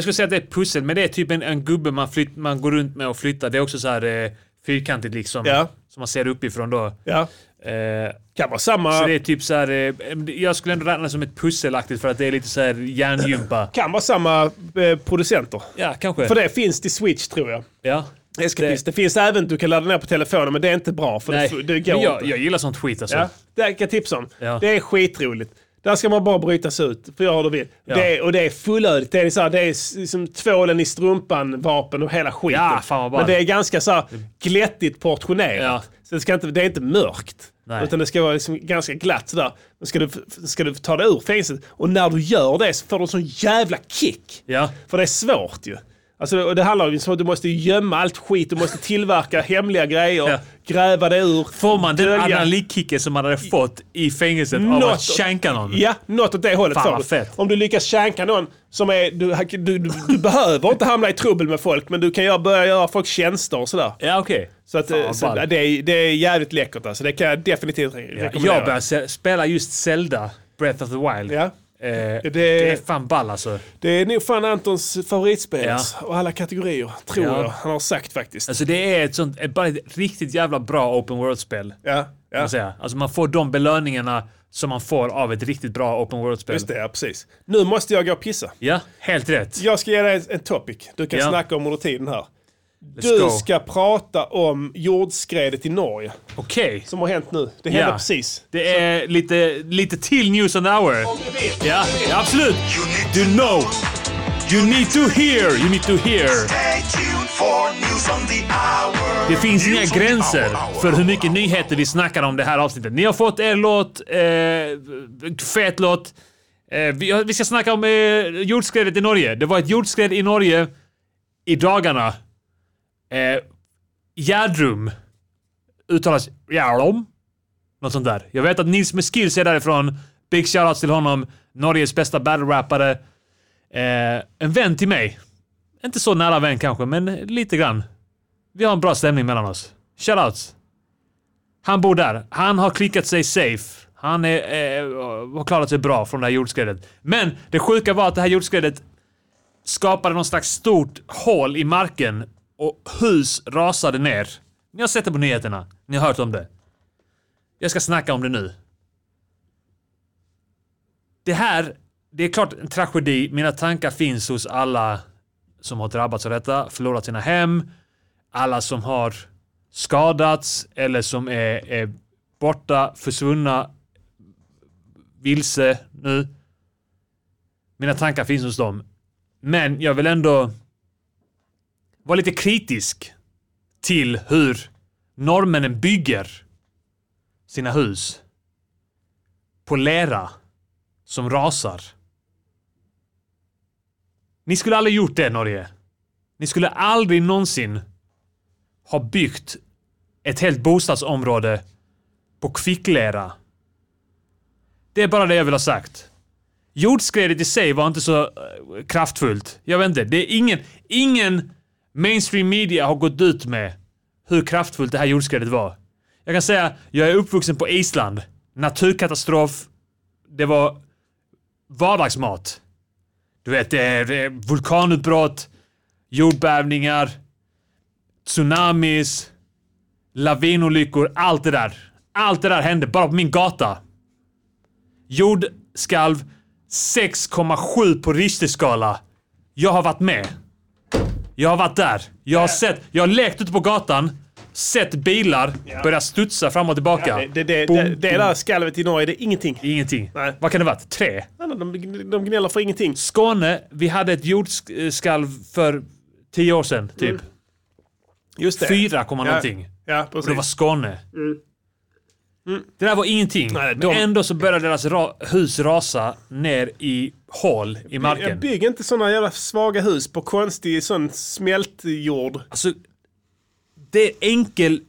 skulle säga att det är ett pussel, men det är typ en, en gubbe man, flytt, man går runt med och flyttar. Det är också så här eh, fyrkantigt liksom. Ja. Som man ser uppifrån då. Ja. Eh, Kan vara samma... Så det är typ så här, eh, jag skulle ändå räkna det som ett pusselaktigt för att det är lite så här hjärngympa. Kan vara samma eh, producenter. Ja, kanske. För det finns till Switch tror jag. Ja. Det, det finns även, du kan ladda ner på telefonen men det är inte bra för Nej, det, det går men jag, inte. jag gillar sånt skit alltså. Ja, det kan jag tipsa om. Ja. Det är skitroligt. Där ska man bara brytas ut, för jag har det vill. Det är, och det är fullödigt. Det är, så här, det är s- som tvålen i strumpan, vapen och hela skiten. Ja, fan vad ball. Men det är ganska så här, glättigt portionerat. Så det, ska inte, det är inte mörkt. Nej. Utan det ska vara liksom ganska glatt sådär. Men ska du, f- ska du ta dig ur fängelset och när du gör det så får du en sån jävla kick. Ja. För det är svårt ju. Alltså, och det handlar ju om att du måste gömma allt skit, du måste tillverka hemliga grejer, Ja. gräva det ur. Får man den dölja- adrenalinkicken som man hade fått i fängelset av Något- att shanka någon? Ja, något åt det hållet Fan, får vad du. fett. Om du lyckas shanka någon som är... Du, du, du, du behöver inte hamna i trubbel med folk, men du kan göra, börja göra folk tjänster och sådär. Ja, okej. Så, att, eh, Fan, vad så ball. det, är, det är jävligt läckert alltså. Det kan jag definitivt re- Ja, rekommendera. jag börjar se- spela just Zelda, Breath of the Wild. Ja. Eh, Det- det är fan ball alltså. Det är nog fan Antons favoritspel Ja. och alla kategorier, tror Ja. jag. Han har sagt faktiskt. Alltså det är ett sånt, ett, bara ett riktigt jävla bra open world-spel. Ja, kan ja. man säga. Alltså man får de belöningarna som man får av ett riktigt bra open world-spel. Just det, ja, precis. Nu måste jag gå och pissa. Ja, helt rätt. Jag ska ge dig en topic du kan Ja. snacka om under tiden här. Let's Du go. ska prata om jordskredet i Norge Okej. som har hänt nu. Det hände Ja. precis. Det är lite, lite till news on the hour. Ja, ja, absolut. You know. You need to hear. You need to hear. Stay tuned for news on the hour. Det finns inga gränser för hur mycket nyheter vi snackar om det här avsnittet. Ni har fått er låt, eh, fet låt. Eh, vi, har- vi ska snacka om eh, jordskredet i Norge. Det var ett jordskred i Norge i dagarna. Eh, Gjerdrum uttalas Gjerdom. Något sånt där. Jag vet att Nils med skills är därifrån. Big shoutout till honom. Norges bästa battle-rappare. Eh, en vän till mig. Inte så nära vän kanske, men lite grann. Vi har en bra stämning mellan oss. Shoutouts. Han bor där. Han har klickat sig safe. Han är, eh, har klarat sig bra från det här jordskredet. Men det sjuka var att det här jordskredet skapade någon slags stort hål i marken och hus rasade ner. Ni har sett det på nyheterna. Ni har hört om det. Jag ska snacka om det nu. Det här, det är klart en tragedi. Mina tankar finns hos alla som har drabbats av detta, förlorat sina hem, alla som har skadats eller som är, är borta, försvunna, vilse nu. Mina tankar finns hos dem. Men jag vill ändå vara lite kritisk till hur norrmännen bygger sina hus på lera som rasar. Ni skulle aldrig gjort det, Norge. Ni skulle aldrig någonsin har byggt ett helt bostadsområde på kvicklera. Det är bara det jag vill ha sagt. Jordskredet i sig var inte så eh, kraftfullt. Jag vet inte. Det är ingen, ingen mainstream media har gått ut med hur kraftfullt det här jordskredet var. Jag kan säga, jag är uppvuxen på Island. Naturkatastrof. Det var vardagsmat. Du vet, det är det är vulkanutbrott, jordbävningar, tsunamis, lavinolyckor, allt det där. Allt det där hände bara på min gata. Jordskalv 6,7 på Richterskala. Jag har varit med. Jag har varit där. Jag har sett, jag har lekt ute på gatan, sett bilar börja studsa fram och tillbaka. Det, det, det, Boom, det, det där skalvet i Norge, det är ingenting. Ingenting. Nej. Vad kan det varit? Tre? Nej, nej, De, de gnäller för ingenting. Skåne, vi hade ett jordskalv för tio år sedan, typ. Mm. Just det. Fyra komma ja. Mm. någonting. Ja, Och det var precis. Skåne. Mm. Det där var ingenting. Nej, de- Men ändå så började deras ra- hus rasa ner i hål i Jag marken. bygg inte sådana jävla svaga hus på konstig sån smältjord. Alltså, det är enkel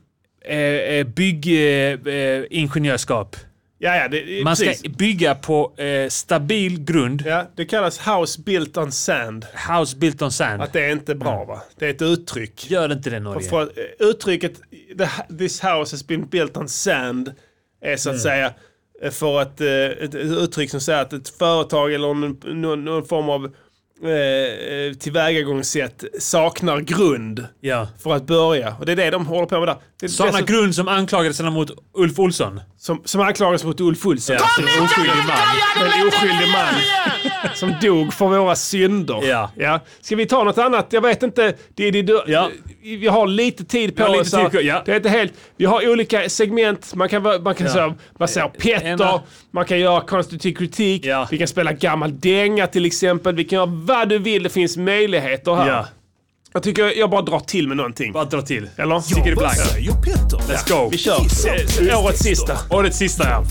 eh, eh, byggingenjörskap. Eh, ingenjörskap. Ja, ja, det, Man precis. ska bygga på eh, stabil grund. Ja, det kallas house built on sand. House built on sand. Att det är inte bra va? Det är ett uttryck. Gör inte det Norge. För, eh, uttrycket "The- this house has been built on sand är så att Mm. säga eh, för att, eh, ett uttryck som säger att ett företag eller någon, någon, någon form av eh, tillvägagångssätt saknar grund Ja. för att börja. Och det är det de håller på med där. Det är Sådana dessutom- grund som anklagade sina mot Ulf Olsson. som, som anklagas mot Ulf Olsson. Ja, Kom en oskyldig man. En oskyldig man som dog för våra synder. Ja. Ja. Ska vi ta något annat? Jag vet inte. Det, det, det, Ja. Vi har lite tid på har lite oss. här. tid på- ja. Det är inte helt, vi har olika segment. Man kan, vara- man kan Ja. säga, man säger Petter, Ena- man kan göra konstruktiv kritik, Ja. vi kan spela gammal dänga till exempel. Vi kan göra vad du vill. Det finns möjligheter här. Ja. Jag tycker jag bara drar till med någonting. Bara dra till. Eller? Sticker i blank. Let's go. Vi kör. Eh, Årets sista. Årets sista ja.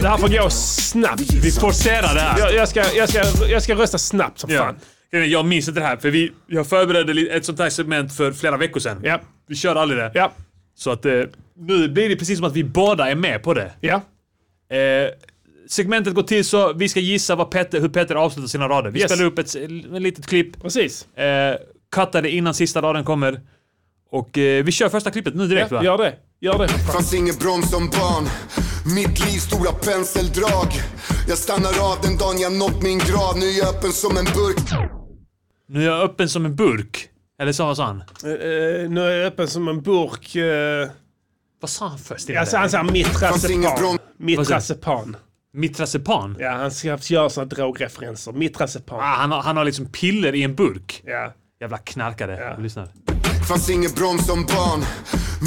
Det här får gå snabbt. Vi forcerar det här. Jag, jag, ska, jag, ska, jag ska rösta snabbt som Ja. fan. Grejen är, Jag minns inte det här för vi, jag förberedde li- ett sånt här segment för flera veckor sedan. Ja, Vi kör aldrig det. ja, Så att eh, nu blir det precis som att vi båda är med på det. ja. Eh, segmentet går till så vi ska gissa vad Petter, hur Petter avslutar sina rader. Vi Yes. spelar upp ett, ett litet klipp, Precis. eh, cuttar det innan sista raden kommer. Och eh, vi kör första klippet nu direkt va? Ja, gör det. Gör det. Fanns ingen broms som barn Mitt liv stora penseldrag Jag stannar av den dagen jag nått min grav Nu är jag öppen som en burk Nu är jag öppen som en burk. Eller så vad sa han? Eh, nu är jag öppen som en burk. eh, Vad sa han först? alltså han sa mitrazepan. Mitrazepan. Mitrazepan? Ja, han ska göra sådana drogreferenser. Mitrazepan. Ah, han, har, han har liksom piller i en burk. Ja. Jävla knarkare. Ja. Lyssnar. Fanns ingen broms som barn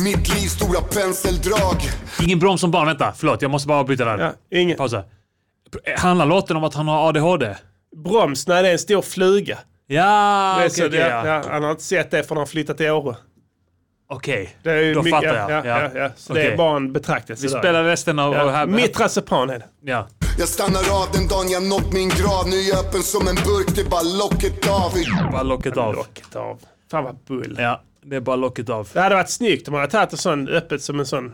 Mitt liv stora penseldrag Ingen broms som barn. Vänta, förlåt. Jag måste bara avbryta där. ja. Ingen. Pausa. Handlar låten om att han har ADHD? Broms, nej det är en stor fluga. Ja, Det är okej. så okej, det- ja. ja, han har inte sett det förrän han flyttat till Åre. Okej, Det är ju då mycket- fattar jag. Ja, ja, ja, Så det Okej. är bara en betraktelse. Vi där. spelar resten av, av ja. här. Mitrazepan är det. Ja. Jag stannar av den dagen jag nått min grav Nu är jag öppen som en burk Det är bara locket av Bara locket av. Locket av. Fan vad bull. Ja, det är bara locket av. Det hade varit snyggt om man hade tagit en sån öppet som en sån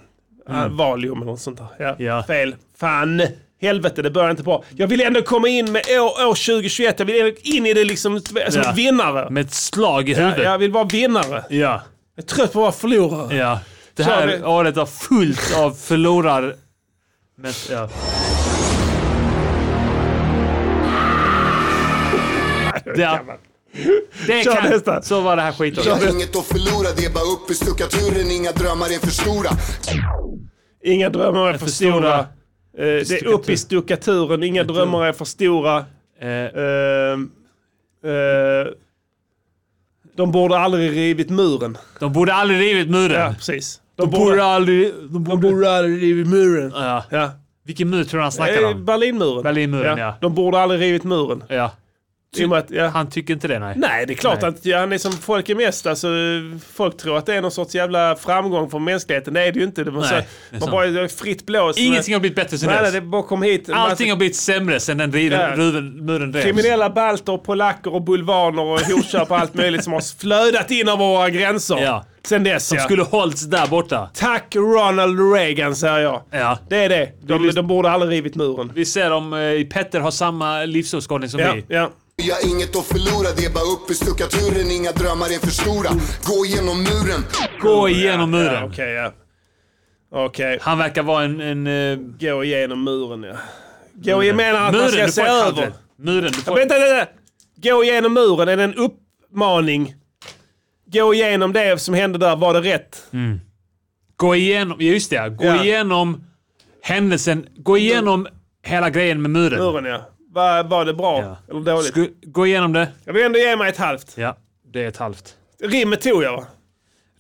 mm. Valium eller något sånt där. Ja. Ja. Fel. Fan. Helvete, det börjar inte bra. Jag vill ändå komma in med år, år 2021. Jag vill ändå in i det liksom som Ja. en vinnare. Med ett slag i Ja, huvudet. jag Ja. vill vara vinnare. ja. Jag är trött på att vara förlorare. Det Kör här vi. året har fullt av förlorar... Men, ja. Ja. Det Kör kan, nästa. så var det här skitåret. Jag har inget att förlora Det är bara upp i stuckaturen Inga drömmar är för stora Inga drömmar är för för stora. stora. Eh, det är upp i stuckaturen. Inga drömmar är för stora. Eh, Ehm, eh, de borde aldrig rivit muren. de borde aldrig rivit Ja, muren. precis. De borde aldrig... De borde... aldrig rivit muren. Ja. Ja. Vilken mur tror du han snackar Eh, om? Berlinmuren. Berlinmuren, ja. De borde aldrig rivit muren. Ja. I och med att, ja. Han tycker inte det, nej. Nej, det är klart Nej. att ja, han är som folk är mest. Alltså, folk tror att det är någon sorts jävla framgång för mänskligheten. Det är det ju inte. Det var Nej, så, det är man sant. bara det är fritt blås. Ingenting har blivit bättre sen Nej, nej, dess. det är bara kom hit. Alltså, Allting har blivit sämre sen den riven, Ja. ruven, muren revs. Kriminella balter, polacker och bulvaner och hotköp och allt möjligt som har flödat in över våra gränser. Ja. Sen dess ja. Skulle hållts där borta. Tack Ronald Reagan säger jag. Ja. Det är det. De, lyssn- de borde aldrig rivit muren. Vi ser om eh, Petter har samma livsåskådning som Ja, vi. ja. Jag har inget att förlora Det är bara upp i stuckaturen Inga drömmar är för stora Gå igenom muren Gå igenom muren. Ja, Okej, ja. Okej. Han verkar vara en... en eh, Gå igenom muren ja. Gå igenom menar att man ska du se får ett halvt över. rätt. Muren, du får... Vänta, vänta, vänta. Gå igenom muren, är det en uppmaning? Gå igenom det som hände där, var det rätt? Gå igenom... Ja, just det. ja. Gå Ja. igenom händelsen. Gå igenom hela grejen med muren. Muren ja. Var, var det bra Ja. eller dåligt? Sku- gå igenom det. Jag vill ändå ge mig ett halvt. Ja, det är ett halvt. Rimmet tog jag va?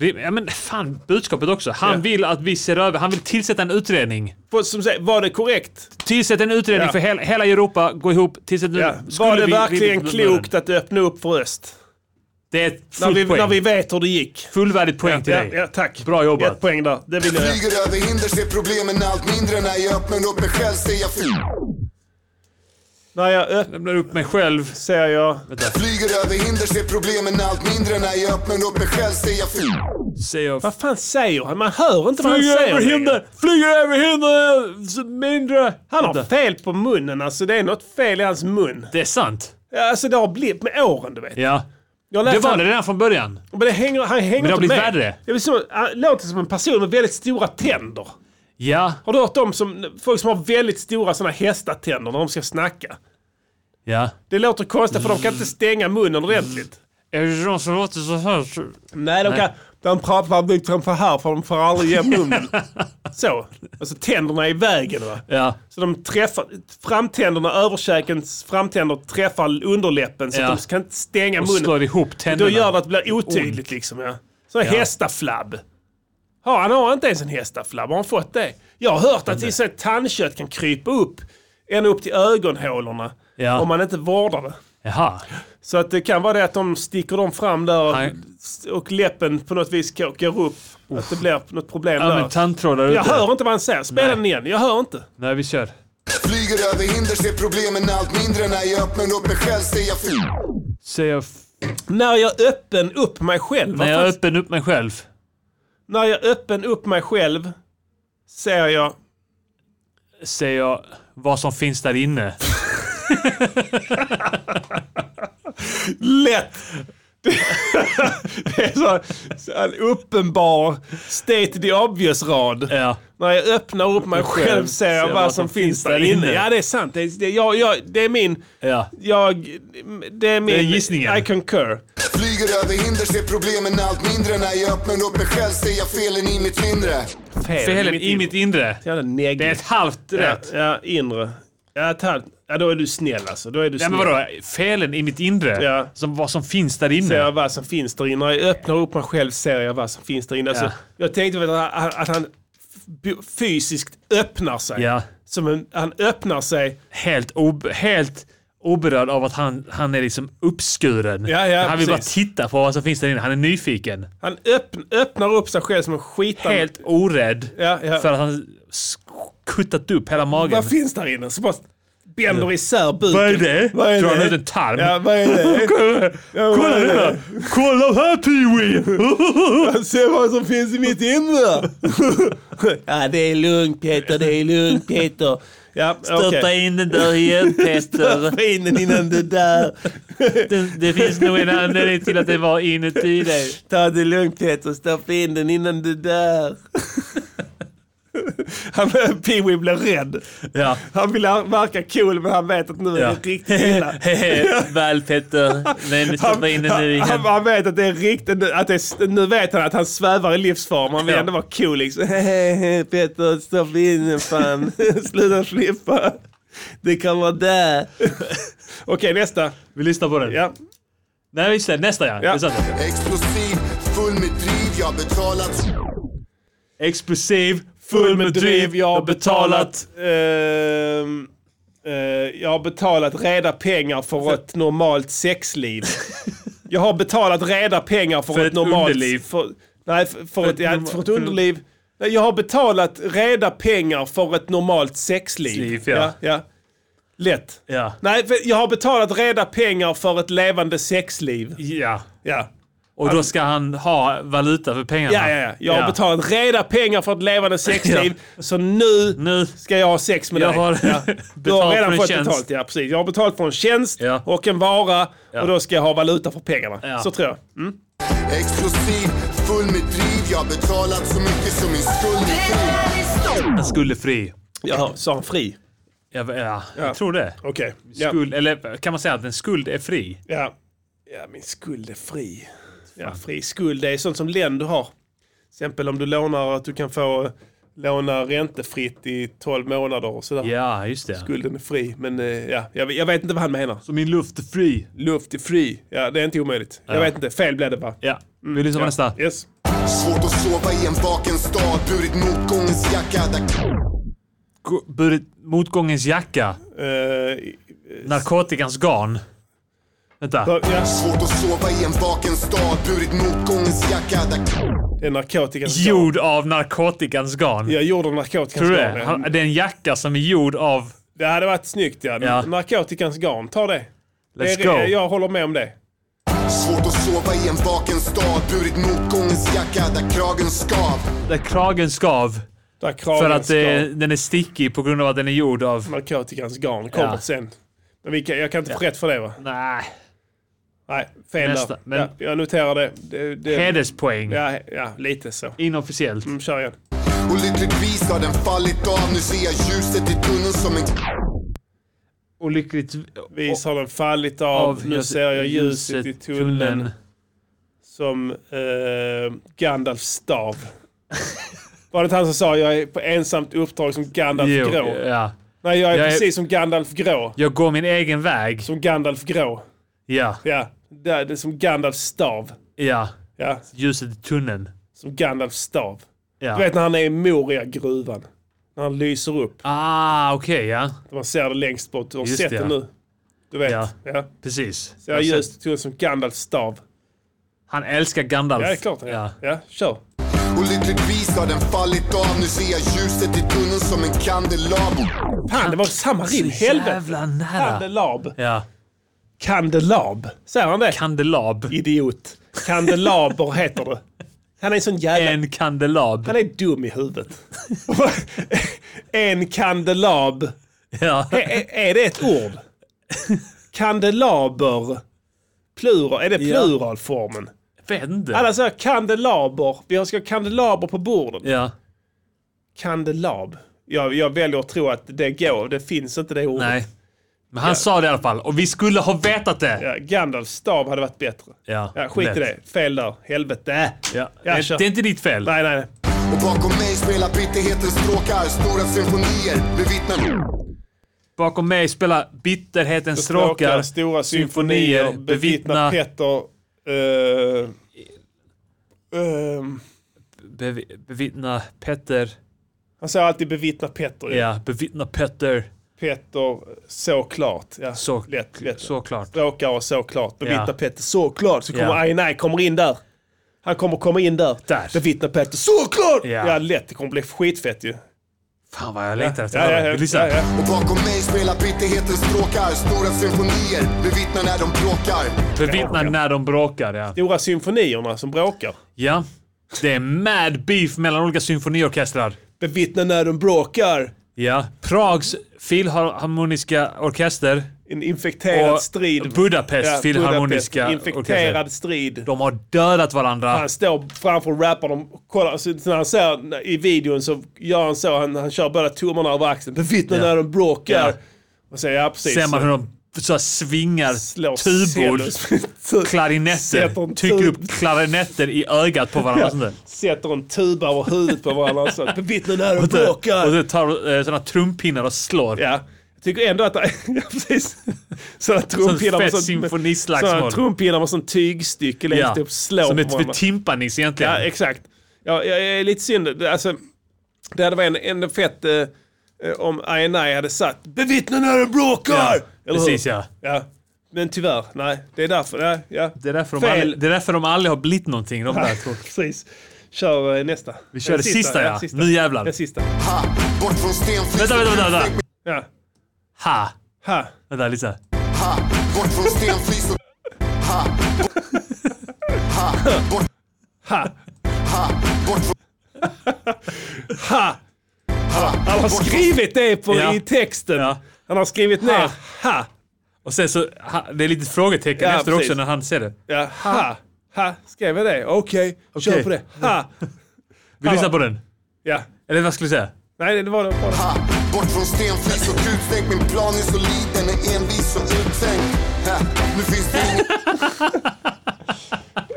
Rim- Ja men fan, budskapet också. Han Ja. vill att vi ser över, han vill tillsätta en utredning. För, som sagt, var det korrekt? Tillsätt en utredning Ja. för hela, hela Europa, gå ihop, tillsätt en... Ja. Skulle Var det vi- verkligen vi- klokt att öppna upp för öst? Det är ett När fullt vi, poäng. när vi vet hur det gick. Fullvärdigt poäng till ja, dig. ja, tack. Bra jobbat. Ett poäng där. Det vill jag. Flyger över hinder Ser problemen allt mindre När jag öppnar upp mig själv Ser jag fri När jag öppnar Lämnar upp mig själv. ser jag... Flyger över hinder Ser problemen allt mindre När jag öppnar upp mig själv Ser jag fri Säger jag. Vad fan säger han? Man hör inte vad han Flyger säger. över hinder! Flyger över hinder! så Mindre! Han har fel på munnen alltså. Det är något fel i hans mun. Det är sant. Ja, Alltså det har blivit med åren du vet. Ja. Jag Det läste var han- det redan från början. Men det hänger, han hänger Men det har inte blivit med. värre. Det är som, han låter som en person med väldigt stora tänder. Ja. Har du hört om som, folk som har väldigt stora sådana hästatänder när de ska snacka? Ja. Det låter konstigt för de kan inte stänga munnen ordentligt. Är det de som låter så här? Nej, de, kan, de pratar liksom så här för de får aldrig igen munnen. så. Alltså tänderna är i vägen va. Ja. Så de träffar, framtänderna, överkäkens framtänder träffar underläppen så Ja. att de kan inte stänga Och munnen. slår ihop tänderna. Då gör det att det blir otydligt liksom. Ja. Så hästaflabb. Har han har inte ens en hästaflabb. Har han fått det? Jag har hört att till och med tandkött kan krypa upp ända upp till ögonhålorna Ja. om man inte vårdar det. Jaha. Så att det kan vara det att de sticker dem fram där och, Nej. och läppen på något vis går går upp. Att det blir något problem Ja, men där. tandtrådar Jag ute. hör inte vad han säger. Spela den igen. Jag hör inte. Nej, vi kör. Flyger över hinder, ser problemen allt mindre när jag öppnar upp mig själv ser jag fri. Säger jag... f- När jag öppen upp mig själv. När Vad jag fan- öppen upp mig själv. När jag öppen upp mig själv ser jag... ser jag vad som finns där inne. Lätt! Det är så, så en uppenbar state the obvious-rad. Ja. När jag öppnar upp mig själv, ser jag vad som finns där inne. Ja, det är sant. Det är, det, jag, jag, det är min... Ja. Jag, det är min... Det är gissningen. I concur. Flyger över hinder, ser problemen allt mindre när jag öppnar upp mig själv ser jag felen i mitt inre. Felen i mitt inre. Jävla neggigt. Det är ett halvt rätt. Ja, ja, inre. Ja, ett halvt. ja, då är du snäll alltså. Då är du Nej snäll. men vadå? Felen i mitt inre? Ja. Som vad som finns där Ser jag inne? vad som finns där inne. När jag öppnar upp mig själv ser jag vad som finns där inne. Alltså, Ja. Jag tänkte väl att han, att han f- fysiskt öppnar sig. Ja. Som en, han öppnar sig. Helt, ob- helt oberörd av att han, han är liksom uppskuren. Ja, ja, han vill precis. bara titta på vad som finns där inne. Han är nyfiken. Han öppn, öppnar upp sig själv som en skitande... Helt orädd Ja, ja. för att han s- kuttat upp hela magen. Vad finns där inne? Så bara bänder isär buken. Vad är det? Vad är Drar han det? ut en tarm? Ja, vad är det? Kolla här! Kolla här Pee-Wee! Se vad som finns i mitt inre. ja, det är lugnt Peter, det är lugnt Peter. Ja, Störta in den där igen Peter. in den innan du dör. Det, det finns nog en anledning till att det var inuti dig. Ta det lugnt Peter, stoppa in den innan du dör. Han, Pee-Wee blir rädd. Ja. Han vill verka cool men han vet att nu är det riktigt illa. Väl Petter, men stoppa in den nu han, igen. han vet att det är riktigt, att det är, nu vet han att han svävar i livsform. Han vill Ja. ändå vara cool liksom. Hehehe, Peter, stoppa in den fan. Sluta flippa. Det kan vara där. Okej, nästa. Vi lyssnar på den. Ja. Nej, just det. Nästa ja. Ja. Det satt den. Explosiv, full med driv, jag betalat. Explosiv, full med driv, jag har betalat. Ehm, eh, jag har betalat reda pengar för ett normalt sexliv. jag har betalat reda pengar för, För ett, ett normalt... underliv. För, nej, för, för, ett, ja, norma- för ett underliv. Nej, jag har betalat reda pengar för ett normalt sexliv. Liv, ja. ja, ja. Lätt. Ja. Nej, för jag har betalat reda pengar för ett levande sexliv. Ja. Ja. Och då ska han ha valuta för pengarna. Ja, ja, ja. Jag har betalat reda pengar för ett levande sexliv. Så nu, Nu. ska jag ha sex med Jag dig. har ja. Du betalt har för redan en fått tjänst. betalt. Ja, precis. Jag har betalt för en tjänst Ja. och en vara Ja. och då ska jag ha valuta för pengarna. Ja. Så tror jag. Mm. Explosiv, full med driv, jag betalat så mycket som min skuld är fri. Han skulle fri. Jaha, sa han fri? Ja, ja, Ja. jag tror det. Okej. Skuld, Eller kan man säga att en skuld är fri? Ja. Ja. ja, min skuld är fri. Ja, fri skuld det är sånt som länder har. Till exempel om du lånar att du kan få låna räntefritt i 12 månader och sådär. Ja, just det. Skulden är fri, men eh, ja, jag, jag vet inte vad han menar. Så min luft är fri. Luft är fri. Ja, det är inte omöjligt. Jag vet inte. Fel blev det bara. Ja. Vi lyssnar på nästa. Yes. Svårt att sova i en vaken stad, burit motgångens jacka där Gå- Burit motgångens jacka. Eh, Narkotikans garn. Vänta. Ja, ja. Svårt att sova i en vaken stad, burit motgångens jacka där Det är narkotikan som står. Gjord av narkotikans garn. Ja, gjord av narkotikans Tror du garn. det? Han- Det är en jacka som är gjord av... Det hade varit snyggt ja. Ja. Narkotikans garn, ta det. Let's det go. är, Jag håller med om det. Svårt att sova i en vaken stad, burit motgångens jacka där kragen skav Där kragen skav. Där För kragens att eh, garn, den är stickig på grund av att den är gjord av... narkotikans garn kommer Ja. sen. Men vi kan, jag kan inte få rätt för det va? Nej. Nej, fel Nästa, där. men- Ja, jag noterar det. det, det Hederspoäng. ja, ja, lite så. Inofficiellt. Mm, kör igen. Och lyckligtvis har den fallit av, nu ser jag ljuset i tunneln som en Och lyckligtvis har den fallit av. av nu ljus- ser jag ljuset, i ljuset i tunneln. tunneln. Som eh, Gandalfs stav. Var det inte han som sa jag är på ensamt uppdrag som Gandalf Jo, grå? ja. Nej, jag är Jag är- precis som Gandalf grå. Jag går min egen väg. Som Gandalf grå. Ja, Ja, det är det är som Gandalfs stav. ja. Ja, Ljuset i tunneln. som Gandalfs stav. Ja. Du vet när han är i Moria-gruvan. När han lyser upp. Ah, okej ja. Man ser det längst bort. Du har Just sett det, det ja. nu. Du vet. Ja. Ja. Precis. Ser Jag jag har ljust i tunneln som Gandalfs stav. Han älskar Gandalf. Ja, det är klart han gör. Ja. Ja, kör. Och lyckligtvis har den fallit av. Nu ser jag ljuset i tunneln som en kandelabor. Fan, det var samma rim. Så Helvete. jävla nära. Kandelab. Ja. Kandelab. Säger han det? Kandelab. Idiot. Kandelaber heter det. Han är en sån jävla... En kandelab. Han är dum i huvudet. en kandelab. Ja. Är, är- är det ett ord? Kandelaber. Plural. Är det pluralformen? Vet inte. Alla säger kandelaber. Vi ska ha kandelaber på borden. Ja. Kandelab. Jag, jag väljer att tro att det går. Det finns inte det ordet. Nej. Men han sa det i alla fall. Och vi skulle ha vetat det. Ja, Gandalfs stav hade varit bättre. Ja. Ja, skit i det. Fel där. Helvete. Ja. Ja, det, kör. det är inte ditt fel. Nej, nej, nej. Och bakom mig spelar bitterhetens stråkar. Stora symfonier bevittnar Bakom mig spelar bitterhetens stråkar, stora symfonier, bevittna Petter... eh, ehm, bevi- bevittna Petter. han säger alltid bevittna Petter. Ja. Ja, bevittna Petter. Petter, såklart. Ja, Så, lätt, lätt. Såklart. Stråkar och såklart. Bevittna Ja. Petter, såklart. Så kommer Ja. Aina kommer in där. Han kommer komma in där. Där. Bevittna Petter, såklart! Ja. Ja, lätt. Det kommer bli skitfett ju. Fan vad jag längtar efter Ja, ja, det. ja, Vill du ja, lyssna? ja. Och bakom mig spelar bitterhetens stråkar. Stora symfonier bevittnar när de bråkar. Bevittna när de bråkar, ja. Stora symfonierna som bråkar. Ja. Det är mad beef mellan olika symfoniorkestrar. Bevittna när de bråkar. Ja. Prags filharmoniska orkester. En infekterad Och strid. Budapest filharmoniska Budapest, Infekterad orkester. strid. De har dödat varandra. Han står framför rapparen och kollar. Så när han ser i videon så gör han så. Han, han kör båda tummarna över axeln. Bevittna Ja. när de bråkar. Ja. Och säger ja precis. Ser man Så hur de så här svingar slår tubor, cellos- Sätter en klarinetter, trycker tub- upp klarinetter i ögat på varandra. och sånt där. Sätter en tuba över huvudet på varandra. Så, Bevittna när de Och bråkar. så tar eh, såna trumpinnar och slår. Ja. Jag tycker ändå att... ja, precis. Sådana trumpinnar med fett sånt- sådana symfonislagsmål. trumpinnar med sånt tygstycke längst upp. Slår Som på ett varandra. timpanis egentligen. Ja, exakt. Ja, jag är lite synd. Det- Alltså, det hade varit en, en fett eh, eh, om INI hade satt bevittna när de bråkar! Ja, hur? precis, ja. ja. Men tyvärr, nej. Det är därför. Nej, ja. Det är, därför de Fel. aldrig, det är därför de aldrig har blivit någonting. De där två. Precis. Kör eh, nästa. Vi kör det sista, ja. Nu jävlar. Den sista. Ha, bort från stenflis Vänta, och vänta, vänta, vänta. Ja. Ha. Ha. Vänta, lyssna. Ha, bort från stenflis och... Ha, bort... Ha, bort... Ha. Ha, bort från... Ha. Han har skrivit det på, Ja. i texten. Ja. Han har skrivit ner ha. Och sen så, ha, det är lite frågetecken Ja, efter precis. också när han ser det. Ja, ha. Ha. Skrev jag det? Okej, kör Okej. på det. Ha. Vi lyssnar på den. Ja. Eller vad skulle du säga? Nej, det var det. Bara. Ha, bort från stenflis och kutstänk. Min plan är solid, den är envis och uttänkt. Ha, nu finns det inget...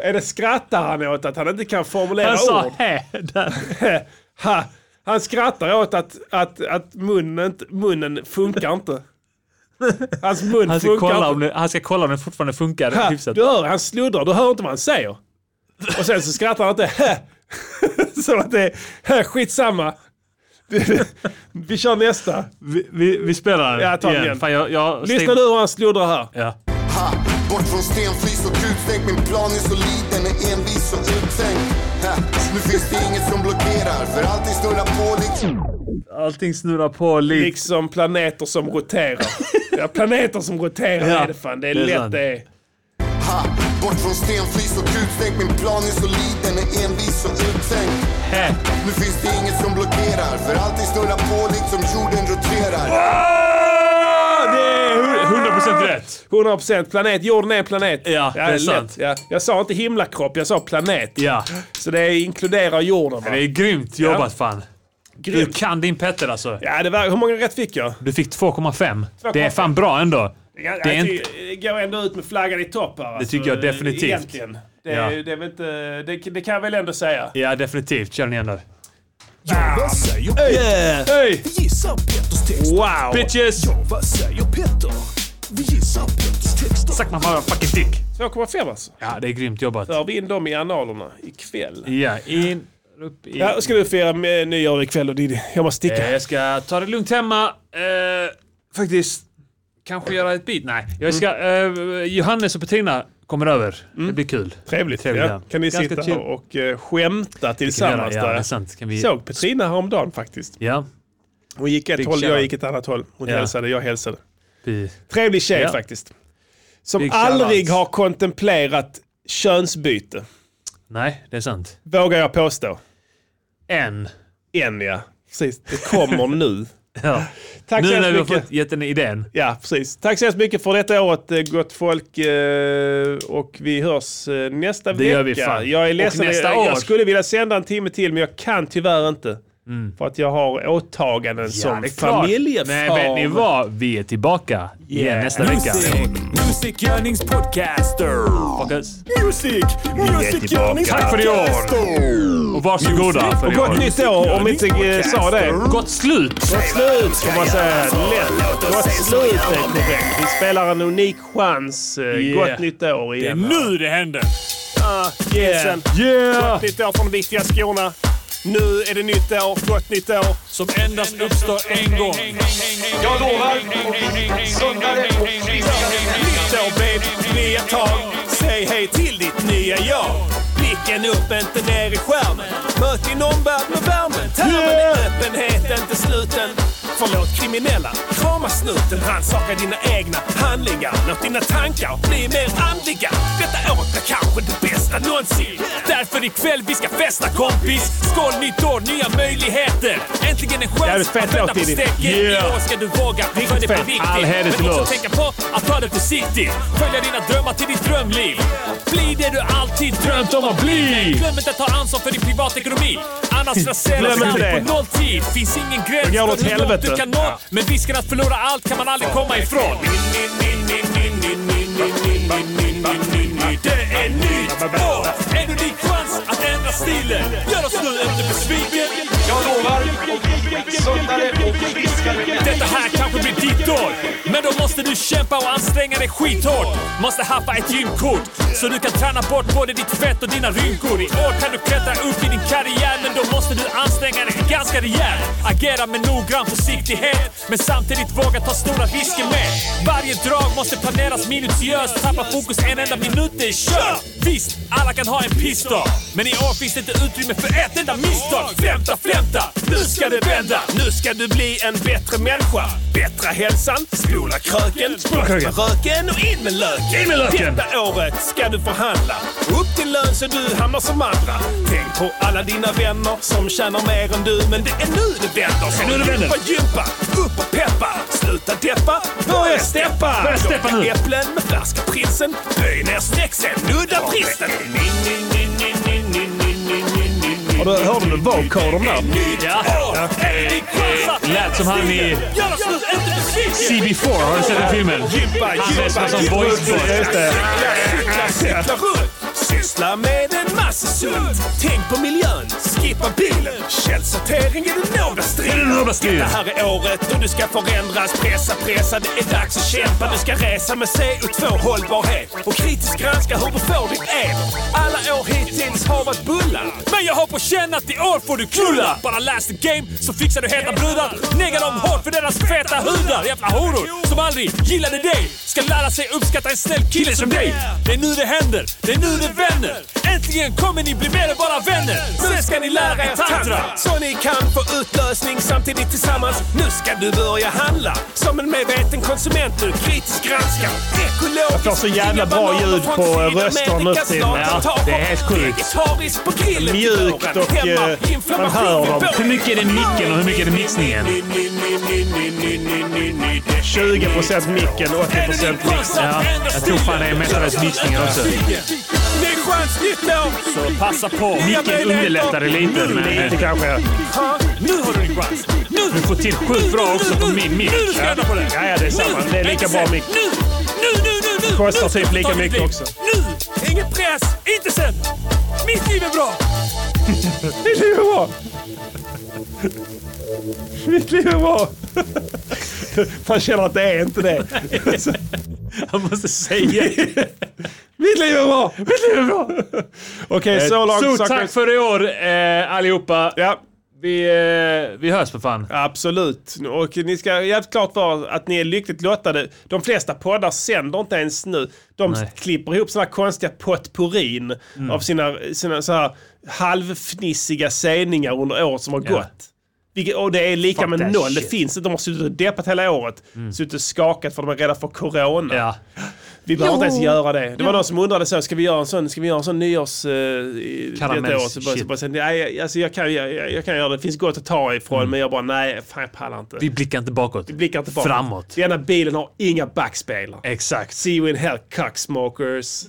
Är det skrattar han åt att han inte kan formulera Han sa ord? hä. där. Ha, han skrattar åt att, att, att munnen, inte- munnen funkar inte. Hans mun Han ska, funkar kolla om inte. det, han ska kolla om den fortfarande funkar Ha, hyfsat. du hör, han sluddrar. Du hör inte vad han säger. Och sen så skrattar han inte. Ha. Som att det är ha, skitsamma. Vi, vi kör nästa. Vi, vi, vi spelar Ja, ta den igen. Fan, jag, jag, Lyssna nu hur han sluddrar här. Ja. Ha, bort från stenflis och kutstänk. Min plan är solid, den är envis och uttänkt. Ha, nu finns det inget som blockerar, för allting snurrar på liksom... Allting snurrar på likt. Liksom planeter som roterar. Ja, planeter som roterar Ja, är det fan. Det är, det är lätt sant. det är. Ha, bort från stenflis och kutstänk. Min plan är solid, den är envis och uttänkt. Hä. Nu finns det inget som blockerar, för allting snurrar på liksom jorden roterar. Ah, det är 100% rätt. 100% planet. Jorden är en planet. Ja, det är lätt. sant. Ja. Jag sa inte himlakropp, jag sa planet. Ja. Så det inkluderar jorden. Va? Det är grymt jobbat fan. Du kan din Petter alltså. Ja, det var, hur många rätt fick jag? Du fick 2,5. Det är fan bra ändå. Ja, Det det, är inte... det går ändå ut med flaggan i topp här. alltså, tycker jag definitivt. Egentligen. Det, är- Ja. det, är väl inte, det, det kan jag väl ändå säga. Ja, definitivt. Kör den igen där. Ja, vad säger Yeah. Vi gissar Petters texter. Wow. Bitches. Ja, vad säger Petter? Vi gissar Petters texter. Suck my motherfucking dick. 2,5 alltså. Ja, det är grymt jobbat. För vi in dem i analerna ikväll. Ja, in, upp i... Ja, ska du fira med nyår ikväll och Diddy? Jag måste sticka. Eh, Jag ska ta det lugnt hemma. Eh, faktiskt. Kanske göra ett bit? Nej. Jag ska, Mm. eh, Johannes och Petrina kommer över. Det blir kul. Trevligt. Trevligt, ja. Kan ni Ganska sitta chill. här och eh, skämta tillsammans? ja, där? det är sant. Kan vi- Såg Petrina häromdagen faktiskt. Ja. Hon gick ett Big håll, jag shout. gick ett annat håll. Hon Ja. hälsade, jag hälsade. Vi- Trevlig tjej Ja. faktiskt. Som Big aldrig shout-out. har kontemplerat könsbyte. Nej, det är sant. Vågar jag påstå. En. En ja. Precis, det kommer nu. Ja. Tack så nu när hemskt vi har mycket. fått gett den idén. Ja, precis. Tack så hemskt mycket för detta året, eh, gott folk. eh, Och vi hörs eh, nästa Det vecka. gör vi fan. Jag är Och ledsen, nästa jag, år. jag skulle vilja sända en timme till, men jag kan tyvärr inte. För att jag har åtaganden som Mm. det är klart. familjefar. Men vet ni vad? Vi är tillbaka igen nästa vecka. Music Yearnings Podcaster. Fuckers. Music! Music Yearnings Tack för i år! Och varsågoda för Och i gott år. nytt år, om vi inte eh, sa det. Gott slut! Gott slut, får man säga. Lätt. Gott slut är korrekt. Vi spelar en unik chans. eh, Yeah. Gott nytt år Det är igen. nu det händer! Yeah. Yeah! Gott nytt år från viktiga skorna. Nu är det nytt år, gott nytt år. Som endast uppstår en gång. Jag lovar! Sundare och friskare. Nytt år, babe. Nya tag. Säg hej till ditt nya jag. Blicken upp, inte ner i skärmen. Möt din omvärld med värmen. Termen är öppenhet, inte sluten. Förlåt kriminella, krama snuten. Rannsaka dina egna handlingar. Låt dina tankar bli mer andliga. Detta året är kanske det bästa någonsin. Därför ikväll vi ska festa kompis. Skål nytt år, nya möjligheter. Äntligen en chans Jävligt fett att vända låt, på Diddy. steken. Yeah. I år ska du våga. Riktigt fett. All heder till Men också oss. tänka på att ta det försiktigt. Följa dina drömmar till ditt drömliv. Bli det du alltid drömt om att bli. Glöm inte att ta ansvar för din privatekonomi. Annars raseras Glöm inte livet det. på nolltid. Finns ingen gräns går åt för hur långt helvete. du kan nå. Men risken att förlora allt kan man aldrig komma ifrån. Det är nytt år! En unik chans att ändra stilen. Gör oss nu inte besviken. Jag lovar! Sundare och friskare. Detta här kanske blir ditt år. Men då måste du kämpa och anstränga dig skithårt. Måste haffa ett gymkort. Så du kan träna bort både ditt fett och dina rynkor. I år kan du klättra upp i din karriär. Men då måste du anstränga dig ganska rejält. Agera med noggrann försiktighet. Men samtidigt våga ta stora risker med. Varje drag måste planeras minutiöst. Tappa fokus en enda minut, det är kört. Visst, alla kan ha en pissdag. Men i år finns det inte utrymme för ett enda misstag. Flämta, flämta! Nu ska det vända! Nu ska du bli en bättre människa. Bättra hälsan, spola kröken, spruta röken och in med löken. In med löken! Detta året ska du förhandla. Upp till lön så du hamnar som andra. Tänk på alla dina vänner som tjänar mer än du. Men det är nu det vänder. Så nu det vänder. gympa, upp och peppa. Sluta deppa, börja steppa. Börja steppa nu. Äpplen med färska prinsen. Böj ner snäcksen, nudda bristen. Hörde du vocalen där? Ja. Lät som han Eh. i CB4. Har du sett den filmen? Han är som voice boy. Syssla med en massa sunt. Tänk på miljön, skippa bilen. Källsortering är den nåda striden. Det här är året då du ska förändras. Pressa, pressa, det är dags att kämpa. Du ska resa med CO2 hållbarhet och kritiskt granska hur du får ditt el. Alla år hittills har varit bullar. Men jag har på känn att i år får du knulla. Bara läs the game så fixar du heta brudar. Negga dem hårt för deras feta hudar. Jävla horor som aldrig gillade dig. Ska lära sig uppskatta en snäll kille som dig. Det är nu det händer, det är nu det vänder. Äntligen kommer ni bli mer än bara vänner. Sen ska ni lära er tantra. Så ni kan få utlösning samtidigt tillsammans. Nu ska du börja handla som en medveten konsument. Du kritiskt granska ekologiskt. Jag får så jävla bra ljud på röster nu till. Ja, det är helt sjukt. Vegetariskt på grillen till Mjukt våren. och, Hemma, eh, inflammation man hör dem. vid Hur mycket är det micken och hur mycket är det mixningen? 20% micken, 80% Ja, jag tror fan det är mestadels mixningen också. Det är skönt nytt år! Så passa på. Nicken underlättar det lite. Nu men- lite kanske. Ja, Nu har du din chans. Nu! Du får till sjukt bra också på min mick. Nu ska jag ändra på det. Ja, ja, det är samma. Det är lika bra mick. Nu, nu, nu, nu, nu! Kostar Nu ska typ du ta lika ditt mycket liv. också. Nu! Ingen press, inte sen! Mitt liv är bra! Mitt liv är bra! Mitt liv är bra! Man känner att det är inte det. Han måste säga. Mitt liv är bra! Mitt liv är bra! Okej, så långt. Eh, Stort saker- tack för i år eh, allihopa. Ja. Vi, eh, vi hörs för fan. Absolut. Och ni ska jävligt klart vara att ni är lyckligt lottade. De flesta poddar sänder inte ens nu. De Nej. Mm. klipper ihop sådana konstiga potpurrin av sina, sina så här halvfnissiga sägningar under året som har Ja. gått. Vilket, och det är lika Fuck med that noll. Det shit. Mm. finns inte. De har suttit och deppat hela året. Suttit och skakat för de är rädda för corona. Ja. Vi behöver inte ens göra det. Det var någon som undrade så, ska vi göra en sån, ska vi göra en sån nyårs... Eh, i- Karamells- detta år? Så bara, shit. så bara, så, nej, alltså jag kan, jag, jag- jag kan göra det. Det finns gott att ta ifrån, men jag bara, nej, fan jag pallar inte. Mm. Vi blickar inte bakåt. Vi blickar inte bakåt. Framåt. Denna bilen har inga backspeglar. Exakt. See you in hell, cucksmokers.